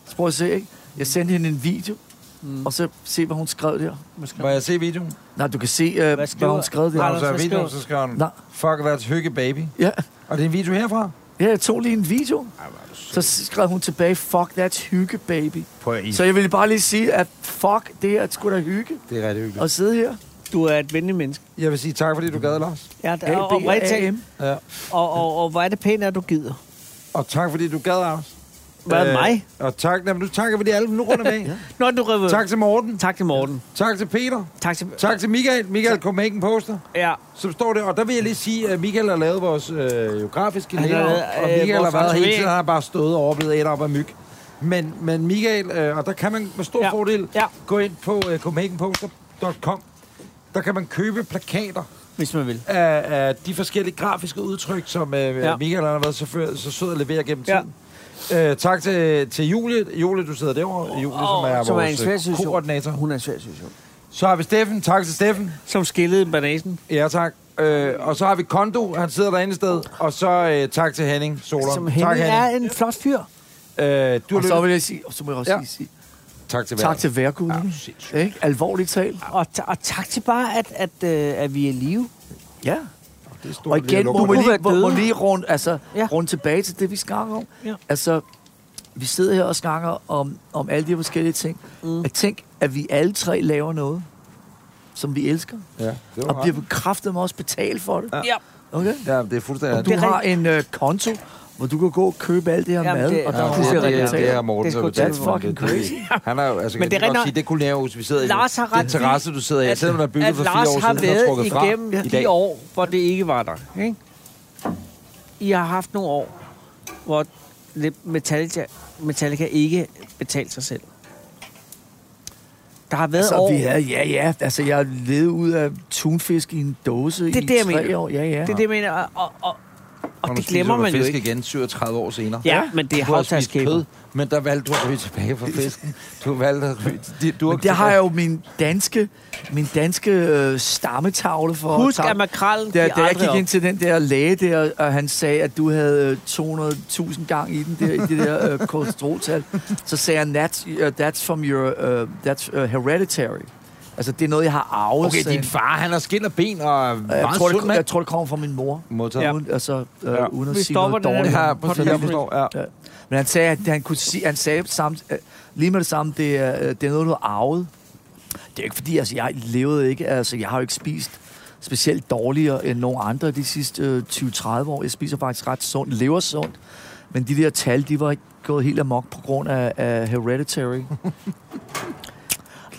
så prøv at se, ikke? Jeg sendte hende en video, mm. og så se, hvad hun skrev der. Hvad skrev Må jeg se videoen? Nej, du kan se, øh, hvad, hvad skriver- hun skrev der. Har Når du så er så videoen, skrevet- så skriver hun, Nej. fuck, that's hygge baby. Ja. Og det er en video herfra? ja, jeg tog lige en video. Så skrev hun tilbage, fuck, that's hygge, baby. På i. Så jeg ville bare lige sige, at fuck, det her er sgu da hygge Det er rigtig hyggeligt. at sidde her. Du er et venlig menneske. Jeg vil sige tak, fordi du gad, Lars. Ja, der, A, og, og, B, A, M. Ja. og, og, og hvor er det pænt, at du gider. Og tak, fordi du gad, Lars. Hvad øh, mig? Og tak, jamen, du takker for de alle, nu runder med. Nå, du river. Tak til Morten. tak til Morten. Tak til Peter. Tak til... Tak til Michael. Michael Copenhagen Poster, Ja, som står der. Og der vil jeg lige sige, at Michael har lavet vores øh, geografiske Han har lærer, lavet, og øh, Michael vores har været hele tatovering. tiden, han har bare stået og overblevet et op af myg. Men, men Michael, øh, og der kan man med stor Ja. fordel Ja. gå ind på øh, copenhagenposter.com. Der kan man købe plakater hvis man vil. af, af de forskellige grafiske udtryk, som øh, Ja. ja. Michael han har været så, før, så sød at levere gennem Ja. tiden. Øh, tak til, til Julie. Julie, du sidder derovre. Julie, som er som er en svær vores øh, situation. koordinator. Hun er en svær situation. Så har vi Steffen. Tak til Steffen. Som skillede banasen. Ja, tak. Øh, og så har vi Kondo, han sidder derinde i sted. Og så øh, tak til Henning Solon. Som tak, Henning er en flot fyr. Øh, du Og har så lyttet... vil jeg sige, og så må jeg også Ja. ja. sige, Tak til tak verden. til værkuden. sindssygt. Ja, ikke? Alvorligt talt. Og, ta- og tak til bare, at, at, øh, at vi er i live. Ja. Det er stort Og lige igen, at lukke må man den. lige, Kunne må, være må døde. lige rundt, altså, Ja. ja. rundt tilbage til det, vi snakker om. Ja. Altså, vi sidder her og snakker om, om alle de her forskellige ting. Mm. Mm. At tænk, at vi alle tre laver noget, som vi elsker. Ja, det Og var bliver bekræftet med også betalt for det. Ja. Ja. Okay? Ja, det er fuldstændig... Og du det er har en øh, konto, hvor du kan gå og købe alt det her Jamen, mad, det- og der Nå, er det, fuldstændig det, det, betalt. det er er Morten, sgu der betaler that's for det. fucking Det er det. Han er jo, altså, Men Men det det kan er rigtig godt nok- sige, det kulinærhus, vi sidder i. nu. Lars har ret Den terrasse, du sidder i, selvom der er bygget at for Lars fire år har siden, der er været trukket fra igennem i dag. de år, hvor det ikke var der. Ikke? I har haft nogle år, hvor Metallica, Metallica ikke betalte sig selv. Der har været Altså, år... vi er, ja, ja. Altså, jeg levede ud af tunfisk i en dåse Det er i det, jeg tre mener. år. Ja, ja. Det er det, jeg mener. Og, og, og, Og og nu det spiser glemmer du man jo fisk ikke. igen 37 år senere. Ja, men det er Du har spist havtaskæber. kød, men der valgte du at ryge tilbage fra fisken. Du valgte at ryge... de- Du Men der har jeg jo min danske, min danske øh, stammetavle for. Husk, tak. at makrallen da, bliver da jeg aldrig gik op. ind til den der læge der, og han sagde, at du havde øh, 200.000 gang i den der, i det der øh, kolesteroltal, så sagde han, that's, uh, that's from your, uh, that's uh, hereditary. Altså, det er noget, jeg har arvet. Okay, sagde din han. øh, far, han har skin og ben og er jeg meget tror, sund det, jeg mand. tror, det kommer fra min mor. Modtaget. Ja. Uden, altså, øh, Ja. ja. uden at Vi sige stopper noget den her dårligt. Ja, om- præcis. om Jeg det. forstår, ja. Ja. Men han sagde, at han, kunne sige, han sagde samt, øh, lige med det samme, det er, øh, det er noget, du har arvet. Det er ikke fordi, altså, jeg levede ikke, altså, jeg har jo ikke spist specielt dårligere end nogen andre de sidste øh, 20-30 år. Jeg spiser faktisk ret sundt, lever sundt. Men de der tal, de var ikke gået helt amok på grund af, af hereditary.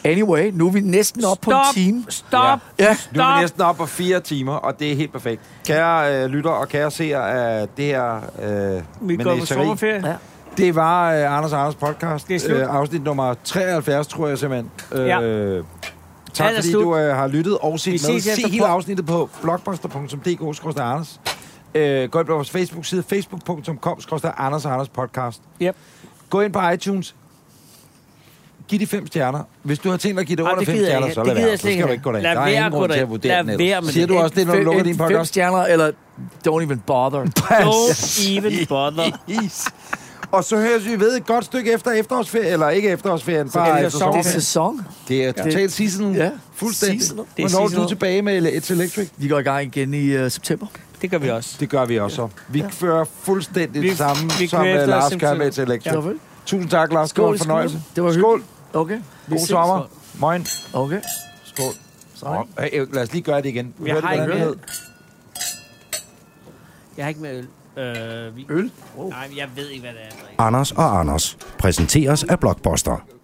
Anyway, nu er vi næsten oppe på en Stop! time. Stop! Ja. Nu er Stop! vi næsten op på fire timer, og det er helt perfekt. Kære øh, lytter og kære seere af det her øh, Vi går på menageri, sommerferie. Ja. det var øh, Anders og Anders podcast, Det er slut. Øh, afsnit nummer 73, tror jeg simpelthen. Øh, Ja. Tak Den er fordi slut. du øh, har lyttet og set Vi med. ses efter Se hele på- afsnittet på blogbuster.dk-anders. Øh, gå ind på vores Facebook-side, facebook.com-anders og Anders podcast. Yep. Gå ind på iTunes. Giv de fem stjerner. Hvis du har tænkt dig at give det Ej, under det fem gider jeg stjerner, ikke. så Det lad gider være. jeg Så skal slet ikke. du ikke gå derind. Lad Der er være ingen at grund gå til at derind. vurdere Lad den være ellers. med Siger det. du også det, når du lukker din Fem podcast? stjerner, eller don't even bother. Don't even bother. Is. Og så høres vi ved et godt stykke efter efterårsferien, eller ikke efterårsferien, er bare det efter sæson. Det er sommerferien. sæson. Det er totalt seasonal. Ja. Fuldstændig. Seasonal. Det er Hvornår er du seasonal. tilbage med It's Electric? Vi går i gang igen i uh, september. Det gør vi også. Det gør vi også. Vi fører fuldstændig Vi- det samme, vi som kører øh, efter Lars os gør selv. med It's Electric. Ja. vel? Tusind tak, Lars. Skål, Skål, en fornøjelse. skål. Det var skål. Okay. God sommer. Moin. Okay. Skål. Sådan. Nå, hey, øh, lad os lige gøre det igen. Jeg Hørte har du, ikke hvordan mere. det hed? Jeg har ikke med øl. Øh, vi... Øl? Nej, jeg ved ikke, hvad det er. altså. André. Anders og Anders præsenteres af Blockbuster.